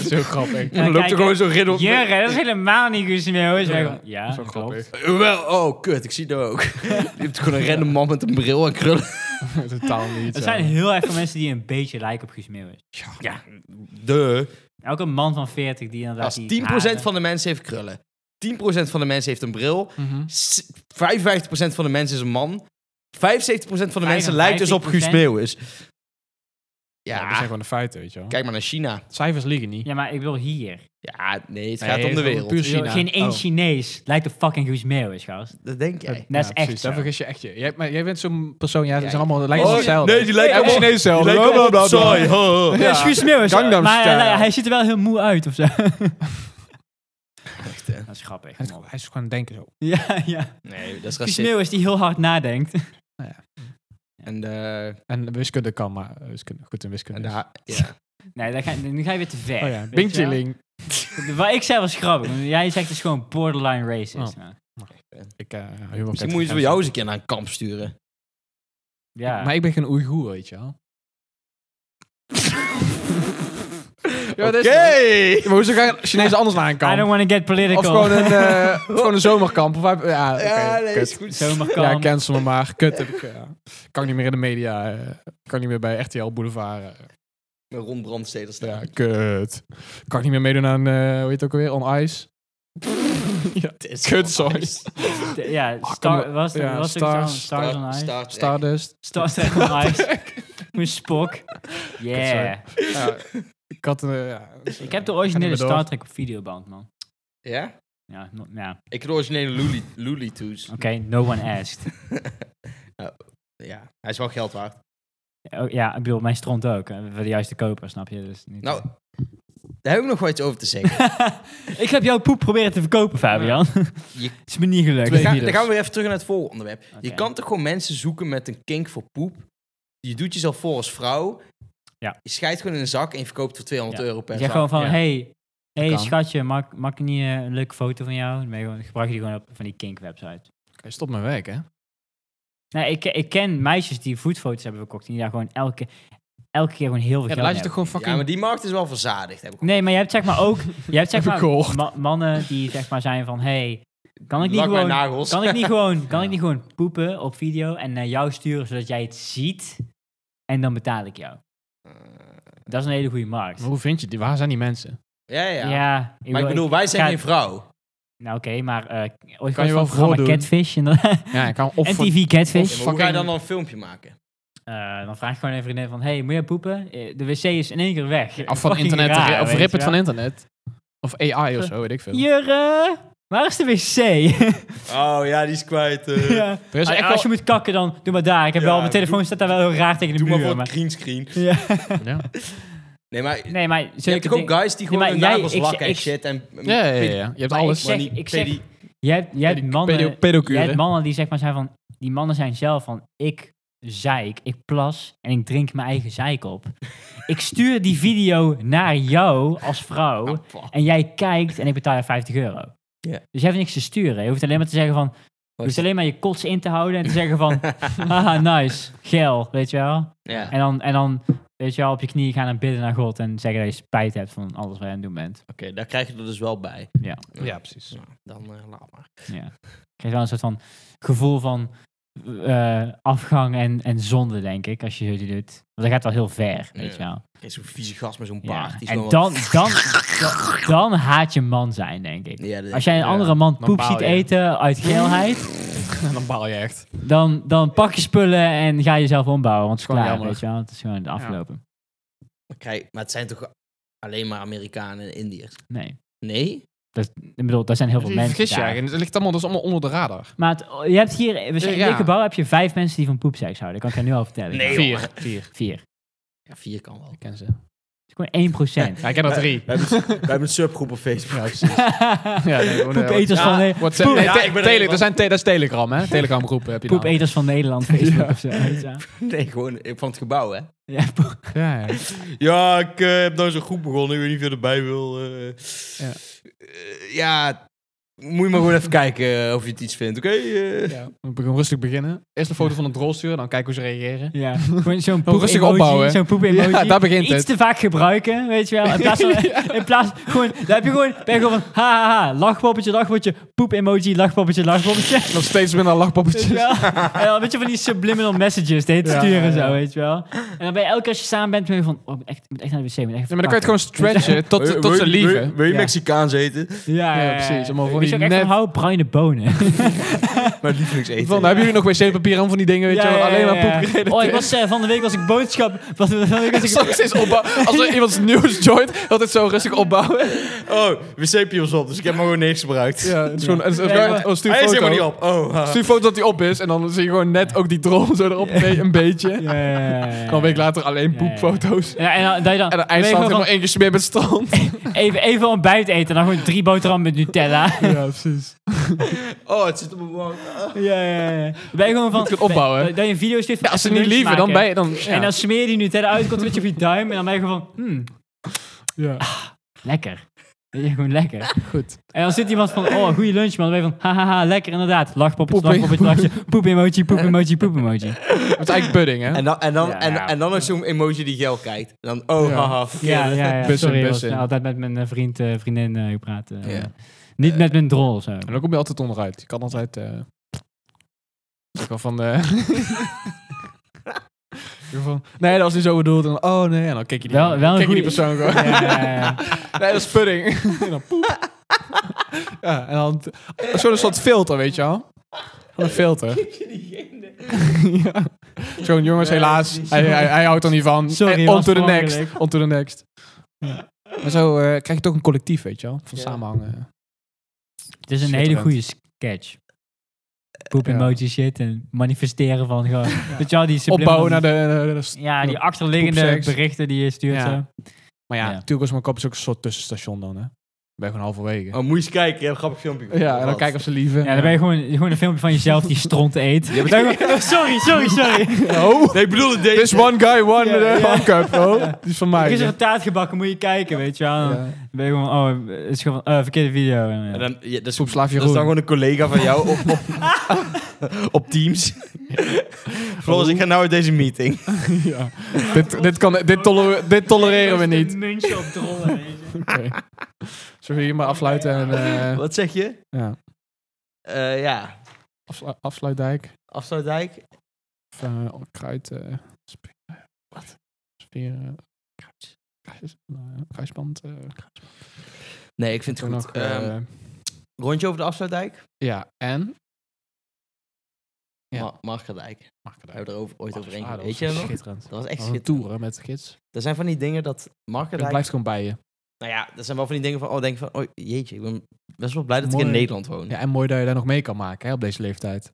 S2: is heel grappig.
S4: Ja, kijk,
S3: zo'n riddel.
S4: Jurre, dat is helemaal niet Guzmeo. Is
S2: Ja,
S4: hij gewoon, ja,
S2: Dat is wel
S4: klopt.
S2: grappig.
S3: Wel, oh, kut. Ik zie dat ook. [laughs] Je hebt gewoon een random man met een bril en krullen.
S2: [laughs] Totaal niet.
S4: Er
S2: zo.
S4: zijn heel erg veel mensen die een beetje lijken op Guus Meeuwis.
S3: Ja, de.
S4: Elke man van 40 die inderdaad...
S3: Als 10%
S4: die haren-
S3: van de mensen heeft krullen. 10% van de mensen heeft een bril.
S2: Mhm.
S3: s- 55% van de mensen is een man. 75% van de mensen lijkt dus op Guus
S4: 55%?
S3: Meeuwis.
S2: Ja, dat zijn
S3: Ja,
S2: gewoon de feiten, weet je wel.
S3: kijk maar naar China.
S2: Cijfers liegen niet.
S4: Ja, maar ik bedoel hier.
S3: Ja, nee, het
S2: Nee,
S3: gaat om de
S2: gewoon
S3: wereld.
S2: puur
S4: Ik bedoel,
S2: China.
S4: Geen één
S2: Oh.
S4: Chinees lijkt op fucking Guus Meeuwis, gast.
S3: Dat denk jij.
S4: Dat is
S2: Ja,
S4: echt
S2: precies,
S4: zo.
S2: Daar vergis je echt je. Jij, maar jij bent zo'n persoon, ja, ze
S3: Ja,
S2: zijn allemaal, lijken allemaal
S4: Oh,
S2: hetzelfde.
S1: Nee, die lijkt
S4: Nee,
S1: op
S4: oh,
S1: Chinees zelf.
S2: die lijkt allemaal op
S1: Sorry.
S2: saai.
S1: ho, ho.
S4: Ja, is Guus Meeuwis.
S2: Gangnam
S4: Maar eh,
S2: Style.
S4: hij, hij ziet er wel heel moe uit of
S2: [laughs]
S4: zo.
S3: Echt, hè?
S4: Dat is grappig.
S2: Hij is, hij is gewoon denken zo.
S4: Ja, ja.
S3: Nee, dat is
S4: Guus
S3: racistisch.
S4: Meeuwis die heel hard nadenkt.
S3: En de...
S2: En wiskunde kan, maar eh, wiskunde, goed in wiskunde.
S3: En de
S2: is-
S3: ha- ja.
S4: Nee, dan ga, nu ga je weer te ver.
S2: oh ja,
S4: weet
S2: Bing
S4: je wel?
S2: Chilling.
S4: Wat ik zei was grappig. maar Jij zegt dus gewoon borderline racist.
S2: Oh.
S4: nou.
S2: Ik, eh, humor
S3: Misschien moet je
S2: kent ik
S3: ze bij
S2: zelf.
S3: jou eens een keer naar een kamp sturen.
S4: Ja.
S2: Maar ik ben geen Oeigoer, weet je wel. Ja, dat
S3: Oké!
S2: is- Ja, maar hoezo gaan Chinezen anders naar een
S4: I don't
S2: kamp?
S4: want to get
S2: Of
S4: political.
S2: gewoon een, eh, of gewoon een zomerkamp. Of, waar- ja, oké,
S3: Ja, nee,
S2: kut.
S3: is goed.
S4: Zomerkamp.
S2: ja, cancel me maar. Kut. Heb ik, ja. Kan niet meer in de media. eh, Kan niet meer bij RTL Boulevard. eh.
S3: Met Ron Brandsteder
S2: Ja,
S3: staan.
S2: kut. Kan ik niet meer meedoen aan, eh, hoe heet het ook alweer? On
S4: [laughs]
S2: Ice. ja,
S3: Het is
S2: kut,
S3: wel
S2: sorry.
S3: nice.
S4: De- ja,
S2: Ah,
S4: star,
S2: kom op.
S4: was,
S2: Ja,
S4: was
S2: Stars-
S4: stars, stars on Ice.
S3: Star Trek.
S2: Stardust.
S4: Stars on Ice. [laughs] Mijn spok. Yeah.
S2: sorry. Ja, ik had een... eh, ja, dus,
S4: Ik heb de
S2: eh, ga niet
S4: originele
S2: meer door.
S4: Star Trek op videoband, man.
S3: Ja?
S4: Ja, no- ja. oké,
S3: Ik heb de originele Looney- Looney Tunes.
S4: no one asked.
S3: Ja, hij is wel geld waard.
S4: Oh, ja, ik bedoel, mijn stront ook. hè. We willen juist te kopen, snap je? Dus niet
S3: Nou, daar heb ik nog wel iets over te zeggen.
S4: ik heb jouw poep proberen te verkopen, Fabian.
S3: Je-
S4: [laughs] Het is me niet gelukt.
S3: Dan
S2: Twee-
S3: gaan,
S2: virus.
S3: dan gaan we weer even terug naar het volgende onderwerp. Je
S4: Oké.
S3: kan toch gewoon mensen zoeken met een kink voor poep. Je doet jezelf voor als vrouw.
S4: Ja.
S3: Je scheidt gewoon in een zak en je verkoopt voor 200
S4: Ja.
S3: euro per
S4: Je
S3: zak.
S4: zegt gewoon van,
S2: Ja.
S4: hey, hey
S2: kan.
S4: schatje, mag, mag ik niet eh, een leuke foto van jou? Dan ben je gewoon, gebruik je die gewoon op van die kink-website.
S2: Oké, stop mijn werk, hè?
S4: Nou, ik, ik ken meisjes die voetfoto's hebben verkocht. Die daar gewoon elke, elke keer gewoon heel veel
S2: Ja, dan
S4: geld
S2: laat je toch
S4: hebben.
S2: gewoon fucking...
S3: Ja, maar die markt is wel verzadigd. Heb ik
S4: Nee, maar je hebt zeg maar ook je hebt zeg
S2: Heb ik
S4: maar,
S2: gehoord.
S4: ma- mannen die zeg maar zijn van... Hey, kan ik niet
S3: Lak mijn
S4: gewoon...
S3: nagels.
S4: Kan ik niet
S3: [laughs]
S4: gewoon, kan ik niet gewoon poepen op video en naar jou sturen zodat jij het ziet en dan betaal ik jou?
S3: Eh.
S4: Dat is een hele goede markt.
S2: Maar hoe vind je die? Waar zijn die mensen?
S3: Ja, ja.
S4: ik
S3: maar ik bedoel, wij zijn
S4: ga-
S3: geen vrouw.
S4: Nou oké, maar eh ooit
S2: Kan je
S4: was
S2: wel
S4: wel programma
S2: voordoen.
S4: Catfish en dan,
S2: Ja, ik kan
S4: [laughs]
S2: of... voor-
S4: MTV Catfish.
S3: Ja, maar hoe ga je
S2: fucking-
S3: dan een filmpje maken?
S4: Eh, dan vraag ik gewoon een vriendin van, hey, moet je poepen? Eh, De wc is in één keer weg.
S2: Of van
S4: Fucking
S2: internet.
S4: raar,
S2: of rip
S4: weet je
S2: het
S4: wel.
S2: van internet. Of AI of zo, weet ik veel.
S4: Jurre, waar is de wc? [laughs]
S3: Oh ja, die is kwijt. [laughs] eh.
S4: Ah, ja.
S2: Er is
S4: Als-
S2: echt
S4: Als je
S2: wel-
S4: moet kakken, dan doe maar daar. Ik heb
S3: Ja,
S4: wel, mijn telefoon
S3: doe-
S4: staat daar wel heel raar tegen de
S3: Doe maar
S4: muur.
S3: voor het
S4: maar-
S3: greenscreen.
S4: [laughs] Ja.
S2: Ja.
S3: Nee, maar
S4: Nee, maar
S3: je hebt
S4: zulke
S3: toch ook
S4: dingen-
S3: guys die
S4: Nee,
S3: gewoon hun
S4: maar jij-
S3: nagels
S4: ik-
S3: lakken en
S4: ik-
S3: shit. En,
S2: Ja, ja, ja, ja. Je hebt
S4: Maar
S2: alles.
S4: ik zeg-
S3: die
S4: ik zeg-
S3: pedi-
S4: Jij hebt, jij hebt
S2: Pedo-
S4: mannen...
S2: pedo- pedocuren.
S4: Jij hebt mannen die zeg maar zijn van... Die mannen zijn zelf van... Ik zeik, ik plas en ik drink mijn eigen zeik
S3: [laughs]
S4: op. ik stuur die video naar jou als vrouw.
S3: Ah, fuck.
S4: En jij kijkt en ik betaal je 50 euro.
S3: Ja. Oh,
S4: Dus jij hebt niks te sturen. Je hoeft alleen maar te zeggen van... Je hoeft alleen maar je kots in te houden en te
S3: [laughs]
S4: zeggen van... haha, nice, geil, weet je wel.
S3: Ja, oké,
S4: En dan, en dan weet je wel, op je knieën gaan en bidden naar God en zeggen dat je spijt hebt van alles wat je aan het doen bent.
S3: daar krijg je er dus wel bij.
S4: Ja.
S2: Ja, precies.
S3: Nou, dan eh, laat maar.
S4: Ja. Ik krijg wel een soort van gevoel van eh, afgang en, en zonde, denk ik, als je jullie doet. Want dat gaat wel heel ver, weet je
S3: Ja.
S4: wel.
S3: Er is zo'n vieze gast met zo'n
S4: Ja.
S3: baard. Die is
S4: En
S3: gewoon
S4: dan, dan, dan, dan haat je man zijn, denk ik.
S3: wel- Ja, dat-
S4: Als jij een
S2: Ja,
S4: andere man
S2: dan
S4: poep
S2: baal
S4: ziet
S2: je.
S4: eten uit geelheid,
S2: dan baal je echt.
S4: dan, dan pak je spullen en ga jezelf ombouwen. Want het is
S2: Gewoon
S4: klaar,
S2: jammer.
S4: weet je wel. Het is gewoon afgelopen.
S3: Maar krijg- maar het zijn toch alleen maar Amerikanen en Indiërs?
S4: Nee.
S3: Nee?
S4: Dat, ik bedoel, daar zijn heel veel
S2: Je
S4: mensen
S2: vergis je
S4: daar.
S2: eigenlijk. Het ligt allemaal dus allemaal onder de radar.
S4: Maar het- je hebt hier, we zijn- in
S2: Ja.
S4: dit gebouw heb je vijf mensen die van poepseks houden. Dat kan ik je nu al vertellen.
S3: Nee, joh.
S2: Vier. Vier.
S4: Vier.
S3: Ja, vier kan wel.
S2: Ik ken ze.
S4: Het is gewoon 1%. procent. [laughs]
S2: Ja, ik ken er drie.
S3: We hebben, we hebben een subgroep op Facebook.
S2: [laughs] Ja, nee, gewoon, eh,
S4: Poepeters
S3: Ja,
S4: van, Ne-
S2: WhatsApp.
S3: Poep.
S2: Nee,
S3: Ja,
S2: te-
S3: ik ben er
S2: tele-
S3: een
S2: dat,
S3: van.
S2: zijn te- dat is Telegram, hè? Telegram groepen heb je dan.
S4: poepeters van Nederland. Facebook of zo. weet je wel.
S3: Nee, gewoon eh, van het gebouw, hè?
S4: Ja, poep-
S2: Ja, ja.
S1: Ja, ik eh, heb nou zo'n groep begonnen. Ik weet niet of je erbij wil. eh.
S2: Ja.
S1: Eh, ja.
S3: Moet je maar gewoon even kijken eh, of je het iets vindt, oké? Eh,
S2: ja. We gaan rustig beginnen. Eerst een foto van een drol sturen, dan kijken hoe ze reageren.
S4: ja. Gewoon zo'n poep
S2: rustig
S4: emoji,
S2: opbouwen.
S4: Zo'n poep emoji.
S2: Ja, daar begint
S4: Iets
S2: het.
S4: te vaak gebruiken, weet je wel. In
S2: [laughs]
S4: plaats van, in plaats, gewoon, daar heb je gewoon, ben je gewoon van, ha, ha, ha, lachpoppetje, lachpoppetje, poep emoji, lachpoppetje, lachpoppetje.
S2: Nog steeds minder
S4: Weet je
S2: lachpoppetjes.
S4: wel? En dan een beetje van die subliminal messages te
S2: Ja,
S4: sturen
S2: ja, ja.
S4: zo, weet je wel. En dan ben je elke keer als je samen bent, ben je van, oh, ik moet echt, ik moet echt naar de wc. ik moet echt
S2: Ja, maar dan kan je het gewoon stretchen
S1: Wil je-
S2: tot,
S1: wil
S2: tot
S1: je-
S2: ze
S1: Wil je,
S2: lieven.
S1: wil je
S4: Ja.
S1: Mexicaans eten?
S4: Ja,
S2: Ja, precies. Allemaal van
S4: Ik
S2: die
S4: moest ook echt
S2: nep-
S4: van, hou bruine
S2: [laughs]
S4: bonen.
S3: Maar lievelingseten.
S4: nou
S2: Van, hebben jullie nog wc-papier aan van die dingen, weet je
S4: Ja,
S2: wel?
S4: ja,
S2: Alleen
S4: ja,
S2: maar
S4: ja.
S2: poep
S4: [laughs]
S2: gereden.
S4: Oh, ik was, eh, van de week was ik boodschap... [laughs] Was, van de week
S2: [laughs]
S4: was ik,
S2: Soms is opbouwen. Als er iemands nieuws joint, altijd zo rustig opbouwen.
S1: Oh, wc-papier was op, dus ik heb maar gewoon niks gebruikt.
S2: Ja, het is gewoon... het is- het is
S4: Ja,
S2: gewoon-
S4: ja.
S2: oh, stuur
S1: Hij is
S2: foto.
S1: helemaal niet op. Oh, ha.
S2: Stuur foto dat hij op is en dan zie je gewoon net ook die drol zo erop een- een beetje.
S4: Ah. ja, ja, ja, ja,
S2: En dan een week later alleen
S4: Ja, ja, ja.
S2: poepfoto's.
S4: Ja, en dan, dat je dan,
S2: En dan
S4: ben je
S2: IJsland helemaal
S4: gewoon van,
S2: één keer smeer met strand.
S4: [laughs] even, even ontbijt eten. Dan gewoon drie boterhammen met Nutella.
S2: Ja, precies.
S3: Oh, het zit op mijn wang. Ah.
S4: [laughs] ja, ja, ja. Ben je gewoon van...
S2: Moet ik het opbouwen?
S4: ben- Dat je een video stuurt van
S2: Ja, als ze
S4: echt
S2: niet
S4: lunch
S2: lieven, dan
S4: maken.
S2: ben je... Dan, ja.
S4: En dan smeer je die Nutella uit, komt een beetje op je duim. En dan ben je gewoon van, hmm,
S2: ja,
S4: Ah, lekker. Weet je, gewoon lekker.
S2: goed.
S4: En dan zit iemand van, oh, goede lunch man. Dan ben je van, hahaha, lekker inderdaad. Lachpoppetje,
S2: Poep-
S4: lachpoppetje, lachje. Poep emoji, poep emoji, poep emoji.
S2: Het is eigenlijk pudding, hè?
S3: En dan, en dan,
S4: Ja,
S3: en,
S4: ja.
S3: en dan nog zo'n emoji die gel kijkt. En dan, oh,
S2: Ja.
S3: haha, verkeerde.
S4: Ja, ja, ja.
S2: Bussen,
S4: Sorry, ik was
S2: bussen.
S4: altijd met mijn eh, vriend, eh, vriendin eh, gepraat. eh.
S3: Ja.
S4: Niet met mijn drol of zo.
S2: En dan kom je altijd onderuit. Je kan altijd...
S4: [laughs]
S2: eh ik wel van... eh, ik wel van, [laughs] nee, dat was niet zo bedoeld. En dan, oh nee, en dan kijk je die,
S4: Wel- wel een
S2: kijk je die
S4: goeie-
S2: persoon gewoon.
S4: Ja, ja, ja.
S2: Nee, dat is pudding. [laughs] en dan poep. ja, en dan... Oh, Zo'n soort filter, weet je wel? Van een
S4: [laughs]
S2: filter. [laughs] ja. Zo'n jongens, helaas. Hij, hij, hij houdt er niet van.
S4: Sorry,
S2: Eh, on
S4: was
S2: to the
S4: per
S2: next.
S4: ongeluk.
S2: On to the next. Ja. Maar zo eh, krijg je toch een collectief, weet je wel? Van
S3: Ja.
S2: samenhangen.
S4: Het is een
S2: Schitterend.
S4: hele goede sketch. Poep
S2: Ja.
S4: emoji shit en manifesteren van gewoon... Weet je wel, die
S2: Opbouwen naar
S4: subliminal-
S2: de... naar de-
S4: Ja, die achterliggende
S2: poepseks.
S4: berichten die je stuurt
S2: Ja.
S4: zo.
S2: maar ja,
S4: Ja.
S2: natuurlijk was mijn kop is ook een soort tussenstation dan, hè? Ik ben gewoon halverwege.
S1: Oh, moet je eens kijken. Ik heb een grappig filmpje.
S2: ja, en dan kijken of ze lieven.
S4: Ja, dan ben je gewoon, gewoon een filmpje van jezelf die stront eet.
S1: maar-
S4: Dan [laughs] gewoon, oh, sorry, sorry, sorry.
S2: [laughs] Oh,
S1: Nee, ik bedoel het deze.
S2: this one guy won
S4: Ja,
S2: the
S4: ja.
S2: one cup, oh. Die is van
S4: Er
S2: mij.
S4: is een taart gebakken, moet je kijken, weet je wel. Dan
S2: Ja.
S4: ben je gewoon, oh, het is gewoon, eh, verkeerde video. En,
S1: En
S4: eh,
S1: dan, ja, dat, is,
S2: Poep slaaf
S1: dat is dan gewoon een collega van jou op, op,
S3: [laughs]
S1: op Teams. Floris, ik ga nou uit deze meeting.
S2: [laughs] Ja. dit, dit, kan, dit, toler- dit tolereren we
S4: Een
S3: [laughs]
S2: niet.
S4: muntje op
S2: [laughs]
S4: drollen, weet je.
S2: Oké. Zullen we hier maar afsluiten en...
S3: [laughs]
S2: eh,
S3: Wat zeg je?
S2: ja.
S3: Eh, ja,
S2: Afslu- afsluitdijk.
S3: Afsluitdijk.
S2: Of eh, kruid... eh springen. Wat? Spieren... Kruid. kruis- eh, Kruisband. eh,
S3: Nee, ik vind het
S2: toen
S3: goed.
S2: nog, eh,
S3: Ehm, rondje over de Afsluitdijk?
S2: ja, en... Ja.
S3: Ma Markerdijk.
S2: Mag ik
S3: Daar hebben we er over- ooit overheen.
S2: Ah, dat
S3: Weet
S2: was
S3: je dat nog?
S4: Schitterend.
S3: Dat was echt
S2: Echt een
S3: schitterend.
S2: tour hè, Oh, met de gids.
S3: Er zijn van die dingen dat
S2: Het
S3: Markerdijk...
S2: blijft gewoon bij je.
S3: Nou ja, dat zijn wel van die dingen van... Oh, denk je van... Oh, jeetje, ik ben best wel blij dat ik
S2: Mooi.
S3: in Nederland woon.
S2: Ja, en mooi dat je daar nog mee kan maken hè, op deze leeftijd.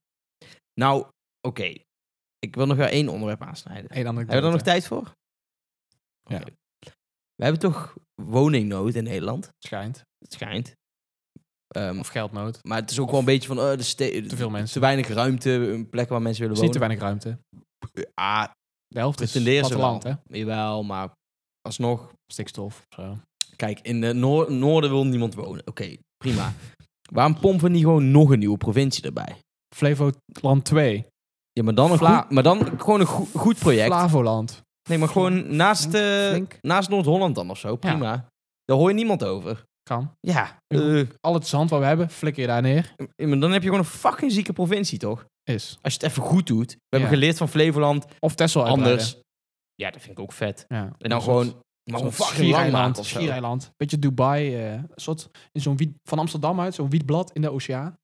S3: Nou, oké. Ik wil nog wel één onderwerp aansnijden.
S2: Eén andere
S3: Hebben we er nog tijd voor? Oké.
S2: Ja.
S3: We hebben toch woningnood in Nederland?
S2: Schijnt.
S3: Het schijnt. Ehm,
S2: Of geldnood.
S3: maar het is ook wel een beetje van... eh, de ste-
S2: Te veel mensen.
S3: Te weinig ruimte, een plek waar mensen
S2: Er
S3: willen
S2: is niet
S3: wonen.
S2: te weinig ruimte.
S3: Ah,
S2: De helft
S3: dat
S2: is
S3: tenderen ze wel.
S2: platteland, hè?
S3: Jawel, maar alsnog...
S2: Stikstof of zo.
S3: Kijk, in de noor- noorden wil niemand wonen. Oké, prima. Waarom pompen we niet gewoon nog een nieuwe provincie erbij?
S2: Flevoland 2.
S3: Ja, maar dan, een
S2: Vla-
S3: goed, maar dan gewoon een goe- goed project.
S2: Flavoland.
S3: Nee, maar gewoon naast, eh,
S2: Flink.
S3: naast Noord-Holland dan of zo. Prima. Daar hoor je niemand over.
S2: Kan.
S3: Ja.
S2: Ja.
S3: eh,
S2: Al het zand wat we hebben, flikker je daar neer.
S3: maar dan heb je gewoon een fucking zieke provincie, toch?
S2: Is.
S3: Als je het even goed doet. We hebben
S2: Ja.
S3: geleerd van Flevoland.
S2: Of Texel uitbreiden.
S3: Anders. Ja, dat vind ik ook vet.
S2: Ja.
S3: En
S2: Een
S3: dan
S2: soort-
S3: gewoon... Maar
S2: zo'n
S3: een fucking lang
S2: schiereiland,
S3: maand of zo.
S2: Schiereiland. Beetje Dubai. eh, een soort, in zo'n wiet, van Amsterdam uit, zo'n wietblad in de oceaan.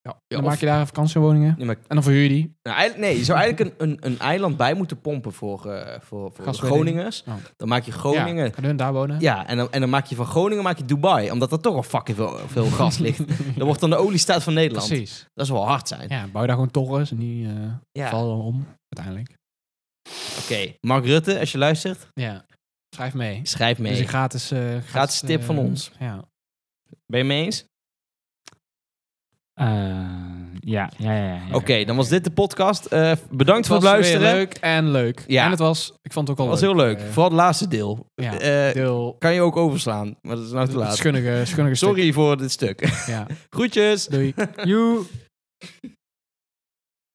S2: Ja, dan
S3: of-
S2: maak je daar vakantiewoningen.
S3: Nee, maar-
S2: En dan verhuur je die.
S3: nou, eigenlijk- nee, je zou eigenlijk een, een, een eiland bij moeten pompen voor, eh, voor, voor de
S2: Gaswinning.
S3: Groningers.
S2: Oh.
S3: Dan maak je Groningen...
S2: Ja, gaan hun daar wonen?
S3: Ja, en dan, en dan maak je van Groningen maak je Dubai. Omdat er toch al fucking veel,
S2: [laughs]
S3: veel gas ligt. Dan wordt dan de oliestaat van Nederland.
S2: precies.
S3: Dat zou wel hard zijn.
S2: Ja, bouw daar gewoon torens en die eh,
S3: Ja.
S2: vallen dan om uiteindelijk.
S3: Oké, Mark Rutte, als je luistert,
S2: Ja. Schrijf mee.
S3: schrijf mee.
S2: Dus een gratis, eh gratis,
S3: Gratis tip
S2: eh,
S3: van ons.
S2: Ja.
S3: Ben je mee eens?
S4: Eh, ja, ja, ja. ja, ja.
S3: Oké, dan was dit de podcast. Eh, bedankt voor
S2: was
S3: het
S2: weer
S3: luisteren.
S2: leuk en leuk.
S3: Ja.
S2: En het was, ik vond het ook
S3: Dat
S2: al
S3: was heel leuk.
S2: Eh,
S3: Vooral het laatste deel.
S2: ja,
S3: Eh,
S2: deel
S3: kan je ook overslaan, maar dat is nou te
S2: het
S3: laat. [laughs]
S2: schunnige, schunnige stuk.
S3: Sorry voor dit stuk.
S2: Ja.
S3: [laughs] Groetjes!
S2: Doei.
S4: Joe.